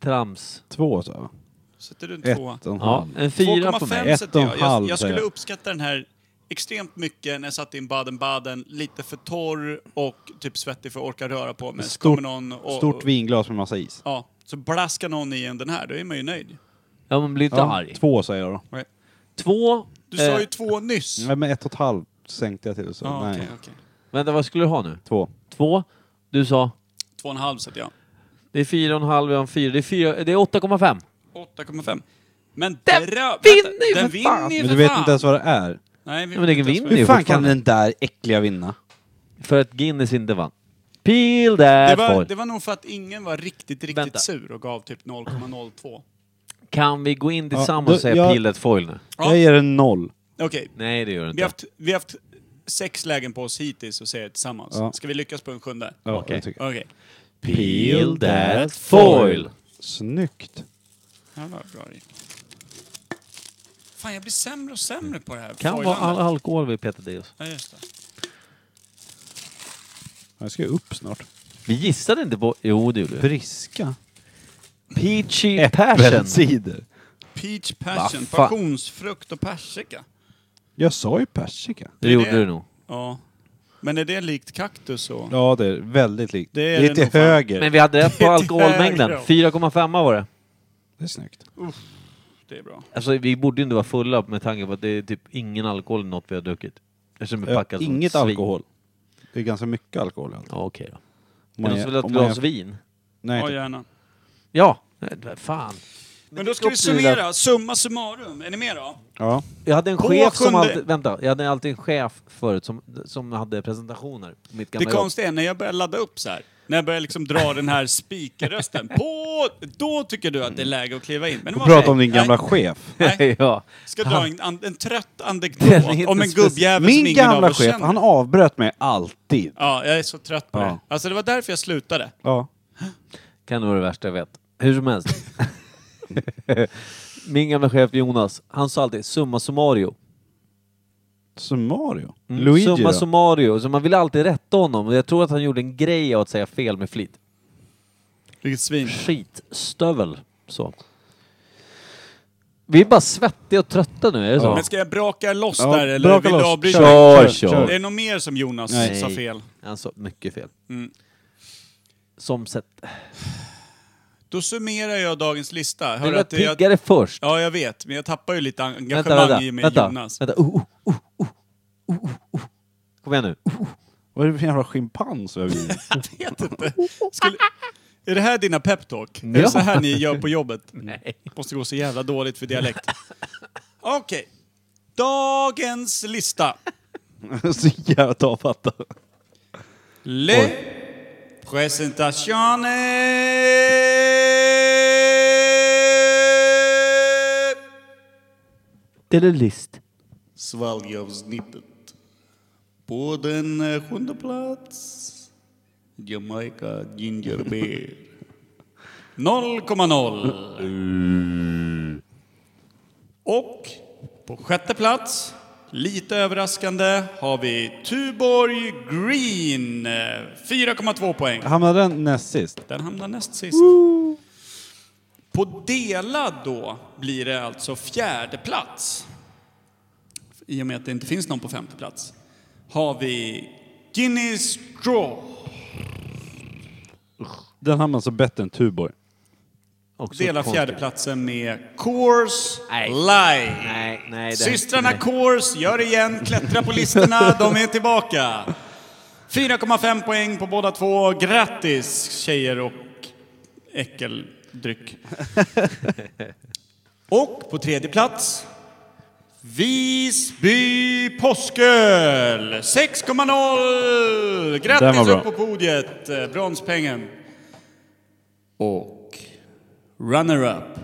A: trams.
F: Två sa jag.
B: Sätter du en
F: Ett
B: tvåa?
F: och en halv.
A: Ja, en fyra på
B: 2,5
A: mig.
B: sätter jag. Jag, jag
F: säger
B: skulle
F: jag.
B: uppskatta den här extremt mycket när jag satt i en Baden-Baden, lite för torr och typ svettig för att orka röra på mig. Så kommer
F: Stort,
B: någon och,
F: stort vinglas med massa is.
B: Ja, så blaskar någon i en den här, då är man ju nöjd.
A: Ja men bli inte
F: Ja,
A: arg.
F: Två säger jag då.
B: Nej.
A: Två...
B: Du sa
A: eh,
B: ju två nyss.
F: Nej men ett och ett halvt sänkte jag till. Så.
B: Ja,
F: Nej.
B: okej, okej.
A: Vänta, vad skulle du ha nu?
F: Två.
A: Två. Du sa?
B: Två och en halv sätter jag.
A: Det är fyra och en halv, jag har en fyra. Det är, fyra, det är 8,5.
B: 8,5 Men den vinner
A: vinner ju
B: Den
A: för
B: vinner
A: fan!
B: ju
F: Men
B: för
F: du vet
B: fan!
F: inte ens vad det är.
B: Nej, vi
A: Ja, men den
B: vet inte ens
A: vinner
B: vad det
A: ju
F: Hur fan kan
A: fortfarande.
F: den där äckliga vinna?
A: För att Guinness inte vann. Peel that
B: Det
A: boy.
B: var, det var nog för att ingen var riktigt, riktigt
A: Vänta.
B: sur och gav typ 0,02.
A: Kan vi gå in tillsammans
F: Ja,
A: och säga
F: jag-
A: peel that foil nu?
B: Ja.
F: Jag ger den noll.
B: Okej,
A: Nej, det gör du
B: vi,
A: inte.
B: har haft- vi har haft sex lägen på oss hittills och säga det tillsammans.
F: Ja.
B: Ska vi lyckas på en sjunde?
F: Ja,
A: Okej.
F: jag tycker.
B: Okej.
A: Peel that foil.
F: Snyggt.
B: Okay. bra det gick. Fan, jag blir sämre och sämre på det här.
A: Kan vara all
B: foilandet.
A: alkohol vi petade i oss.
B: Ja, just det.
F: Jag ska ju upp snart.
A: Vi gissade inte på... Jo, det gjorde vi.
F: Briska.
A: Peachy passion.
F: Äppelcider.
B: Peach passion,
A: Va fan?
B: passionsfrukt och persika.
F: Jag sa ju persika.
A: Det gjorde du nog.
B: Ja. Men är det likt kaktus och...
F: Ja, det är väldigt likt.
B: Det
F: Det
B: är
F: är,
B: det nog
F: till
B: fan.
F: höger.
A: Men vi hade rätt på
B: Det är
A: alkoholmängden.
B: högre.
A: 4,5 var det.
F: Det är snyggt.
B: Det är bra.
A: Alltså vi borde ju inte vara fulla med tanke på att det är typ ingen alkohol i något vi har druckit. Eftersom vi
F: Ja,
A: packar som
F: inget
A: svin.
F: alkohol. Det är ganska mycket alkohol. Alltså.
A: Ja, okej då.
F: Om
A: Är det någon som
F: man gör-
A: vill ha ett
F: om man
A: glas
F: gör-
A: vin?
F: Nej,
B: Ja,
F: tack.
B: gärna.
A: Ja! Nej, vad Fan.
B: Men då ska vi summera. Summa summarum. Är ni med då?
F: ja.
A: Jag hade en
B: På
A: chef som
B: sjunde-
A: alltid... Vänta. Jag hade alltid en chef förut som, som hade presentationer. på Mitt
B: Det
A: gamla jobb.
B: konstiga är när jag börjar ladda upp så här. När jag börjar liksom dra den här spikerrösten. På, då tycker du att det är läge att kliva in. Men det var
F: Prata
B: okej.
F: om din gamla
B: Nej,
F: chef.
B: Nej,
A: ja.
B: ska dra en, an- en trött
A: Den är
B: anekdot
A: inte
B: om en
A: speci-
B: gubbjävel som
F: Min
B: ingen av
F: gamla
B: oss
F: chef,
B: känner.
F: han avbröt mig alltid.
B: Ja, jag är så trött på
F: Ja.
B: det. Alltså det var därför jag slutade.
F: Ja.
A: Kan det vara det värsta jag vet. Hur som helst. Min gamla chef Jonas, han sa alltid summa summario.
F: Summario.
A: Mm.
F: Luigi
A: summa
F: då?
A: summario. Så man ville alltid rätta honom. Och jag tror att han gjorde en grej av att säga fel med flit.
B: Vilket svin.
A: Skitstövel. Så. Vi är bara svettiga och trötta nu, är det så?
B: Men ska jag braka loss
A: Ja,
B: där eller
A: braka
B: vill du
A: loss.
B: avbryta?
A: Kör, Kör, kör.
B: Är det något mer som Jonas sa fel?
A: Han sa mycket fel.
B: Mm.
A: Som sett...
B: Då summerar jag dagens lista.
A: Du var piggare först.
B: Ja, jag vet. Men jag tappar ju lite engagemang
A: Vänta, vänta.
B: i och med
A: vänta.
B: Jonas.
A: vänta. Oh, oh, oh, oh, oh, oh. Kom igen nu.
M: Vad är det för jävla schimpans över
B: Jag vet inte. Skulle... Är det här dina peptalk? Är
M: Ja.
B: det så här ni gör på jobbet? Nej. Måste gå så jävla dåligt för dialekt. Okej. Dagens lista.
M: Så jävla tafatta.
B: Le presentation
A: Det är list.
B: Svalgavsnittet. På den eh, sjunde plats, Jamaica Ginger Beer. 0,0. Och på sjätte plats, lite överraskande, har vi Tuborg Green. eh, 4,2 poäng.
M: Hamnade den näst sist?
B: Den hamnar näst sist. På delad då blir det alltså fjärde plats. I och med att det inte finns någon på femte plats. Har vi Guinness Straw.
M: Den hamnade alltså bättre än Tuborg.
B: Delar fjärdeplatsen med Coors Light. Nej,
A: nej, det-
B: Systrarna
A: nej.
B: Coors, gör det igen, klättra på listorna, de är tillbaka. 4,5 poäng på båda två. Grattis tjejer och äckeldryck. och på tredje plats, Visby Påsköl 6,0!
M: Den var
B: Grattis
M: bra.
B: upp på podiet, eh, bronspengen. Och runner-up,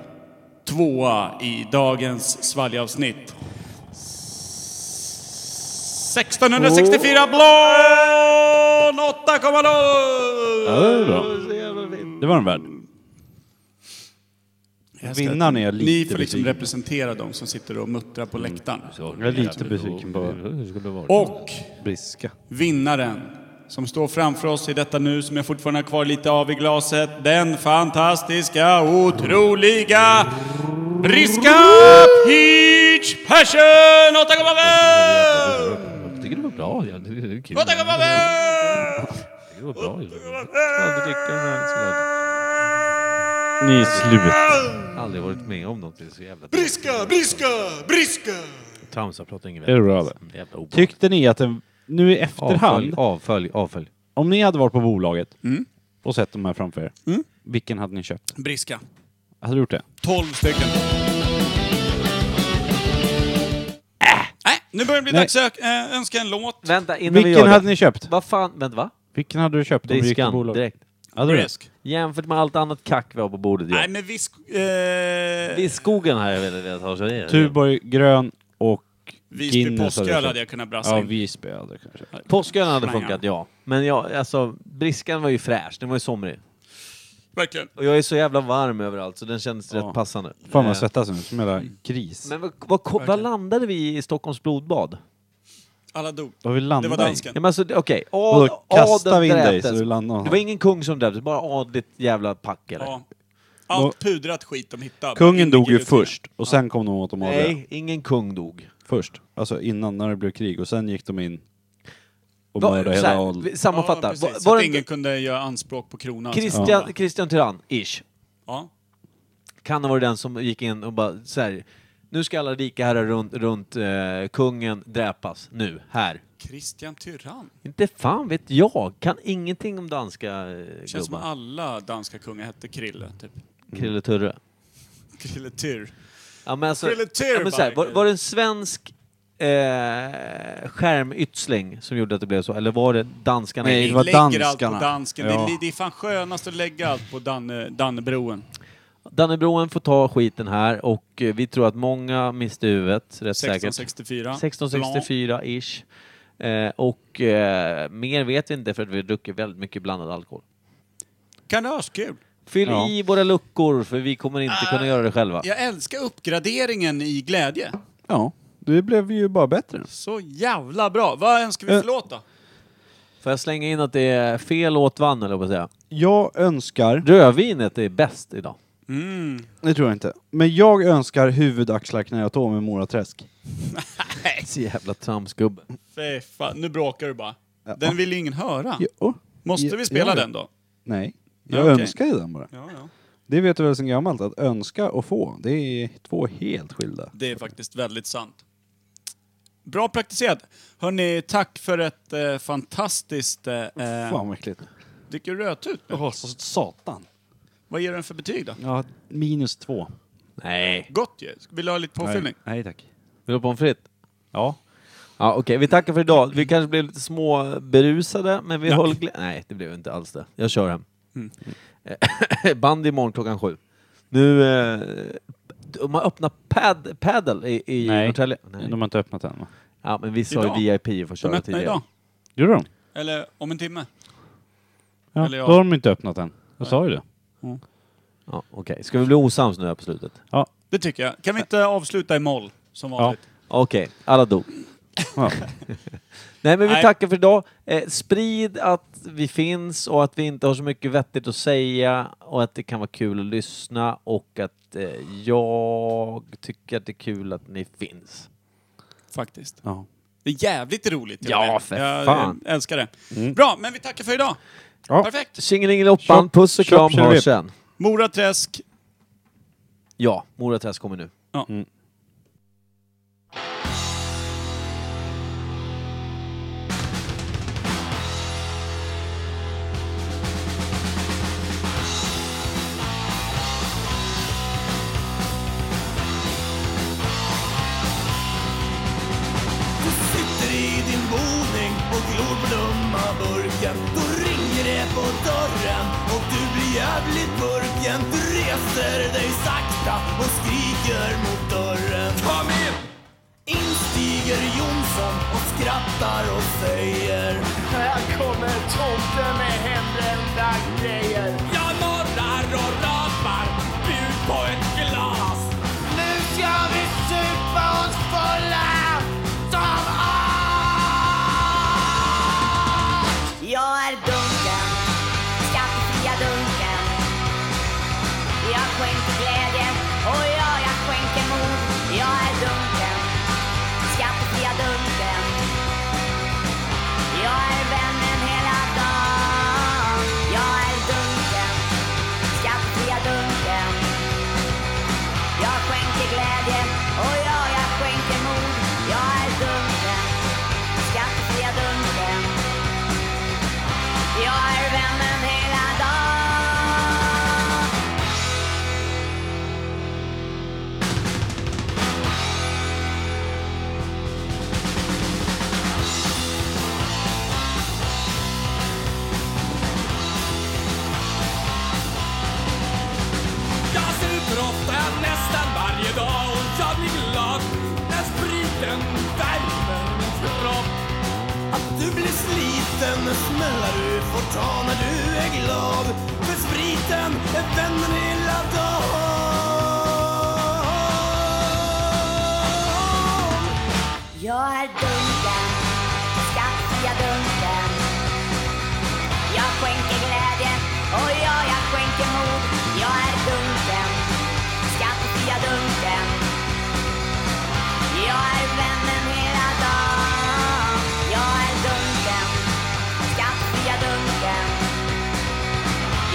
B: tvåa i dagens svalgavsnitt. 1664 blån! 8,0!
M: Ja, det är bra. Det var den värd. Vinnaren är jag lite
B: Ni får liksom
M: besviken på.
B: representera dem som sitter och muttrar på läktaren.
M: Jag är lite besviken på... Hur skulle det vara?
B: Och
M: Briska.
B: vinnaren som står framför oss i detta nu, som jag fortfarande har kvar lite av i glaset. Den fantastiska, otroliga Briska Peach Passion 8,5!
N: Jag tycker det var bra. Ja, det, det, det är kul.
B: 8,5!
N: Det var bra. ju. Jag hade dricka den här, liksom. så
A: Ni är
N: slut.
A: Aldrig varit med om något det är så jävla...
B: Briska, briska, briska!
A: Tramsar pratar ingen
M: Är det bra
A: det? Jävla obehagligt.
M: Tyckte ni att den... Nu i efterhand...
A: Avfölj, avfölj, avfölj.
M: Om ni hade varit på bolaget
B: Mm.
M: och sett de här framför er,
B: Mm.
M: vilken hade ni köpt?
B: Briska.
M: Hade du gjort det?
B: 12 stycken. Nej, Äh, nu börjar det bli
M: Nej.
B: dags att äh, önska en låt.
A: Vänta, innan vi
M: Vilken
A: gör
M: hade
A: det.
M: ni köpt?
A: Vad fan, vänta va?
M: Vilken hade du köpt om du gick på
A: Briskan,
M: bolaget?
A: direkt.
M: Hade du det?
B: Brisk.
A: Jämfört med allt annat kack vi har på bordet.
B: Nej, men vi... sk- Eh,
A: Det är skogen här jag velat velat ha. så det är-
M: Tuborg, grön och
B: Visby
M: Guinness
B: påsköl
M: köpt.
B: hade jag kunnat brassa
M: Ja,
B: in.
M: Visby hade jag kunnat köpa.
A: Påskön hade funkat, ja. Men jag, alltså, briskan var ju fräsch. Den var ju somrig.
B: Verkligen.
A: Och jag är så jävla varm överallt, så den kändes rätt passande.
M: Fan
A: Eh,
M: vad svettas nu, som en jävla
B: Mm.
M: gris.
A: Men vad, vad, ko- vad landade vi i Stockholms blodbad?
B: Alla dog.
M: Vad vi landade
B: Det var dansken.
A: Ja, men alltså, det- Okej,
M: Och
A: okay.
M: då kastar vi in dig så du landar någonstans.
A: Det var ingen kung som dräptes, bara adligt jävla pack eller?
B: Ja. Allt pudrat skit de hittade.
M: Kungen dog ju
B: Ingen giljotin.
M: först och sen kom de åt de övriga.
A: Nej, ingen kung dog.
M: Först. Alltså innan, när det blev krig. Och sen gick de in och
A: Va-
M: mördade
A: så här,
M: hela adel.
A: vi- Sammanfatta.
B: Ja, precis,
A: Var-
B: så
A: var
B: att
A: det inte-
B: ingen alltså. kunde göra anspråk på kronan.
M: Alltså,
A: Christian,
B: Ja.
A: Christian Tyrann, ish.
B: Ja.
A: Kan ha varit den som gick in och bara så här. Nu ska alla rika herrar runt, runt eh, kungen dräpas. Nu, här.
B: Christian Tyrann.
A: Inte fan vet jag. Kan ingenting om danska eh,
B: Känns som
A: gubbar.
B: alla danska kungar hette Krille, typ.
A: Krille Turre.
B: Krille Tyr.
A: Ja, men alltså,
B: Krille Tyr,
A: ja, men så här, var,
B: bara.
A: var det en svensk eh, skärmytsling som gjorde att det blev så? Eller var det danskarna?
M: Nej,
A: i-
M: det var
B: Lägger allt på dansken. Det, är, det är fan skönast att lägga allt på Danne, Dannebroen.
A: Dannebroen får ta skiten här och eh, vi tror att många miste huvudet, rätt säkert.
B: 1664.
A: 1664-ish. Eh, och eh, mer vet vi inte för att vi har druckit väldigt mycket blandad alkohol.
B: Kanaskul!
A: Fyll
B: Ja.
A: i våra luckor för vi kommer inte kunna göra det själva.
B: Jag älskar uppgraderingen i glädje.
M: Ja, det blev ju bara bättre.
B: Så jävla bra! Vad önskar
M: Eh.
B: vi för låt då?
A: Får jag slänga in att det är fel låt vann eller vad jag säga?
M: Jag önskar...
A: Rödvinet är bäst idag.
F: Det tror jag inte. Men jag önskar huvud, axlar, knä och tå med Moraträsk.
B: Nej.
A: Så jävla tramsgubbe.
B: Fy fan, nu bråkar du bara. Den vill ju ingen höra.
F: Jo.
B: Måste
F: Ja,
B: vi spela
F: ja.
B: den då?
F: Nej.
B: Ja,
F: Jag
B: okej.
F: önskar ju den bara.
B: Ja, ja.
F: Det vet du väl sen gammalt, att önska och få, det är två helt skilda.
B: Det är faktiskt väldigt sant. Bra praktiserat. Hörni, tack för ett eh, fantastiskt... Eh,
F: Fan vad äckligt.
B: Dricker du rödtut nu?
F: Åh, så satan.
B: Vad ger den för betyg då?
F: Ja, minus två.
A: Nej.
B: Gott ju. Vill du ha lite påfyllning?
F: Nej, tack.
A: Vill du ha pommes frites?
F: Ja.
A: Ja, okej. Vi tackar för idag. Vi kanske blev lite små berusade, men vi
B: Nej.
A: håller... Glä- Nej, det blev inte alls det. Jag kör hem.
B: Mm.
A: Band imorgon klockan sju. Nu... Eh, de har öppnat pad, paddle i, i
F: Nej.
A: Norrtälje.
F: De har inte öppnat än va?
A: Ja, men vi sa ju
B: Idag.
A: VIP får
B: De
A: köra
B: öppnar
A: tidigare.
B: idag.
F: Gjorde de?
B: Eller om en timme?
F: Ja,
B: Eller ja.
F: då har de inte öppnat än. Jag sa ju det.
A: Ja, okej. Ska vi bli osams nu här på slutet?
F: Ja.
B: Det tycker jag. Kan vi inte avsluta i moll, som vanligt?
A: Okej, alla dog. Nej men vi
B: Nej.
A: tackar för idag. Eh, sprid att vi finns och att vi inte har så mycket vettigt att säga och att det kan vara kul att lyssna och att eh, jag tycker att det är kul att ni finns.
B: Faktiskt.
F: Ja.
B: Det är jävligt roligt. till
A: Ja,
B: och med.
A: för
B: jag,
A: fan.
B: Jag älskar det.
A: Mm.
B: Bra, men vi tackar för idag. Perfekt.
A: Tjingelingeloppan, puss och
B: Tjopp,
A: kram,
B: tjopp,
A: hörs
B: tjopp.
A: sen.
B: Mora Träsk.
A: Ja, Mora Träsk kommer nu.
B: Ja.
J: Du sitter i din boning och glor på dumma burken. Då ringer det på dörren och du blir jävligt burken. Du reser dig sakta och skriker mot dörren. Kom in! Instiger Jonsson och skrattar och säger Här kommer tomten med hembrända grejer. Jag morrar och rapar, bjud på ett glas. Nu ska vi supa oss fulla. Som allt!
O: Jag är dunken, skattefria dunken. Jag skänker glädje och ja, jag skänker mod. Jag är dunken, skattefria dunken. Jag är vännen hela dagen. Jag är dunken, skattefria dunken. Jag skänker glädje och ja, jag skänker mod. Jag är dunken, skattefria dunken. Jag är vännen hela dagen
J: Jag super ofta nästan varje dag och jag blir glad när spriten värmer min kropp. Att du blir sliten smällar du får ta när du är glad. För spriten är vännen hela dagen.
O: Jag är dunken, skattefria dunken Jag skänker glädje och ja, jag skänker mod Jag är dunken, skattefria dunken Jag är vännen hela dagen Jag är dunken, skattefria dunken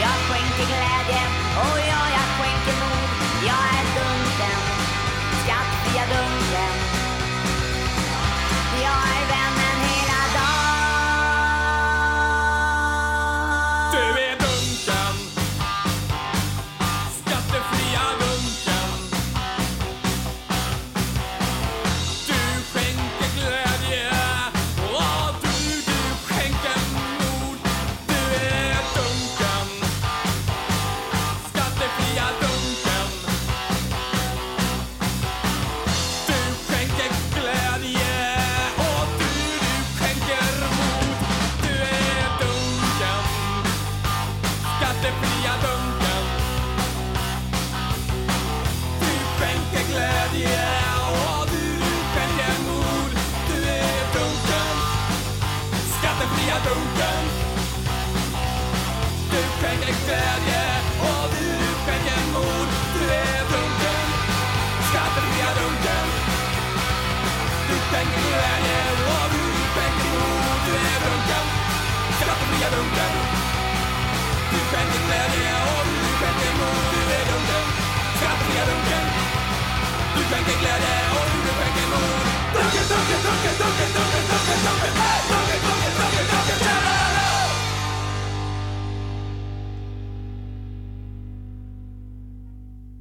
O: Jag skänker glädje och ja, jag skänker mod Jag är dunken, skattefria dunken jag är vännen hela dagen
J: Du är dunken Skattefria dunken Du skänker glädje Och du, du skänker mod Du är dunken Skattefria dunken Du skänker glädje Och du, du skänker mod Du är dunken Skattefria dunken Du skänker glädje och du skänker mod Du är dunken Skattefria dunken Du skänker glädje